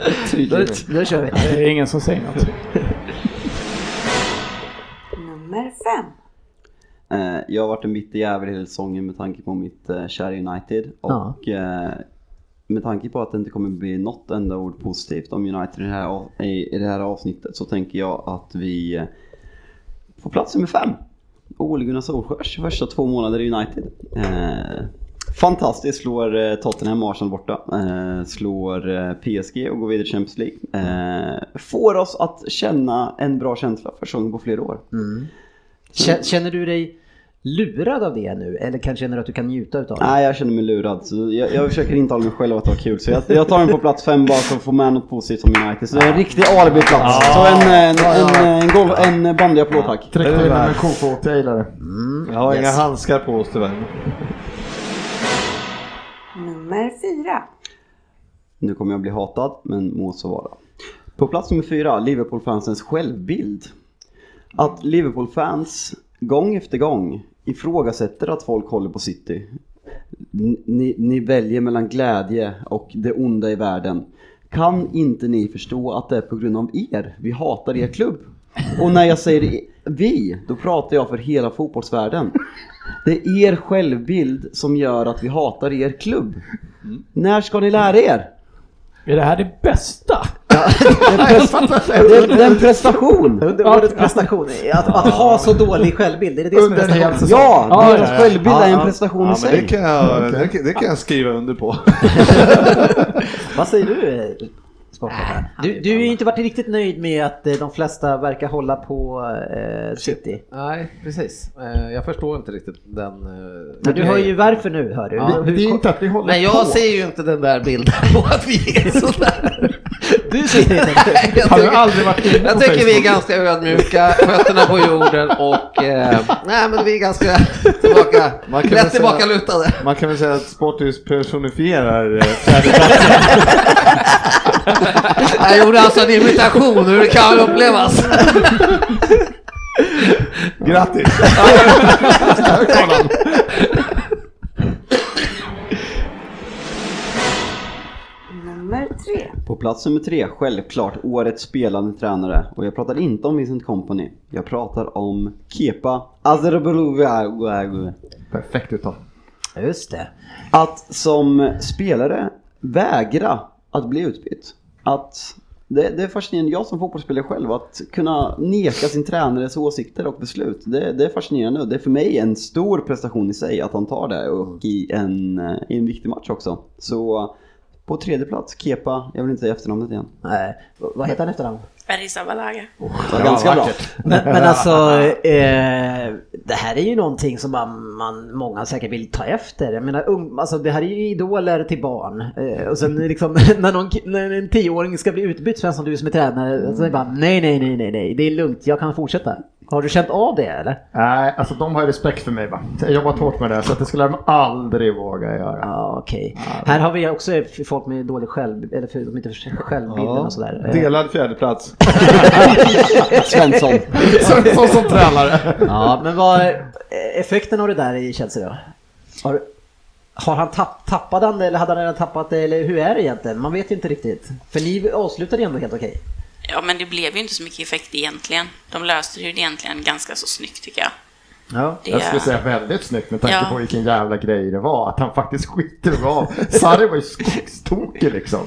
[SPEAKER 3] Då, då kör vi.
[SPEAKER 5] Det är ingen som säger något.
[SPEAKER 2] Nummer fem.
[SPEAKER 7] Eh, Jag har varit en bitter jävel hela säsongen med tanke på mitt eh, kära United.
[SPEAKER 3] Ja.
[SPEAKER 7] Och eh, med tanke på att det inte kommer bli något enda ord positivt om United i det här, av- i i det här avsnittet så tänker jag att vi eh, får plats nummer fem. Ole Gunnar Solskjörs första två månader i United. Eh, Fantastiskt, slår eh, Tottenham och Arsenal borta. Eh, slår eh, PSG och går vidare till Champions League. Eh, får oss att känna en bra känsla för säsongen på flera år.
[SPEAKER 3] Mm.
[SPEAKER 7] Mm.
[SPEAKER 3] Kä- Känner du dig lurad av det nu eller kan, känner du att du kan njuta utav det?
[SPEAKER 7] Nej, jag känner mig lurad. Så jag, jag försöker intala mig själv att ha kul. Så jag, jag tar den på plats fem bara för att få med något positivt om United. Så det är en riktig alibi-plats.
[SPEAKER 10] Ja.
[SPEAKER 7] Så en, eh, en,
[SPEAKER 10] Ja, ja.
[SPEAKER 7] en, en, golf, en bandyapplåd tack.
[SPEAKER 10] Tryck till med en kofotgejlare.
[SPEAKER 6] Jag har inga
[SPEAKER 7] Yes.
[SPEAKER 6] handskar på oss tyvärr.
[SPEAKER 2] Nummer fyra.
[SPEAKER 7] Nu kommer jag bli hatad, men må så vara. På plats nummer fyra, Liverpool-fansens självbild. Att Liverpool-fans gång efter gång ifrågasätter att folk håller på City. N- Ni, ni väljer mellan glädje och det onda i världen. Kan inte ni förstå att det är på grund av er vi hatar er klubb? Och när jag säger i- vi, då pratar jag för hela fotbollsvärlden. Det är er självbild som gör att vi hatar er klubb. När ska ni lära er?
[SPEAKER 5] Är det här det bästa?
[SPEAKER 7] Det är en prestation!
[SPEAKER 3] Under årets prestation, att, att ha så dålig självbild, är det det som är
[SPEAKER 7] Under en hel
[SPEAKER 3] prestationen?
[SPEAKER 7] säsong. Ja, Ja, deras ja, ja. självbild är en prestation i
[SPEAKER 6] ja, men
[SPEAKER 7] sig. Mm,
[SPEAKER 6] det, kan jag,
[SPEAKER 7] Okej.
[SPEAKER 6] det, kan, det kan jag skriva under på.
[SPEAKER 3] Vad säger du? eh, Sportchefen? Du, du har ju inte varit riktigt nöjd med att eh, de flesta verkar hålla på eh, City.
[SPEAKER 8] Nej, precis. Eh, Jag förstår inte riktigt den... eh,
[SPEAKER 3] Men du hör ju varför nu, hör du.
[SPEAKER 8] Ja.
[SPEAKER 3] Hur-
[SPEAKER 10] att vi håller
[SPEAKER 8] Nej, jag
[SPEAKER 3] på.
[SPEAKER 8] ser ju inte den där bilden på att vi är sådär.
[SPEAKER 3] Du ser inte
[SPEAKER 8] det?
[SPEAKER 10] Har du aldrig varit inne på
[SPEAKER 8] Jag tycker vi är
[SPEAKER 10] Facebook?
[SPEAKER 8] ganska ödmjuka, fötterna på jorden och... Eh, nej, men vi är ganska tillbaka,
[SPEAKER 6] Man kan väl
[SPEAKER 8] lätt
[SPEAKER 6] säga-
[SPEAKER 8] tillbakalutade.
[SPEAKER 6] Man kan väl säga att Sportis personifierar eh,
[SPEAKER 8] Jag gjorde alltså en imitation, hur det kan upplevas.
[SPEAKER 6] Grattis!
[SPEAKER 2] Nummer tre.
[SPEAKER 7] På plats nummer tre, självklart årets spelande tränare. Och jag pratar inte om Vincent Company. Jag pratar om Kepa Azerbaijan.
[SPEAKER 10] Perfekt uttal.
[SPEAKER 3] Just det.
[SPEAKER 7] Att som spelare vägra att bli utbytt. Att det, det är fascinerande, jag som fotbollsspelare själv, att kunna neka sin tränares åsikter och beslut. Det, det är fascinerande och det är för mig en stor prestation i sig att han tar det och i en, eh, i en viktig match också. Så på tredje plats, Kepa, jag vill inte säga efternamnet igen.
[SPEAKER 3] Nej, vad heter han efternamn?
[SPEAKER 11] Bergsabalaga.
[SPEAKER 7] Det var ganska bra.
[SPEAKER 3] Men, men alltså, eh, det här är ju någonting som man, man, många säkert vill ta efter. Jag menar, ung, alltså, det här är ju idoler till barn. Eh, och sen liksom, när, någon, ki- när en tioåring ska bli utbytt, Svensson, du som är tränare, så är det bara nej, nej, nej, nej, nej, det är lugnt, jag kan fortsätta. Har du känt av det eller?
[SPEAKER 10] Nej, alltså de har ju respekt för mig va. Jag har jobbat hårt med det här, så att det skulle de aldrig våga göra.
[SPEAKER 3] Ja, okej. Här har vi också folk med dålig själv, eller för, de inte för självbilden och sådär. Eh,
[SPEAKER 6] Delad fjärdeplats.
[SPEAKER 7] Svensson.
[SPEAKER 10] Svensson som tränare.
[SPEAKER 3] Ja, men vad är effekten av det där i Chelsea då? Har, har han tapp, tappat den eller hade han redan tappat det eller hur är det egentligen? Man vet ju inte riktigt. För ni avslutade ju ändå helt okej.
[SPEAKER 11] Ja, men det blev ju inte så mycket effekt egentligen. De löste ju det egentligen ganska så snyggt tycker jag.
[SPEAKER 10] Ja.
[SPEAKER 11] Det-
[SPEAKER 10] Jag skulle säga väldigt snyggt med tanke
[SPEAKER 11] Ja.
[SPEAKER 10] på vilken jävla grej det var. Att han faktiskt skiter och gav. Sarri var ju skogstokig liksom.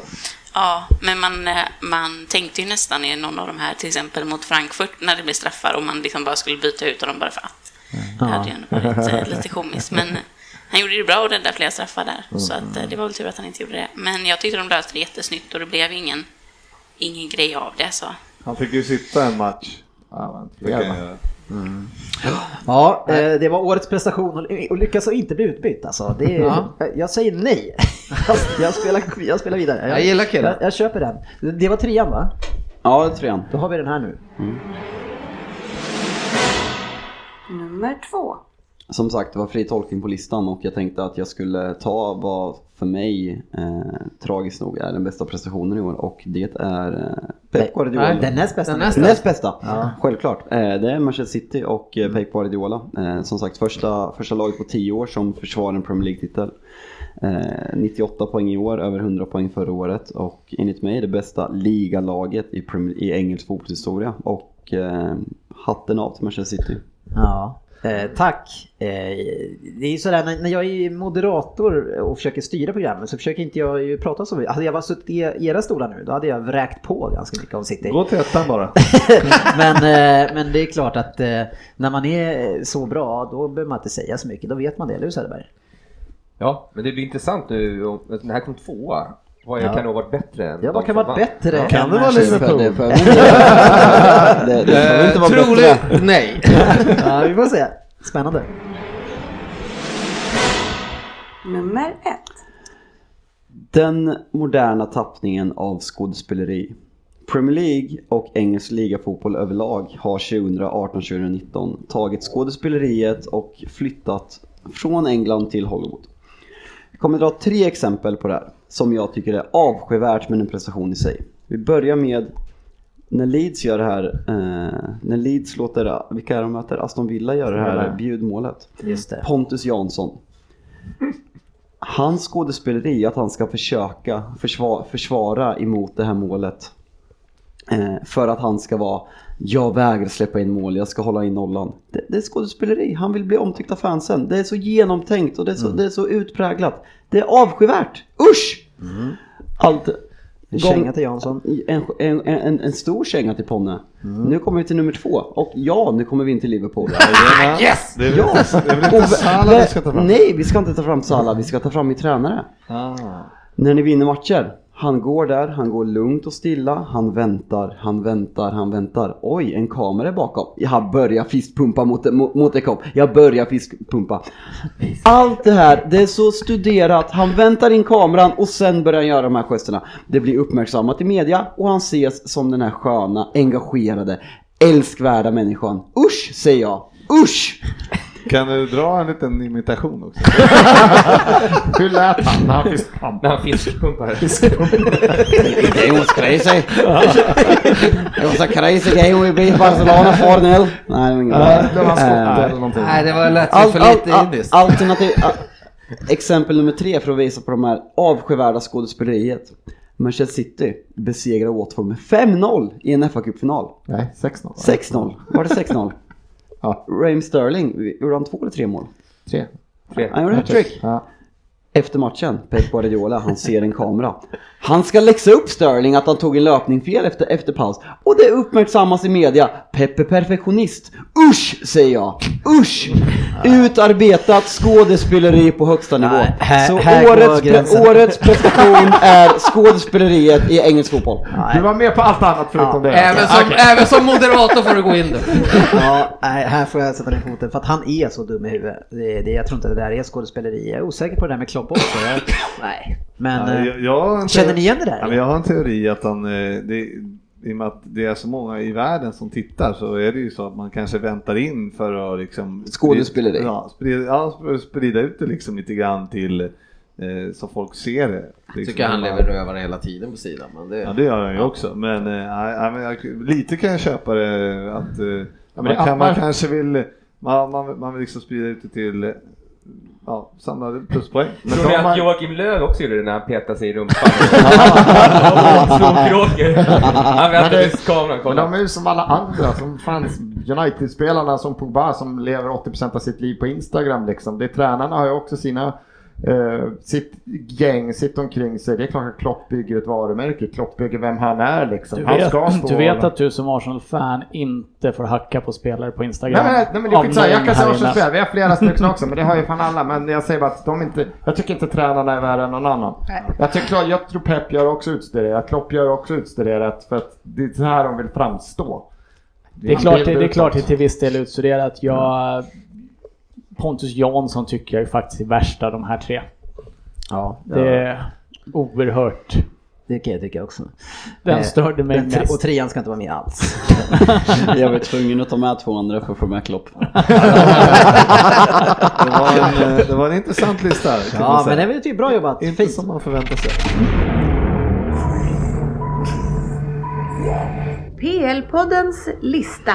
[SPEAKER 11] Ja, men man, eh, man tänkte ju nästan i någon av de här, till exempel mot Frankfurt, när det blev straffar och man liksom bara skulle byta ut dem bara för att. Det hade ju ändå varit eh, lite komiskt. Men han gjorde det bra och räddade flera straffar där. Så att, eh, det var väl tur att han inte gjorde det. Men jag tyckte de löste det jättesnyggt och det blev ingen, ingen grej av det. Så.
[SPEAKER 6] Han fick ju sitta en match. Det kan jag göra.
[SPEAKER 3] Ja, eh, det var årets prestation och och lyckas och inte bli utbytt alltså. Det är,
[SPEAKER 12] Ja.
[SPEAKER 3] jag- Jag säger nej. Jag, jag, spelar, jag spelar vidare.
[SPEAKER 12] Jag gillar killen.
[SPEAKER 3] Jag, jag köper den. Det var trean va?
[SPEAKER 7] Ja, trean. Mm.
[SPEAKER 3] Då har vi den här nu.
[SPEAKER 2] Nummer två.
[SPEAKER 7] Som sagt, det var fri tolkning på listan och jag tänkte att jag skulle ta vad för mig eh, tragiskt nog är den bästa prestationen i år och det är eh, Pep Guardiola.
[SPEAKER 12] Nej, den näst bästa. Den näst
[SPEAKER 7] Den näst bästa.
[SPEAKER 12] Ja.
[SPEAKER 7] Självklart. Eh, det är Manchester City och eh, Pep Guardiola. Eh, som sagt, första, första laget på 10 år som försvarar en Premier League-titel. Eh, 98 poäng i år, över 100 poäng förra året och enligt mig det bästa ligalaget i, Premier, i engelsk fotbollshistoria. Och eh, hatten av till Manchester City.
[SPEAKER 3] Ja, eh, tack. Eh, det är ju sådär när, när jag är moderator och försöker styra programmet så försöker inte jag ju prata så mycket. Hade jag varit suttit i era stolar nu då hade jag vräkt på ganska mycket om City.
[SPEAKER 6] Gå till ettan bara.
[SPEAKER 3] men, eh, men det är klart att eh, när man är så bra då behöver man inte säga så mycket. Då vet man det, eller hur Söderberg?
[SPEAKER 9] Ja, men det blir intressant nu. om- Den här kom tvåa. Vad jag
[SPEAKER 3] Ja.
[SPEAKER 9] kan ha varit bättre än
[SPEAKER 3] Ja, vad kan
[SPEAKER 9] de som
[SPEAKER 3] vara
[SPEAKER 9] vann.
[SPEAKER 3] bättre
[SPEAKER 9] Ja.
[SPEAKER 3] än Manchester United?
[SPEAKER 7] Det- det behöver inte vara bättre.
[SPEAKER 9] Troligt nej.
[SPEAKER 3] ja, vi får se. Spännande.
[SPEAKER 2] Nummer ett.
[SPEAKER 7] Den moderna tappningen av skådespeleri. Premier League och engelsk ligafotboll överlag har 2018-2019 tagit skådespeleriet och flyttat från England till Hollywood. Jag kommer dra tre exempel på det här som jag tycker är avskyvärt men en prestation i sig. Vi börjar med när Leeds gör det här, eh, när Leeds låter, vilka är de möter? Aston Villa gör det här
[SPEAKER 3] Villa.
[SPEAKER 7] bjudmålet.
[SPEAKER 3] Just det.
[SPEAKER 7] Pontus Jansson. Hans skådespeleri att han ska försöka försvara, försvara emot det här målet. Eh, för att han ska vara, jag vägrar släppa in mål, jag ska hålla in nollan. Det, det är skådespeleri, han vill bli omtyckt av fansen. Det är så genomtänkt och det är
[SPEAKER 3] Mm.
[SPEAKER 7] så, det är så utpräglat. Det är avskyvärt, usch! Allt.
[SPEAKER 3] Mm. En
[SPEAKER 7] Gång-
[SPEAKER 3] känga till Jansson. Mm.
[SPEAKER 7] En, en, en, en stor känga till Ponne. Nu kommer vi till nummer två. Och ja, nu kommer vi in till Liverpool.
[SPEAKER 6] Yes! Det är väl
[SPEAKER 7] ja.
[SPEAKER 6] inte- det är väl inte
[SPEAKER 7] Och-
[SPEAKER 6] Salah vi ska ta fram?
[SPEAKER 7] Nej, vi ska inte ta fram Salah. Vi ska ta fram min tränare.
[SPEAKER 6] Ah.
[SPEAKER 7] När ni vinner matcher. Han går där, han går lugnt och stilla, han väntar, han väntar, han väntar. Oj, en kamera är bakom. Jag börjar fistpumpa mot, mot, mot en kopp. Jag börjar fistpumpa. Allt det här, det är så studerat. Han väntar in kameran och sen börjar han göra de här gesterna. Det blir uppmärksammat i media och han ses som den här sköna, engagerade, älskvärda människan. Usch, säger jag. Usch!
[SPEAKER 6] Kan du dra en liten imitation också?
[SPEAKER 10] Hur lät han när han
[SPEAKER 9] När han fiskpumpar.
[SPEAKER 7] It was crazy. It was a crazy game we beat Barcelona 4-0. Nej, det var inget
[SPEAKER 9] Ja,
[SPEAKER 7] bra.
[SPEAKER 9] det var hans skott
[SPEAKER 7] Eh,
[SPEAKER 9] eller någonting. Nej, det var- lät ju för lite indiskt.
[SPEAKER 7] Alternativ... a- Exempel nummer tre för att visa på de här avskyvärda skådespeleriet. Manchester City besegrar Watford med 5-0 i en FA-cupfinal.
[SPEAKER 10] Nej, 6-0.
[SPEAKER 7] 6-0. Var det 6-0? ja. Raheem Sterling, gjorde han två eller tre mål?
[SPEAKER 10] Tre.
[SPEAKER 9] Tre.
[SPEAKER 7] Han gjorde hattrick. Efter matchen, Pep Guardiola, han ser en kamera. Han ska läxa upp Sterling att han tog en löpning fel efter, efter paus. Och det uppmärksammas i media. Pep är perfektionist. Usch, säger jag. Usch! Utarbetat skådespeleri på högsta nivå.
[SPEAKER 3] här-
[SPEAKER 7] Så
[SPEAKER 3] här går
[SPEAKER 7] årets,
[SPEAKER 3] gränsen.
[SPEAKER 7] pre- årets prestation är skådespeleriet i engelsk fotboll.
[SPEAKER 3] Du var
[SPEAKER 10] med på allt annat förutom
[SPEAKER 3] det.
[SPEAKER 7] Även som-
[SPEAKER 9] även som moderator får du gå in där.
[SPEAKER 3] ja, nej, här får jag sätta ner foten för att han är så dum i huvudet. Det, det, jag tror inte det där är skådespeleri. Jag är osäker på det där med Klopp också. Jag, nej, men
[SPEAKER 6] Ja,
[SPEAKER 3] eh,
[SPEAKER 6] jag- jag har en
[SPEAKER 3] känner
[SPEAKER 6] teori-
[SPEAKER 3] ni igen det där?
[SPEAKER 6] Ja, men jag har en teori att han, eh, det, i och med att det är så många i världen som tittar så är det ju så att man kanske väntar in för att liksom
[SPEAKER 7] Skådespeleri.
[SPEAKER 6] Ja, sprida, ja, för att sprida ut det liksom lite grann till eh, så folk ser det.
[SPEAKER 14] Jag
[SPEAKER 6] Liksom,
[SPEAKER 14] tycker han
[SPEAKER 6] man-
[SPEAKER 14] lever rövare hela tiden på sidan. Men det...
[SPEAKER 6] Ja det gör han ju också men, eh, nej, nej, men jag, lite kan jag köpa det att eh,
[SPEAKER 14] men
[SPEAKER 6] man,
[SPEAKER 14] det
[SPEAKER 6] kan, man
[SPEAKER 14] appar-
[SPEAKER 6] kanske vill man, man, man vill liksom sprida ut det till eh, ja, samlade pluspoäng.
[SPEAKER 9] Tror ni
[SPEAKER 6] de
[SPEAKER 9] att
[SPEAKER 6] har-
[SPEAKER 9] Joakim Löv också gjorde det när han petade sig i rumpan? Tråkråkor. Han
[SPEAKER 10] Men
[SPEAKER 9] väntade
[SPEAKER 10] det-
[SPEAKER 9] tills kameran
[SPEAKER 10] men
[SPEAKER 9] kom.
[SPEAKER 10] de är ju som alla andra som fanns. United-spelarna som Pogba som lever 80% av sitt liv på Instagram liksom. Det, tränarna har ju också sina, eh, sitt gäng, sitt omkring sig. Det är klart att Klopp bygger ett varumärke. Klopp bygger vem han är liksom.
[SPEAKER 5] Du
[SPEAKER 10] han ska
[SPEAKER 5] vet,
[SPEAKER 10] stå
[SPEAKER 5] du vet att du som Arsenal-fan inte får hacka på spelare på Instagram?
[SPEAKER 10] Nej, men- nej men det är
[SPEAKER 5] Av
[SPEAKER 10] skitsamma, jag
[SPEAKER 5] någon
[SPEAKER 10] kan
[SPEAKER 5] här
[SPEAKER 10] säga
[SPEAKER 5] inne.
[SPEAKER 10] Arsenal-spelare, vi har flera stycken också men det har ju fan alla. Men jag säger bara att de inte, jag tycker inte tränarna är värre än någon annan. Jag, tycker, jag tror Pep gör också utstuderat, Klopp gör också utstuderat för att det är så här de vill framstå.
[SPEAKER 5] Det är klart, det, det är klart det är till viss del utstuderat. Jag, Pontus Jansson tycker jag är faktiskt är värst av de här tre.
[SPEAKER 3] Ja,
[SPEAKER 5] Det är oerhört.
[SPEAKER 3] Det kan jag tycka också.
[SPEAKER 5] Den
[SPEAKER 3] Eh,
[SPEAKER 5] störde mig
[SPEAKER 3] den tre-
[SPEAKER 5] mest.
[SPEAKER 3] Och trean ska inte vara med alls.
[SPEAKER 7] Jag var tvungen att ta med två andra för att få med Klopp.
[SPEAKER 6] Det var en, eh, det var en intressant lista. kan man
[SPEAKER 3] Ja,
[SPEAKER 6] säga.
[SPEAKER 3] men det är väl typ bra jobbat.
[SPEAKER 6] Inte som man förväntar sig.
[SPEAKER 2] PL-poddens lista.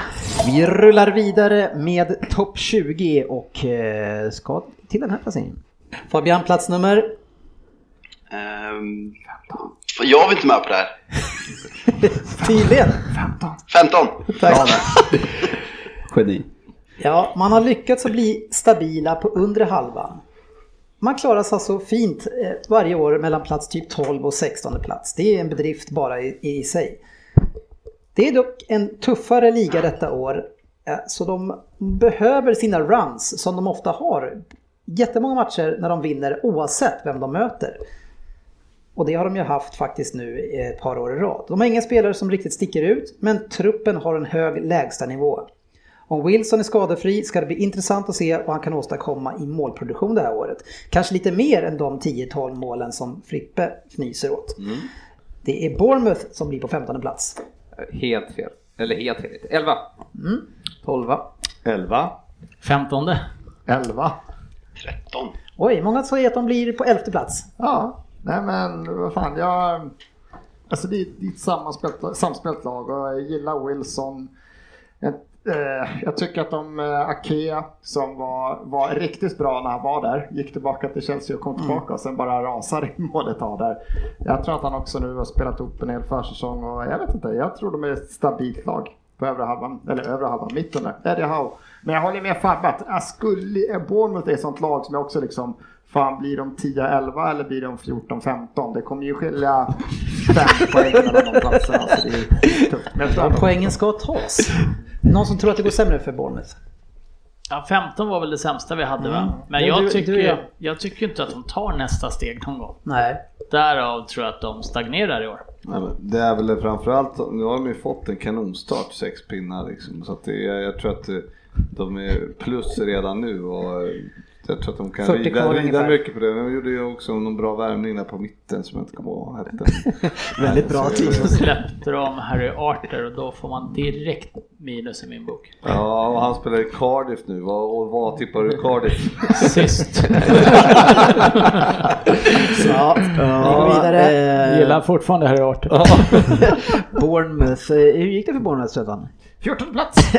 [SPEAKER 3] Vi rullar vidare med topp 20 och eh, ska till den här placeringen. Fabian, plats nummer?
[SPEAKER 17] Ehm, jag var inte med på det här.
[SPEAKER 3] Tydligen.
[SPEAKER 17] 15!
[SPEAKER 3] Tack.
[SPEAKER 7] Geni.
[SPEAKER 3] Ja, man har lyckats att bli stabila på undre halvan. Man klarar sig alltså fint eh, varje år mellan plats typ 12 och 16 plats. Det är en bedrift bara i, i sig. Det är dock en tuffare liga detta år, eh, så de behöver sina runs som de ofta har. Jättemånga matcher när de vinner oavsett vem de möter. Och det har de ju haft faktiskt nu i ett par år i rad. De har inga spelare som riktigt sticker ut, men truppen har en hög lägstanivå. Om Wilson är skadefri ska det bli intressant att se vad han kan åstadkomma i målproduktion det här året. Kanske lite mer än de 10-12 målen som Frippe fnyser åt. Det är Bournemouth som blir på 15 plats.
[SPEAKER 9] Helt fel. Eller helt fel. 11.
[SPEAKER 3] Mm.
[SPEAKER 5] 12.
[SPEAKER 6] 11.
[SPEAKER 5] 15.
[SPEAKER 10] 11.
[SPEAKER 17] 13.
[SPEAKER 3] Oj, många säger att de blir på 11 plats.
[SPEAKER 10] Ja, nej men vad fan jag... Alltså det är, det är ett sammanspelt- samspelt lag och jag gillar Wilson. Jag, eh, jag tycker att de eh, Akea som var, var riktigt bra när han var där, gick tillbaka till Chelsea och kom tillbaka och sen bara rasar i målet här där. Jag tror att han också nu har spelat upp en hel försäsong och jag vet inte, jag tror de är ett stabilt lag på övre halvan, eller övre halvan, mitten där. Eddie Howe. Men jag håller med Fabbe att jag skulle, eh, Bournemouth är ett sånt lag som jag också liksom, fan blir de 10-11 eller blir de 14-15? Det kommer ju skilja fem poäng mellan de platserna. Så det är tufft. Men jag tror att de-
[SPEAKER 3] Poängen ska tas. Någon som tror att det går sämre för Bournemouth?
[SPEAKER 5] Ja, 15 var väl det sämsta vi hade va? Men
[SPEAKER 3] Mm. Men
[SPEAKER 5] jag,
[SPEAKER 3] du-
[SPEAKER 5] tycker,
[SPEAKER 3] du, ja.
[SPEAKER 5] jag tycker inte att de tar nästa steg någon gång.
[SPEAKER 3] Nej.
[SPEAKER 5] Därav tror jag att de stagnerar i år.
[SPEAKER 6] Nej, men det är väl framförallt, nu har de ju fått en kanonstart, sex pinnar liksom. Så att det, är- jag tror att eh, de är plus redan nu och eh, jag tror att de kan
[SPEAKER 3] 40
[SPEAKER 6] rida,
[SPEAKER 3] kvar
[SPEAKER 6] rida
[SPEAKER 3] ungefär.
[SPEAKER 6] mycket på det. De gjorde ju också någon bra värmning där på mitten som jag inte kommer ihåg vad hette.
[SPEAKER 3] Väldigt bra
[SPEAKER 6] Nej, så-
[SPEAKER 5] Och så släppte de Harry Arter och då får man direkt minus i min bok.
[SPEAKER 6] Ja, och han spelar i Cardiff nu. Vad, och vad tippar du Cardiff?
[SPEAKER 5] Sist.
[SPEAKER 3] Ja, vi går
[SPEAKER 10] eh,
[SPEAKER 3] vidare.
[SPEAKER 5] Gillar fortfarande Harry Arter.
[SPEAKER 3] Bournemouth, eh, hur gick det för Bournemouth Stefan?
[SPEAKER 10] 14 plats!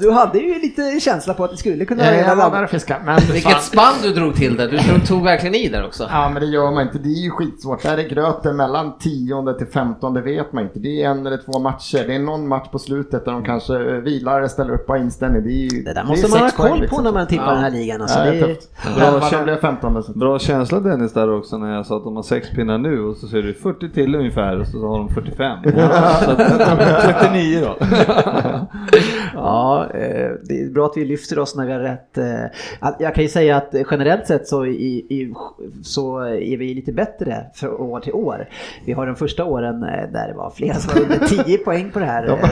[SPEAKER 3] du hade ju lite känsla på att det skulle kunna...
[SPEAKER 10] Nej, jag var där och fiskade, men
[SPEAKER 3] Vilket
[SPEAKER 10] fan.
[SPEAKER 3] spann
[SPEAKER 18] du drog till där. Du drog- tog verkligen i där också.
[SPEAKER 10] Ja men det gör man inte, det är ju skitsvårt. Där är gröten mellan tionde till femtonde vet man inte. Det är en eller två matcher. Det är någon match på slutet där de kanske eh, vilar, ställer upp och har inställning. Det, är ju, det
[SPEAKER 3] där måste
[SPEAKER 10] är
[SPEAKER 3] man ha
[SPEAKER 10] sex
[SPEAKER 3] koll
[SPEAKER 10] poäng, liksom.
[SPEAKER 3] på när man tippar den här ligan, alltså.
[SPEAKER 10] ja,
[SPEAKER 3] Det
[SPEAKER 10] det
[SPEAKER 3] är-
[SPEAKER 10] är tufft.
[SPEAKER 6] Bra
[SPEAKER 10] Elva,
[SPEAKER 6] känsla.
[SPEAKER 10] de blev 15.
[SPEAKER 6] Bra känsla Dennis där också när jag sa att de har sex pinnar nu och så ser du 40 till ungefär och så har de 45. Så att, 39 då.
[SPEAKER 3] ja, eh, det är bra att vi lyfter oss när vi har rätt. eh. Att- Jag kan ju säga att generellt sett så, i, i, så är vi lite bättre från år till år. Vi har de första åren eh, där det var flera som var under 10 poäng på det här. eh.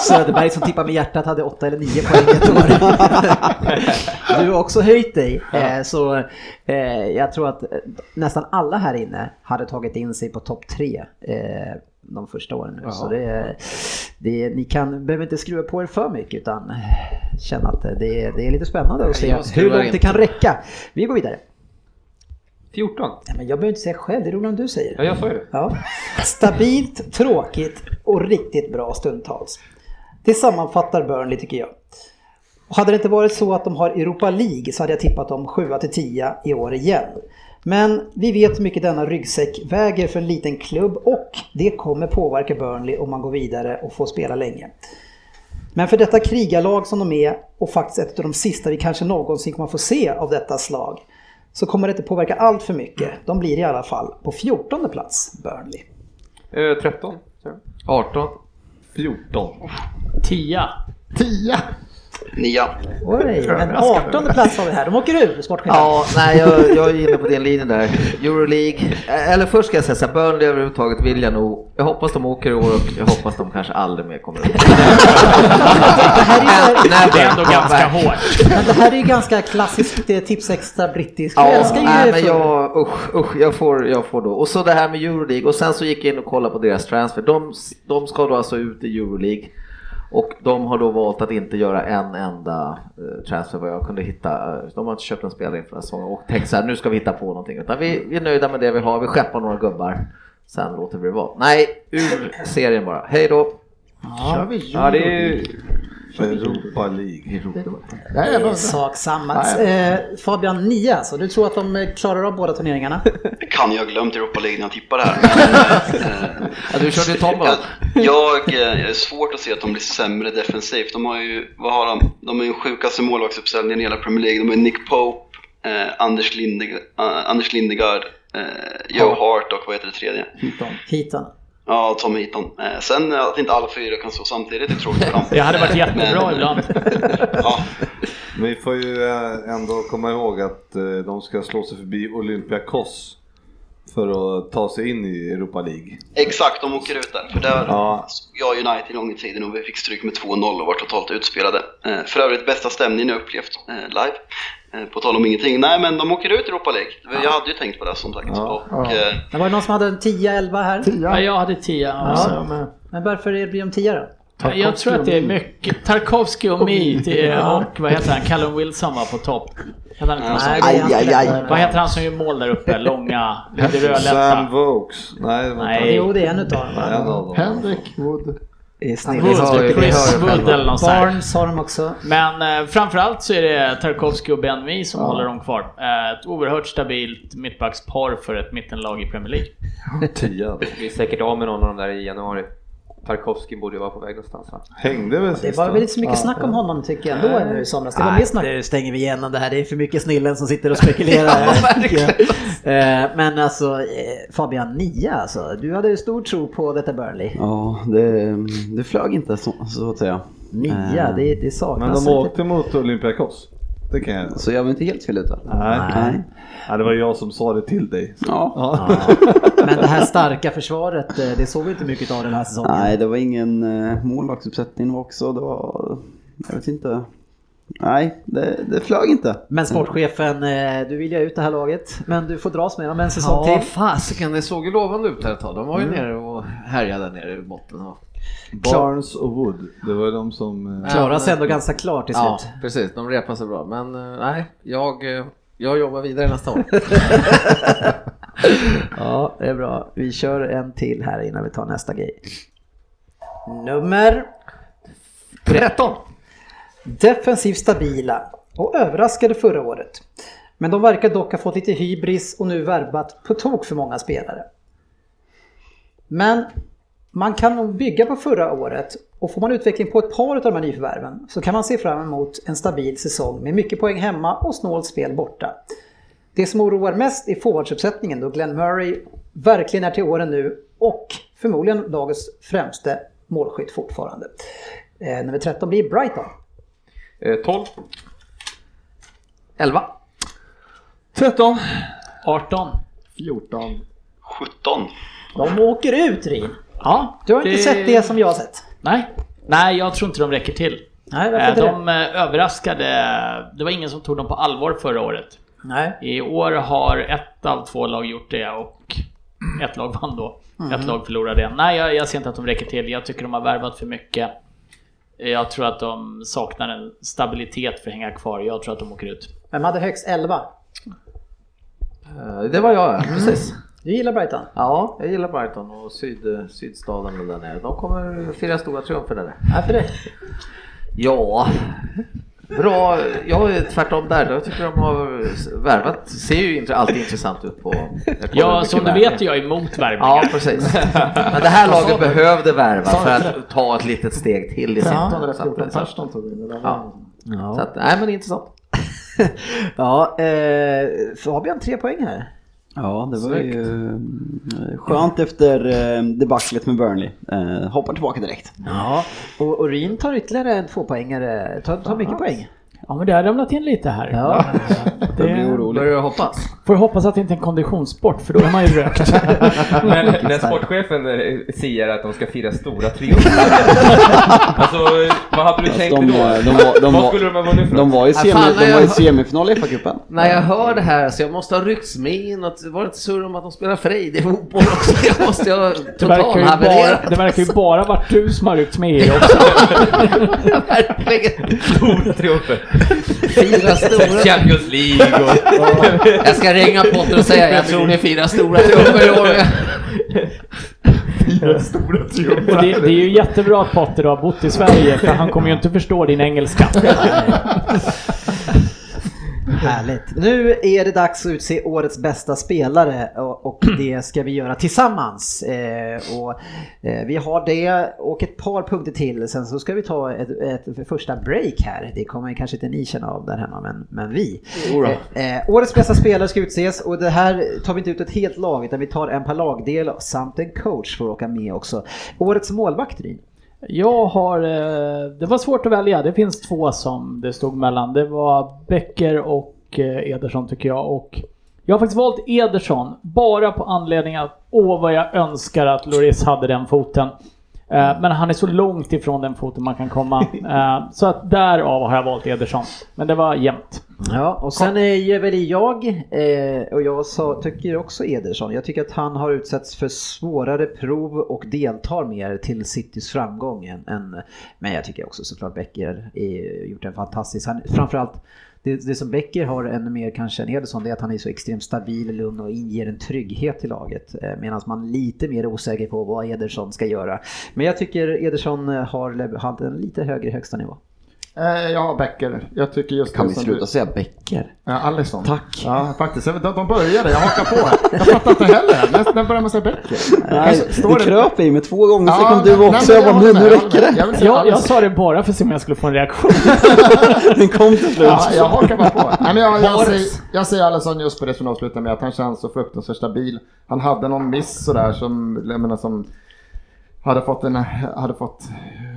[SPEAKER 3] Söderberg som tippade med hjärtat hade 8 eller 9 poäng ett år. Du har också höjt dig. eh, Så eh, jag tror att eh, nästan alla här inne hade tagit in sig på topp 3 de första åren. nu.
[SPEAKER 5] Jaha.
[SPEAKER 3] Så det, är- det, är- ni kan, behöver inte skruva på er för mycket utan eh, känna att det, är- det är lite spännande att se
[SPEAKER 5] Jag
[SPEAKER 3] hur
[SPEAKER 5] skruvar
[SPEAKER 3] långt det
[SPEAKER 5] inte.
[SPEAKER 3] kan räcka. Vi går vidare.
[SPEAKER 9] 14.
[SPEAKER 3] Nej, men jag behöver inte säga själv, det är roligare om du säger.
[SPEAKER 9] Ja, jag sa ju det.
[SPEAKER 3] Ja. Stabilt, tråkigt och riktigt bra stundtals. Det sammanfattar Burnley tycker jag. Hade det inte varit så att de har Europa League så hade jag tippat dem 7 till 10 i år igen. Men vi vet hur mycket denna ryggsäck väger för en liten klubb och det kommer påverka Burnley om man går vidare och får spela länge. Men för detta krigarlag som de är och faktiskt ett av de sista vi kanske någonsin kommer få se av detta slag så kommer det inte påverka allt för mycket. De blir i alla fall på 14 plats, Burnley.
[SPEAKER 9] Eh, 13.
[SPEAKER 19] 18.
[SPEAKER 6] 14.
[SPEAKER 5] 10.
[SPEAKER 20] 10.
[SPEAKER 7] 9.
[SPEAKER 3] Oj, men 18 plats har vi här. De åker ur, Sportchefen.
[SPEAKER 8] Ja, nej jag, jag är inne på din linje där. Euroleague, eh, eller först ska jag säga så här, Burnley överhuvudtaget vill jag nog, jag hoppas de åker i år och jag hoppas de kanske aldrig mer kommer upp.
[SPEAKER 5] Det är ändå ganska hårt.
[SPEAKER 3] Men det här är ju ganska klassiskt eh, tipsextra brittiskt.
[SPEAKER 8] Ja,
[SPEAKER 3] jag älskar ju
[SPEAKER 8] nej,
[SPEAKER 3] det
[SPEAKER 8] men
[SPEAKER 3] för-
[SPEAKER 8] jag, usch, usch, jag, får, jag får då. Och så det här med Euroleague och sen så gick jag in och kollade på deras transfer. De, de ska då alltså ut i Euroleague och de har då valt att inte göra en enda eh, transfer vad jag kunde hitta. Eh, De har inte köpt en spelare inför den här säsongen och tänkt så här nu ska vi hitta på någonting utan vi, vi är nöjda med det vi har. Vi skeppar några gubbar. Sen låter vi det vara. Nej, ur serien bara. Hej då!
[SPEAKER 3] Ja, vi
[SPEAKER 9] Ja, det är ju...
[SPEAKER 6] Europa League.
[SPEAKER 3] Det är Sak samma. Eh, Fabian 9 alltså. Du tror att de eh, klarar av båda turneringarna?
[SPEAKER 7] Kan jag ha glömt Europa League när jag tippade här. Men, eh,
[SPEAKER 8] ja, du körde ju tombola.
[SPEAKER 7] Jag, eh, jag är svårt att se att de blir sämre defensivt. De har ju, vad har de? De är ju den sjukaste målvaktsuppställningen i hela Premier League. De har ju Nick Pope, eh, Anders, Lindeg eh, Anders Lindegaard, eh, Joe Hart och vad heter det tredje?
[SPEAKER 3] Hitan.
[SPEAKER 7] Ja, Tom Heaton. Eh, sen eh, att inte alla fyra kan stå samtidigt är tråkigt för dem.
[SPEAKER 5] Det hade varit jättebra
[SPEAKER 7] Men-
[SPEAKER 5] ibland.
[SPEAKER 6] Men vi får ju eh, ändå komma ihåg att eh, de ska slå sig förbi Olympiakos för att ta sig in i Europa League.
[SPEAKER 7] Exakt, de åker ut där. För där
[SPEAKER 6] Ja.
[SPEAKER 7] såg jag United en gång i tiden och vi fick stryk med 2-0 och var totalt utspelade. Eh, För övrigt bästa stämningen jag upplevt eh, live. Eh, På tal om ingenting. Nej men de åker ut i Europa League. Jag hade ju tänkt på det som sagt. Och, eh,
[SPEAKER 3] Det var ju någon som hade en 10-11 här. 10.
[SPEAKER 5] Ja, jag hade 10.
[SPEAKER 3] Ja.
[SPEAKER 5] Alltså, men...
[SPEAKER 3] Men varför är det blir de 10 då?
[SPEAKER 5] Jag tror att det är mycket Tarkovsky och Meat
[SPEAKER 3] Ja.
[SPEAKER 5] och vad heter han? Callum Wilson var på topp. Hade han inte något sånt?
[SPEAKER 3] aj, aj, aj.
[SPEAKER 5] Vad heter han som gör mål där uppe? Långa, lite rödlätta.
[SPEAKER 6] Sam Vokes. Nej, det var
[SPEAKER 5] Nej. Jo, det är en
[SPEAKER 3] utav
[SPEAKER 6] dem. En av dem.
[SPEAKER 20] Henrik Wood.
[SPEAKER 5] Wood, Chris Wood eller något sånt här.
[SPEAKER 3] Barnes har de också.
[SPEAKER 5] Men eh, framförallt så är det Tarkovsky och Ben Mee som håller dem kvar. Eh, ett oerhört stabilt mittbackspar för ett mittenlag i Premier League.
[SPEAKER 6] Tia.
[SPEAKER 9] Vi är säkert av med någon av dem där i januari. Tarkovsky borde ju vara på väg någonstans va?
[SPEAKER 6] Hängde väl
[SPEAKER 3] Det var väl inte så mycket snack om honom tycker jag ändå nu i somras. Det var mer snack.
[SPEAKER 2] Nu stänger vi igenom det här. Det är för mycket snillen som sitter och spekulerar. Eh, Men alltså eh, Fabian 9 alltså. Du hade ju stor tro på detta Burnley.
[SPEAKER 21] Ja, det, det flög inte så, så att säga.
[SPEAKER 2] Nia,
[SPEAKER 21] Eh,
[SPEAKER 2] det, det saknas.
[SPEAKER 6] Men de åkte mot Olympiakos. Det kan jag
[SPEAKER 21] Så jag var inte helt fel ute.
[SPEAKER 6] Nej.
[SPEAKER 21] Nej.
[SPEAKER 6] Ja, det var jag som sa det till dig.
[SPEAKER 21] Ja.
[SPEAKER 2] Men det här starka försvaret, eh, det såg vi inte mycket av den här säsongen.
[SPEAKER 21] Nej, det var ingen eh, målvaktsuppsättning också. Det var... Jag vet inte. Nej, det, det flög inte.
[SPEAKER 7] Mm.
[SPEAKER 2] Men sportchefen, eh, du vill ju ha ut det här laget. Men du får dras med dem en säsong
[SPEAKER 8] Ja,
[SPEAKER 2] till.
[SPEAKER 8] fasiken, det såg ju lovande ut här ett tag. De var ju
[SPEAKER 2] Mm.
[SPEAKER 8] nere och härjade där nere i botten. Och...
[SPEAKER 6] Barnes och Wood. Det var de som... eh,
[SPEAKER 8] Klarade sig ändå
[SPEAKER 2] ganska klart till
[SPEAKER 8] Ja,
[SPEAKER 2] slut.
[SPEAKER 8] precis. De repade sig bra. Men eh, nej, jag, eh, jag jobbar vidare nästa år.
[SPEAKER 2] Ja, det är bra. Vi kör en till här innan vi tar nästa grej. Nummer
[SPEAKER 8] 13.
[SPEAKER 3] Defensivt stabila och överraskade förra året. Men de verkar dock ha fått lite hybris och nu värvat på tok för många spelare. Men man kan nog bygga på förra året och får man utveckling på ett par av de här nyförvärven så kan man se fram emot en stabil säsong med mycket poäng hemma och snålt spel borta. Det som oroar mest är forwardsuppsättningen då Glenn Murray verkligen är till åren nu och förmodligen dagens främste målskytt fortfarande. Eh, nummer 13 blir Brighton.
[SPEAKER 9] Eh, 12.
[SPEAKER 8] 11.
[SPEAKER 9] 13.
[SPEAKER 5] 18.
[SPEAKER 20] 14.
[SPEAKER 7] 17.
[SPEAKER 3] De åker ut Rin.
[SPEAKER 5] Ja,
[SPEAKER 3] Du har inte sett det som jag har sett.
[SPEAKER 5] Nej. Nej, jag tror inte de räcker till.
[SPEAKER 3] Nej, varför
[SPEAKER 5] Eh,
[SPEAKER 3] inte
[SPEAKER 5] de eh, överraskade. Det var ingen som tog dem på allvar förra året.
[SPEAKER 3] Nej.
[SPEAKER 5] I år har ett av två lag gjort det och ett lag vann då.
[SPEAKER 2] Mm.
[SPEAKER 8] Mhm.
[SPEAKER 5] Ett lag förlorade. Nej, jag, jag ser inte att de räcker till. Jag tycker de har värvat för mycket. Jag tror att de saknar en stabilitet för att hänga kvar. Jag tror att de åker ut.
[SPEAKER 3] Vem hade högst 11?
[SPEAKER 8] Eh, Det var jag, ja. precis.
[SPEAKER 3] Du gillar Brighton?
[SPEAKER 8] Ja, jag gillar Brighton och syd, sydstaden och där nere. De kommer fira stora triumfer där.
[SPEAKER 3] Varför det?
[SPEAKER 8] Ja, bra, jag är tvärtom där. Jag tycker de har värvat. Ser ju inte alltid intressant ut på... jag kollar
[SPEAKER 5] Ja,
[SPEAKER 8] mycket
[SPEAKER 5] som du
[SPEAKER 8] värvning.
[SPEAKER 5] vet jag är emot värvningar.
[SPEAKER 8] Ja, precis. Men det här
[SPEAKER 5] Vad sa
[SPEAKER 8] laget
[SPEAKER 5] du?
[SPEAKER 8] behövde värva
[SPEAKER 5] Sa du?
[SPEAKER 8] för att ta ett litet steg till i sin...
[SPEAKER 10] Ja.
[SPEAKER 8] så att- så att-
[SPEAKER 10] De tog in det där.
[SPEAKER 8] Ja. Så att, nej men det är intressant.
[SPEAKER 3] ja, eh, Fabian tre poäng här.
[SPEAKER 7] Ja, det var
[SPEAKER 3] Snyggt.
[SPEAKER 7] ju eh, skönt efter eh, debaclet med Burnley. Eh, hoppar tillbaka direkt.
[SPEAKER 3] Ja, och Orin tar ytterligare en tvåpoängare. Tar, tar mycket poäng.
[SPEAKER 5] Ja, men det har ramlat in lite här.
[SPEAKER 3] Ja.
[SPEAKER 5] Det blir
[SPEAKER 8] oroligt. Börjar du hoppas?
[SPEAKER 5] Får jag hoppas att det inte är en konditionssport för då är man ju rökt.
[SPEAKER 9] Men när sportchefen eh, säger att de ska fira stora triumfer. alltså, vad hade du
[SPEAKER 7] Fast
[SPEAKER 9] tänkt
[SPEAKER 7] de,
[SPEAKER 9] dig då?
[SPEAKER 8] eh,
[SPEAKER 7] var- de var- de
[SPEAKER 9] vad
[SPEAKER 7] var-
[SPEAKER 9] skulle de ha vunnit för
[SPEAKER 7] De var i,
[SPEAKER 9] något?
[SPEAKER 7] semi,
[SPEAKER 8] fan, när
[SPEAKER 7] de var i
[SPEAKER 8] jag-
[SPEAKER 7] semifinal i FA-cupen.
[SPEAKER 8] När jag hör det här så jag måste ha ryckts med i något, var det inte surr om att de spelar Frej i fotboll också? Jag måste ha
[SPEAKER 5] Det verkar, ju bara,
[SPEAKER 8] totalhavererat.
[SPEAKER 5] det verkar ju bara varit du som har ryckts med i det också.
[SPEAKER 9] Stora triumfer.
[SPEAKER 8] Fyra stora.
[SPEAKER 9] Champions League och...
[SPEAKER 8] Jag ska ringa Potter och säga jag tror ni firar stora trummor i år.
[SPEAKER 5] Och det, det är ju jättebra att Potter har bott i Sverige för han kommer ju inte förstå din engelska.
[SPEAKER 3] Härligt. Nu är det dags att utse årets bästa spelare och och det ska vi göra tillsammans. Eh, och eh, vi har det och ett par punkter till. Sen så ska vi ta ett, ett första break här. Det kommer kanske inte ni känna av där hemma, men, men vi.
[SPEAKER 12] Jodå.
[SPEAKER 3] Eh, eh, årets bästa spelare ska utses och det här tar vi inte ut ett helt lag utan vi tar en per lagdel samt en coach får åka med också. Årets målvakt Ryn.
[SPEAKER 5] Jag har... eh, Det var svårt att välja. Det finns två som det stod mellan. Det var Becker och eh, Ederson tycker jag. Och jag har faktiskt valt Ederson bara på anledning att åh vad jag önskar att Loris hade den foten. Eh, Men han är så långt ifrån den foten man kan komma. Eh, Så att därav har jag valt Ederson. Men det var jämnt.
[SPEAKER 3] Ja, och sen är väl jag, eh, och jag sa, tycker också Ederson, jag tycker att han har utsatts för svårare prov och deltar mer till Citys framgång än, än men jag tycker också såklart Becker är, gjort en fantastisk, han, framförallt det, det som Becker har ännu mer kanske än Ederson det är att han är så extremt stabil, lugn och inger en trygghet till laget. Eh, Medan man är lite mer osäker på vad Ederson ska göra. Men jag tycker Ederson eh, har lev- haft en lite högre högsta nivå.
[SPEAKER 10] Eh, ja, Becker. Jag tycker just
[SPEAKER 3] Kan
[SPEAKER 10] det
[SPEAKER 3] vi
[SPEAKER 10] som
[SPEAKER 3] sluta
[SPEAKER 10] du...
[SPEAKER 7] säga Becker?
[SPEAKER 10] Ja, Alisson.
[SPEAKER 7] Tack.
[SPEAKER 10] Ja, faktiskt. Jag vet att de började. Jag hakar på. här. Jag fattar inte heller. När- När börjar man säga Becker? Alltså,
[SPEAKER 7] Nej,
[SPEAKER 10] Står
[SPEAKER 7] det kröp i mig två gånger, sen
[SPEAKER 10] Ja,
[SPEAKER 7] kom du
[SPEAKER 10] nej,
[SPEAKER 7] också.
[SPEAKER 10] men
[SPEAKER 7] Jag bara,
[SPEAKER 10] jag
[SPEAKER 7] nu
[SPEAKER 10] håller
[SPEAKER 7] nu
[SPEAKER 10] med,
[SPEAKER 7] räcker det.
[SPEAKER 10] vill säga
[SPEAKER 5] Jag, jag
[SPEAKER 10] Alex.
[SPEAKER 5] sa det bara för att se om jag skulle få en reaktion.
[SPEAKER 7] Den kom till slut.
[SPEAKER 10] Ja, jag hakar bara på. Nej, men jag, jag,
[SPEAKER 5] Boris.
[SPEAKER 10] säger, jag säger Alisson just på det som de avslutar med, att han känns så fruktansvärt stabil. Han hade någon miss sådär som, jag menar som hade fått en, hade fått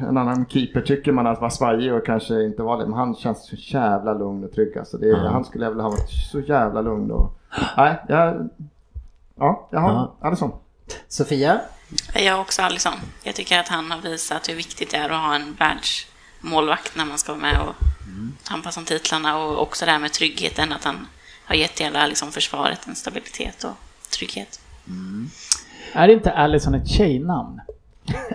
[SPEAKER 10] en annan keeper tycker man att var svajig och kanske inte var det. Men han känns så jävla lugn och trygg alltså. Det, är-
[SPEAKER 3] Ja.
[SPEAKER 10] Han skulle jag vilja ha varit så jävla lugn och... Nej, jag... Ja, jag har
[SPEAKER 3] Ja.
[SPEAKER 10] Alisson.
[SPEAKER 3] Sofia?
[SPEAKER 11] Jag har också Alisson. Jag tycker att han har visat hur viktigt det är att ha en världsmålvakt när man ska vara med och tampas om titlarna och också det här med tryggheten, att han har gett hela liksom, försvaret en stabilitet och trygghet.
[SPEAKER 5] Mm. Är inte Allison ett tjejnamn?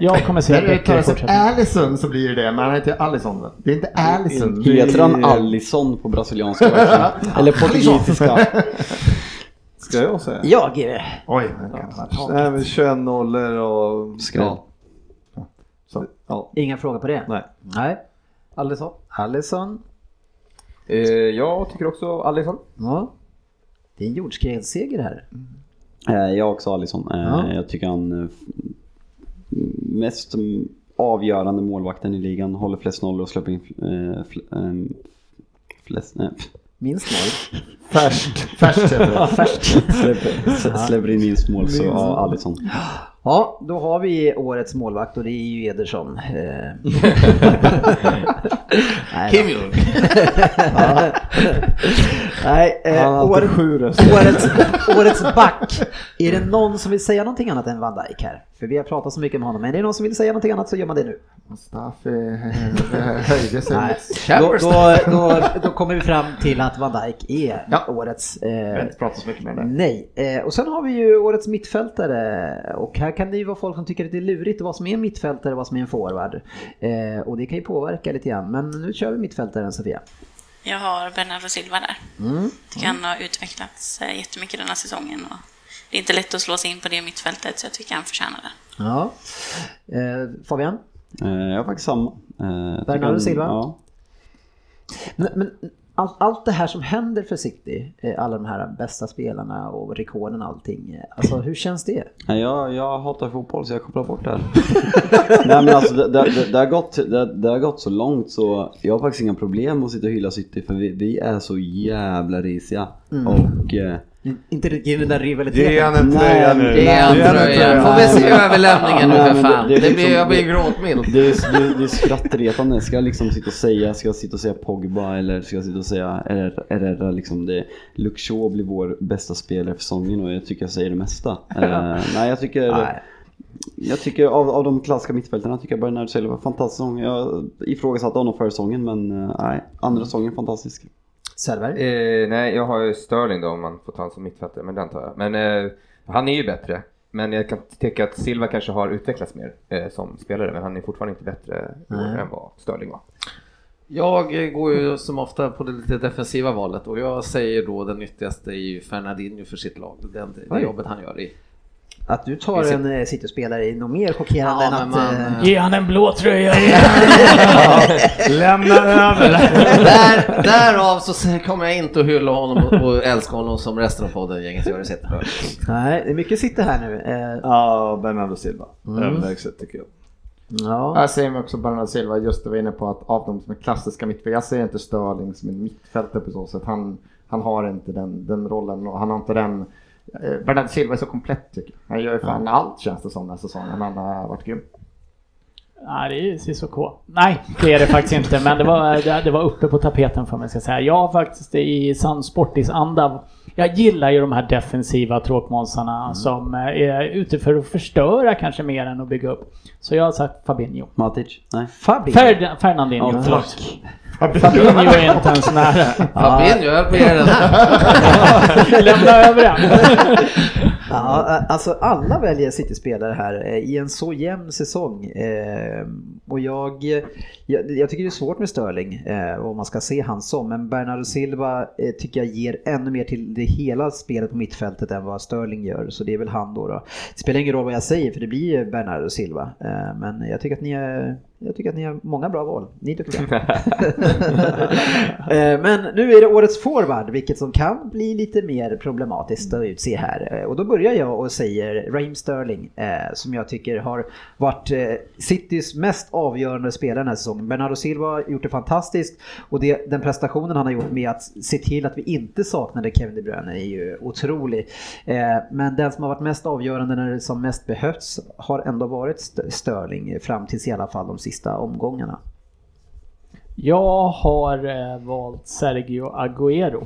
[SPEAKER 5] Jag kommer säga
[SPEAKER 10] När det
[SPEAKER 5] Becker i
[SPEAKER 10] uttalas
[SPEAKER 5] fortsättningen.
[SPEAKER 10] Allison så blir det det, men han heter Allison. va? Det är inte Allison.
[SPEAKER 7] Heter han
[SPEAKER 10] Det är-
[SPEAKER 7] Allison på brasilianska version? Eller portugisiska?
[SPEAKER 6] Ska jag säga?
[SPEAKER 3] Jag är det.
[SPEAKER 10] Oj,
[SPEAKER 6] Nej men 21 nollor och...
[SPEAKER 7] Skral.
[SPEAKER 6] Så. Ja.
[SPEAKER 3] Inga frågor på det?
[SPEAKER 6] Nej.
[SPEAKER 3] Nej. Alisson? Alisson?
[SPEAKER 9] Eh, jag tycker också Alisson.
[SPEAKER 3] Ja. Det är en jordskredsseger här.
[SPEAKER 7] Eh, Jag också Alisson. Eh,
[SPEAKER 3] Ja.
[SPEAKER 7] Jag tycker han eh, mest som avgörande målvakten i ligan. Håller flest nollor och släpper in eh, fl- eh, flest... eh, Nej.
[SPEAKER 3] Minst mål.
[SPEAKER 10] Färskt.
[SPEAKER 3] Färskt heter det.
[SPEAKER 7] Ja, färskt. Släpper,
[SPEAKER 3] Ja.
[SPEAKER 7] släpper in minst mål så
[SPEAKER 3] Minst.
[SPEAKER 7] ja, Alisson.
[SPEAKER 3] Ja, då har vi årets målvakt och det är ju Ederson. Eh. Nej då.
[SPEAKER 22] Kim Jong.
[SPEAKER 3] Ja. Nej,
[SPEAKER 6] Han
[SPEAKER 3] eh,
[SPEAKER 6] har alltid
[SPEAKER 3] år,
[SPEAKER 6] sju röster.
[SPEAKER 3] årets, årets back. Är det någon som vill säga någonting annat än Van Dijk här? För vi har pratat så mycket om honom, men är det någon som vill säga någonting annat så gör man det nu.
[SPEAKER 10] Mustafi höjde sig.
[SPEAKER 3] Nej. Då, då, då, då kommer vi fram till att Van Dijk är årets... Eh,
[SPEAKER 10] Jag har inte pratat så mycket med det.
[SPEAKER 3] Nej, eh, och sen har vi ju årets mittfältare och här kan det ju vara folk som tycker att det är lurigt vad som är en mittfältare och vad som är en forward. Eh, och det kan ju påverka lite grann, men nu kör vi mittfältaren Sofia.
[SPEAKER 11] Jag har Bernardo Silva där.
[SPEAKER 3] Mm.
[SPEAKER 11] tycker han har utvecklats eh, jättemycket den här säsongen. Och det är inte lätt att slå sig in på det mittfältet, så jag tycker han förtjänar det.
[SPEAKER 3] Ja. Eh, Fabian?
[SPEAKER 7] Eh, Jag har faktiskt samma. Eh, jag tycker
[SPEAKER 3] Bernardo
[SPEAKER 7] han-
[SPEAKER 3] Silva?
[SPEAKER 7] Ja.
[SPEAKER 3] Men, men all, allt det här som händer för City, eh, alla de här bästa spelarna och rekorden och allting. eh, Alltså hur känns det?
[SPEAKER 7] Nej, jag, jag hatar fotboll så jag kopplar bort det här. Nej men alltså det, det, det, det, har gått, det, det har gått så långt så jag har faktiskt inga problem att sitta och hylla City för vi, vi är så jävla risiga.
[SPEAKER 3] Mm.
[SPEAKER 7] Och, eh,
[SPEAKER 3] Inte riktigt den där rivaliteten.
[SPEAKER 7] Nej, men liksom- Det är, det, är- det är skrattretande. Ska jag liksom sitta och säga, ska jag sitta och säga Pogba eller ska jag sitta och säga RR liksom det, Luke Shaw blir vår bästa spelare för säsongen och jag tycker jag säger det mesta. Eh, nej jag tycker
[SPEAKER 3] Nej.
[SPEAKER 7] Jag tycker av, av de klassiska mittfältarna tycker jag Bernard Silva var fantastisk säsong. Jag ifrågasatte honom förra säsongen men eh, nej, andra säsongen fantastisk.
[SPEAKER 9] Eh, nej, jag har ju Sterling då om man får ta honom som mittfältare, men den tar jag. Men eh, han är ju bättre. Men jag kan tycka att Silva kanske har utvecklats mer eh, som spelare, men han är fortfarande inte bättre i år
[SPEAKER 8] Nej.
[SPEAKER 9] än vad Sterling var.
[SPEAKER 8] Jag eh, går ju som ofta på det lite defensiva valet och jag säger då den nyttigaste är ju Fernandinho för sitt lag. Den, det
[SPEAKER 3] Oj.
[SPEAKER 8] jobbet han gör i.
[SPEAKER 3] Att du tar en eh, City-spelare är nog mer chockerande
[SPEAKER 8] Ja,
[SPEAKER 3] än
[SPEAKER 8] men
[SPEAKER 3] att...
[SPEAKER 8] man,
[SPEAKER 3] eh,
[SPEAKER 5] Ge han en blå tröja!
[SPEAKER 3] Lämna över.
[SPEAKER 8] Där, därav så säger- kommer jag inte att hylla honom och, och älska honom som resten av podden gänget gör i sitt bra.
[SPEAKER 3] Nej, det är mycket sitter här nu. Eh,
[SPEAKER 6] Ja, Bernardo Silva.
[SPEAKER 3] Mm.
[SPEAKER 6] Överlägset tycker jag.
[SPEAKER 3] Ja.
[SPEAKER 10] Jag säger mig också Bernardo Silva, just det vi är inne på, att av de som är klassiska mittfältare, jag ser inte Störling som en mittfältare på så sätt. Han, han har inte den, den rollen och han har inte den... Eh, Bernardo Silva är så komplett tycker jag. Han gör ju fan allt känns det som den här säsongen. Han har varit grym.
[SPEAKER 5] Nej, det är ju Cissoko. Nej, det är det faktiskt inte. Men det var, det- det var uppe på tapeten för mig ska jag säga. Jag har faktiskt i sann sportis-anda. Jag gillar ju de här defensiva tråkmånsarna
[SPEAKER 7] Mm.
[SPEAKER 5] som eh, är ute för att förstöra kanske mer än att bygga upp. Så jag har sagt Fabinho.
[SPEAKER 7] Matic? Nej.
[SPEAKER 3] Fabinho?
[SPEAKER 5] Ferd- Fernandinho,
[SPEAKER 7] Ja,
[SPEAKER 5] förlåt. Fabinho är inte ens nära.
[SPEAKER 8] Fabinho, jag höll på att ge den
[SPEAKER 3] här.
[SPEAKER 5] Lämna över den.
[SPEAKER 3] ja, alltså alla väljer City-spelare här eh, i en så jämn säsong. Eh, Och jag, jag, jag tycker det är svårt med Sterling, eh, vad man ska se han som. Men Bernardo Silva eh, tycker jag ger ännu mer till det hela spelet på mittfältet än vad Sterling gör. Så det är väl han då. då. Det spelar ingen roll vad jag säger för det blir ju Bernardo Silva. Eh, Men jag tycker att ni är... Jag tycker att ni har många bra val. Ni är duktiga. Eh, Men nu är det årets forward, vilket som kan bli lite mer problematiskt att utse här. Eh, Och då börjar jag och säger Raheem Sterling, eh, som jag tycker har varit eh, Citys mest avgörande spelare den här säsongen. Bernardo Silva har gjort det fantastiskt och det, den prestationen han har gjort med att se till att vi inte saknade Kevin De Bruyne är ju otrolig. Eh, Men den som har varit mest avgörande när det som mest behövs har ändå varit St- Sterling eh, fram tills i alla fall de sista omgångarna.
[SPEAKER 5] Jag har eh, valt Sergio Agüero.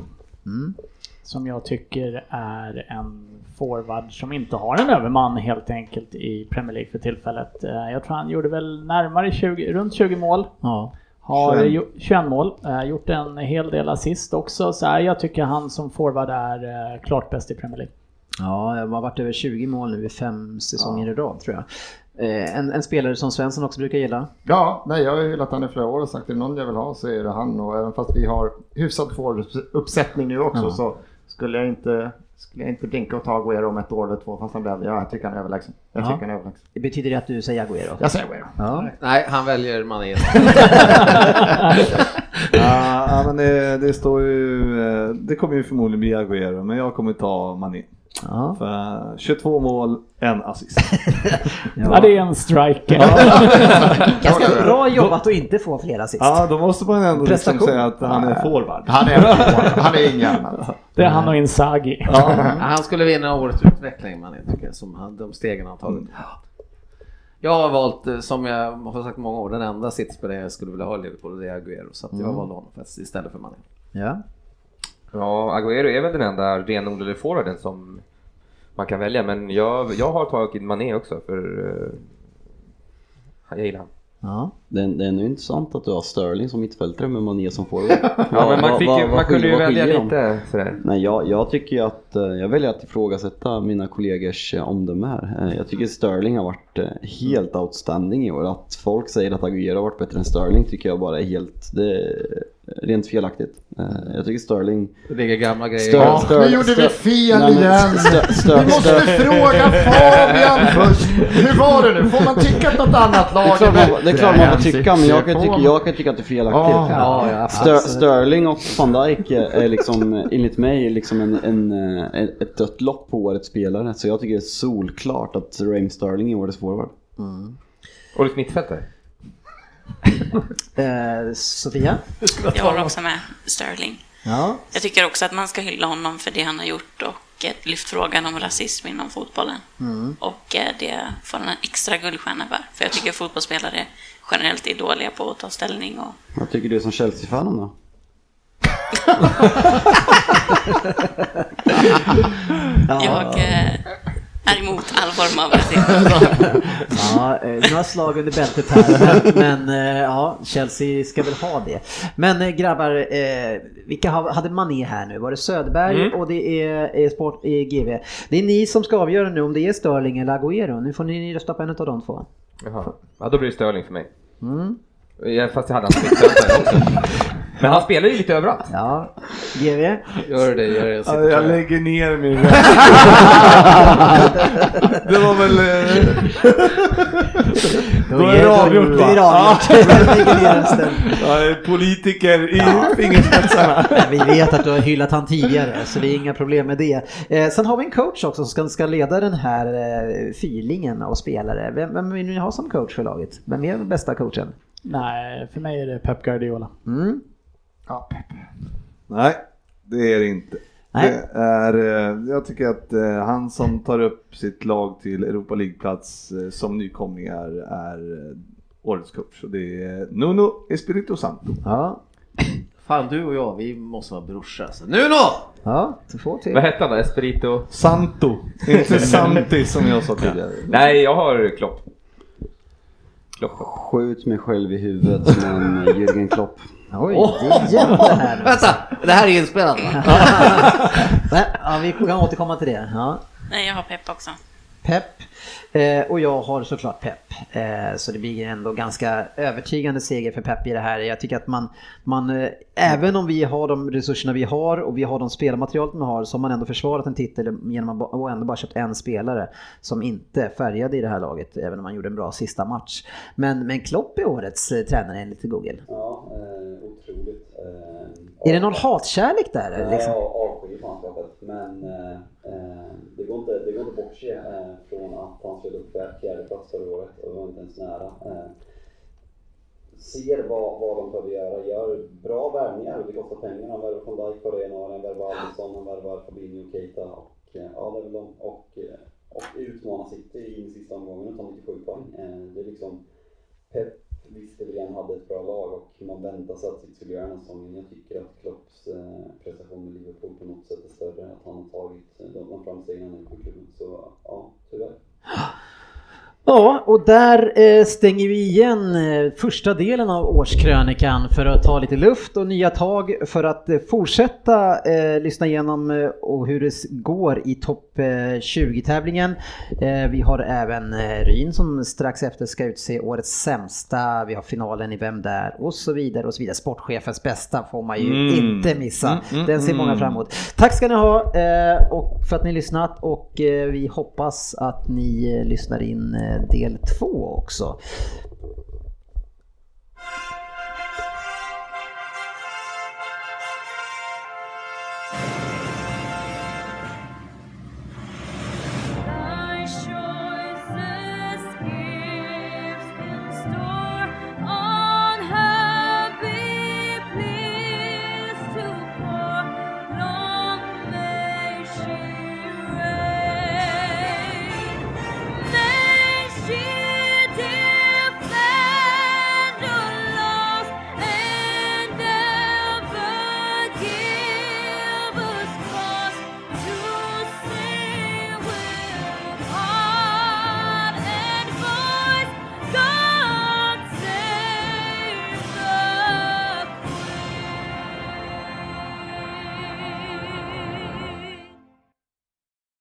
[SPEAKER 5] Som jag tycker är en forward som inte har en överman helt enkelt i Premier League för tillfället. Eh, Jag tror han gjorde väl närmare 20, runt 20 mål.
[SPEAKER 3] Ja.
[SPEAKER 5] Har
[SPEAKER 3] 21.
[SPEAKER 5] 21, 21 mål, eh, gjort en hel del assist också. Så här, jag tycker han som forward är eh, klart bäst i Premier League.
[SPEAKER 3] Ja, de har varit över 20 mål nu i fem säsonger i rad tror jag. Eh, En, en spelare som Svensson också brukar gilla.
[SPEAKER 10] Ja, nej, jag har ju hyllat han i flera år och sagt att det är någon jag vill ha så är det han. Och även fast vi har hyfsad uppsättning nu också
[SPEAKER 3] Ja.
[SPEAKER 10] så skulle jag inte, skulle jag inte blinka och ta Aguero om ett år eller två fast han blev, ja, jag tycker han är överlägsen. Jag tycker han är överlägsen.
[SPEAKER 3] Det betyder det att du säger Agüero?
[SPEAKER 10] Jag säger Agüero.
[SPEAKER 3] Ja.
[SPEAKER 8] Nej, han väljer Mané.
[SPEAKER 6] ja, ja, men det, det står ju, eh, det kommer ju förmodligen bli Agüero men jag kommer ta Mané. För eh, 22 mål, en assist.
[SPEAKER 5] Ja. det är en striker.
[SPEAKER 3] Ganska bra jobbat att inte få flera assist.
[SPEAKER 6] Ja, då måste man ändå liksom
[SPEAKER 3] Prestation.
[SPEAKER 6] säga att han är forward.
[SPEAKER 10] Han är forward. Han är inget annat.
[SPEAKER 5] Det är han och Inzaghi.
[SPEAKER 8] Han skulle vinna årets utveckling Mané tycker jag, som han, de stegen han tagit.
[SPEAKER 7] Mm.
[SPEAKER 8] Jag har valt, eh, som jag har sagt många år, den enda sittspelare jag skulle vilja ha i Liverpool och det är Agüero. Så att jag
[SPEAKER 9] Mm.
[SPEAKER 8] valde honom faktiskt istället för Mané.
[SPEAKER 3] Ja.
[SPEAKER 9] Ja, Agüero är väl den enda renodlade forwarden som man kan välja, men jag, jag har tagit Mané också för eh, jag gillar han.
[SPEAKER 3] Ja.
[SPEAKER 7] Det, är- det är ändå intressant att du har Sterling som mittfältare med Mané som forward. ja,
[SPEAKER 9] men man fick ju- man kunde ju välja lite sådär.
[SPEAKER 7] Nej, jag, jag tycker ju att eh, jag väljer att ifrågasätta mina kollegors eh, omdöme här. Eh, Jag tycker Sterling har varit eh, helt outstanding i år. Att folk säger att Aguero har varit bättre än Sterling tycker jag bara är helt det är rent felaktigt. Eh, Eh, Jag tycker Sterling...
[SPEAKER 23] Det ligger gamla grejer.
[SPEAKER 7] Stör-
[SPEAKER 23] Ja.
[SPEAKER 7] stör-
[SPEAKER 23] Nu gjorde vi
[SPEAKER 7] stör-
[SPEAKER 23] fel
[SPEAKER 7] Nej, men
[SPEAKER 23] igen.
[SPEAKER 7] stö- stö-
[SPEAKER 23] Vi måste
[SPEAKER 7] stö-
[SPEAKER 23] fråga
[SPEAKER 10] Fabian först. Hur var det nu? Får man tycka att något annat lag
[SPEAKER 7] Det är klart man, det är klart man får
[SPEAKER 10] bättre?
[SPEAKER 7] tycka, men jag kan,
[SPEAKER 10] Se
[SPEAKER 7] tycka,
[SPEAKER 10] på.
[SPEAKER 7] jag kan tycka att det är
[SPEAKER 10] Ja,
[SPEAKER 7] felaktigt.
[SPEAKER 10] ja, ja,
[SPEAKER 7] Stö,
[SPEAKER 10] absolut.
[SPEAKER 7] Sterling och van Dijk är liksom, enligt mig, liksom en, en, eh, ett dött lopp på årets spelare. Så jag tycker det är solklart att Raheem Sterling är årets forward.
[SPEAKER 3] Mm.
[SPEAKER 9] Årets mittfältare?
[SPEAKER 3] Eh, Sofia?
[SPEAKER 11] Jag håller också med Sterling.
[SPEAKER 3] Ja.
[SPEAKER 11] Jag tycker också att man ska hylla honom för det han har gjort och eh, lyft frågan om rasism inom fotbollen.
[SPEAKER 3] Mm.
[SPEAKER 11] Och eh, det får han en extra guldstjärna för. För jag tycker fotbollsspelare generellt är dåliga på att ta ställning och
[SPEAKER 7] Vad tycker du som Chelsea-fan om då?
[SPEAKER 11] jag eh, är emot all form av rasism.
[SPEAKER 3] ja, eh, några slag under bältet här, men, men eh, ja, Chelsea ska väl ha det. Men eh, grabbar, eh, vilka ha- hade Mané här nu? Var det Söderberg
[SPEAKER 24] Mm.
[SPEAKER 3] och det är, är Sport i GV. Det är ni som ska avgöra nu om det är Sterling eller Agüero. Nu får ni rösta på en av de två.
[SPEAKER 9] Jaha. Ja, då blir det Sterling för mig.
[SPEAKER 3] Mm.
[SPEAKER 9] Ja, Fast jag hade hans mittfältare också. Men han spelar ju lite överallt.
[SPEAKER 3] Ja, GV?
[SPEAKER 23] Gör det, gör det. Jag
[SPEAKER 6] Ja,
[SPEAKER 23] sitter
[SPEAKER 6] jag
[SPEAKER 23] här.
[SPEAKER 6] lägger ner min röst. Det var väl... eh,
[SPEAKER 3] Då
[SPEAKER 6] Då
[SPEAKER 3] är-
[SPEAKER 6] är det
[SPEAKER 3] då-
[SPEAKER 6] avgjort
[SPEAKER 3] då
[SPEAKER 6] va?
[SPEAKER 3] är det avgjort.
[SPEAKER 6] Ja.
[SPEAKER 3] Jag lägger ner rösten.
[SPEAKER 6] Jag är politiker i fingerspetsarna.
[SPEAKER 3] Vi vet att du har hyllat han tidigare så det är inga problem med det. Eh, sen har vi en coach också som ska, ska leda den här eh, fyrlingen av spelare. Vem, vem vill ni ha som coach för laget? Vem är den bästa coachen?
[SPEAKER 5] Nej, för mig är det Pep Guardiola.
[SPEAKER 3] Mm.
[SPEAKER 6] Nej, det är det inte.
[SPEAKER 5] Nej.
[SPEAKER 6] Det är, eh, jag tycker att eh, han som tar upp sitt lag till Europa League-plats eh, som nykomlingar är eh, årets coach. Och det är Nuno Espirito Santo.
[SPEAKER 3] Ja.
[SPEAKER 8] Fan du och jag, vi måste vara brorsor alltså. Nu då!
[SPEAKER 3] Ja, du får till.
[SPEAKER 9] Vad hette han då? Esperito?
[SPEAKER 6] Santo. Inte Santi som jag sa tidigare.
[SPEAKER 9] Nej, jag har Klopp.
[SPEAKER 7] Skjut mig själv i huvudet men eh, Jürgen Klopp.
[SPEAKER 3] Oj, det är jämnt det här nu.
[SPEAKER 8] Vänta, det här är inspelat va?
[SPEAKER 3] Nej, ja, vi kan återkomma till det. Ja.
[SPEAKER 11] Nej, jag har pepp också.
[SPEAKER 3] Pepp. Eh, och jag har såklart Pepp. Eh, så det blir ändå ganska övertygande seger för Pepp i det här. Jag tycker att man, man eh, även om vi har de resurserna vi har och vi har de spelmaterial vi har så har man ändå försvarat en titel genom att ba- och ändå bara köpt en spelare som inte färgade i det här laget även om man gjorde en bra sista match. Men, men Klopp är årets eh, tränare enligt Google.
[SPEAKER 7] Ja, eh, otroligt. Eh,
[SPEAKER 3] Är det någon hatkärlek där? eller
[SPEAKER 7] Nej,
[SPEAKER 3] Liksom?
[SPEAKER 7] jag avskyr fanskapet. Men eh, eh, det, går inte, det går inte att bortse eh, från att han slog upp fjär- fjärde plats förra året och var inte ens nära. Eh, ser vad, vad de behöver göra, gör bra värvningar. Det kostar pengar. Han värvar från Dijk på januari, han värvar Alisson, han värvar Fabinho och Keita. Och, eh, ja, det är väl de. Och, eh, och utmanar City in i sista omgången och tar 97 poäng. Eh, det är liksom Pep visste väl han hade ett bra lag och man väntade sig att City skulle göra den här säsongen. Jag tycker att Klopps eh, prestation i Liverpool på något sätt är större. Att han har tagit eh, de de framstegen han har gjort i klubben. Så ja, tyvärr.
[SPEAKER 3] Ja, och där eh, stänger vi igen eh, första delen av årskrönikan för att ta lite luft och nya tag för att eh, fortsätta eh, lyssna igenom eh, och hur det s- går i topp eh, 20-tävlingen. Eh, vi har även eh, Ryn som strax efter ska utse årets sämsta. Vi har finalen i Vem där? och så vidare och så vidare. Sportchefens bästa får man ju
[SPEAKER 24] Mm.
[SPEAKER 3] inte missa.
[SPEAKER 24] Mm, mm,
[SPEAKER 3] Den ser många
[SPEAKER 24] mm.
[SPEAKER 3] fram emot. Tack ska ni ha eh, och för att ni lyssnat och eh, vi hoppas att ni eh, lyssnar in eh, del två också.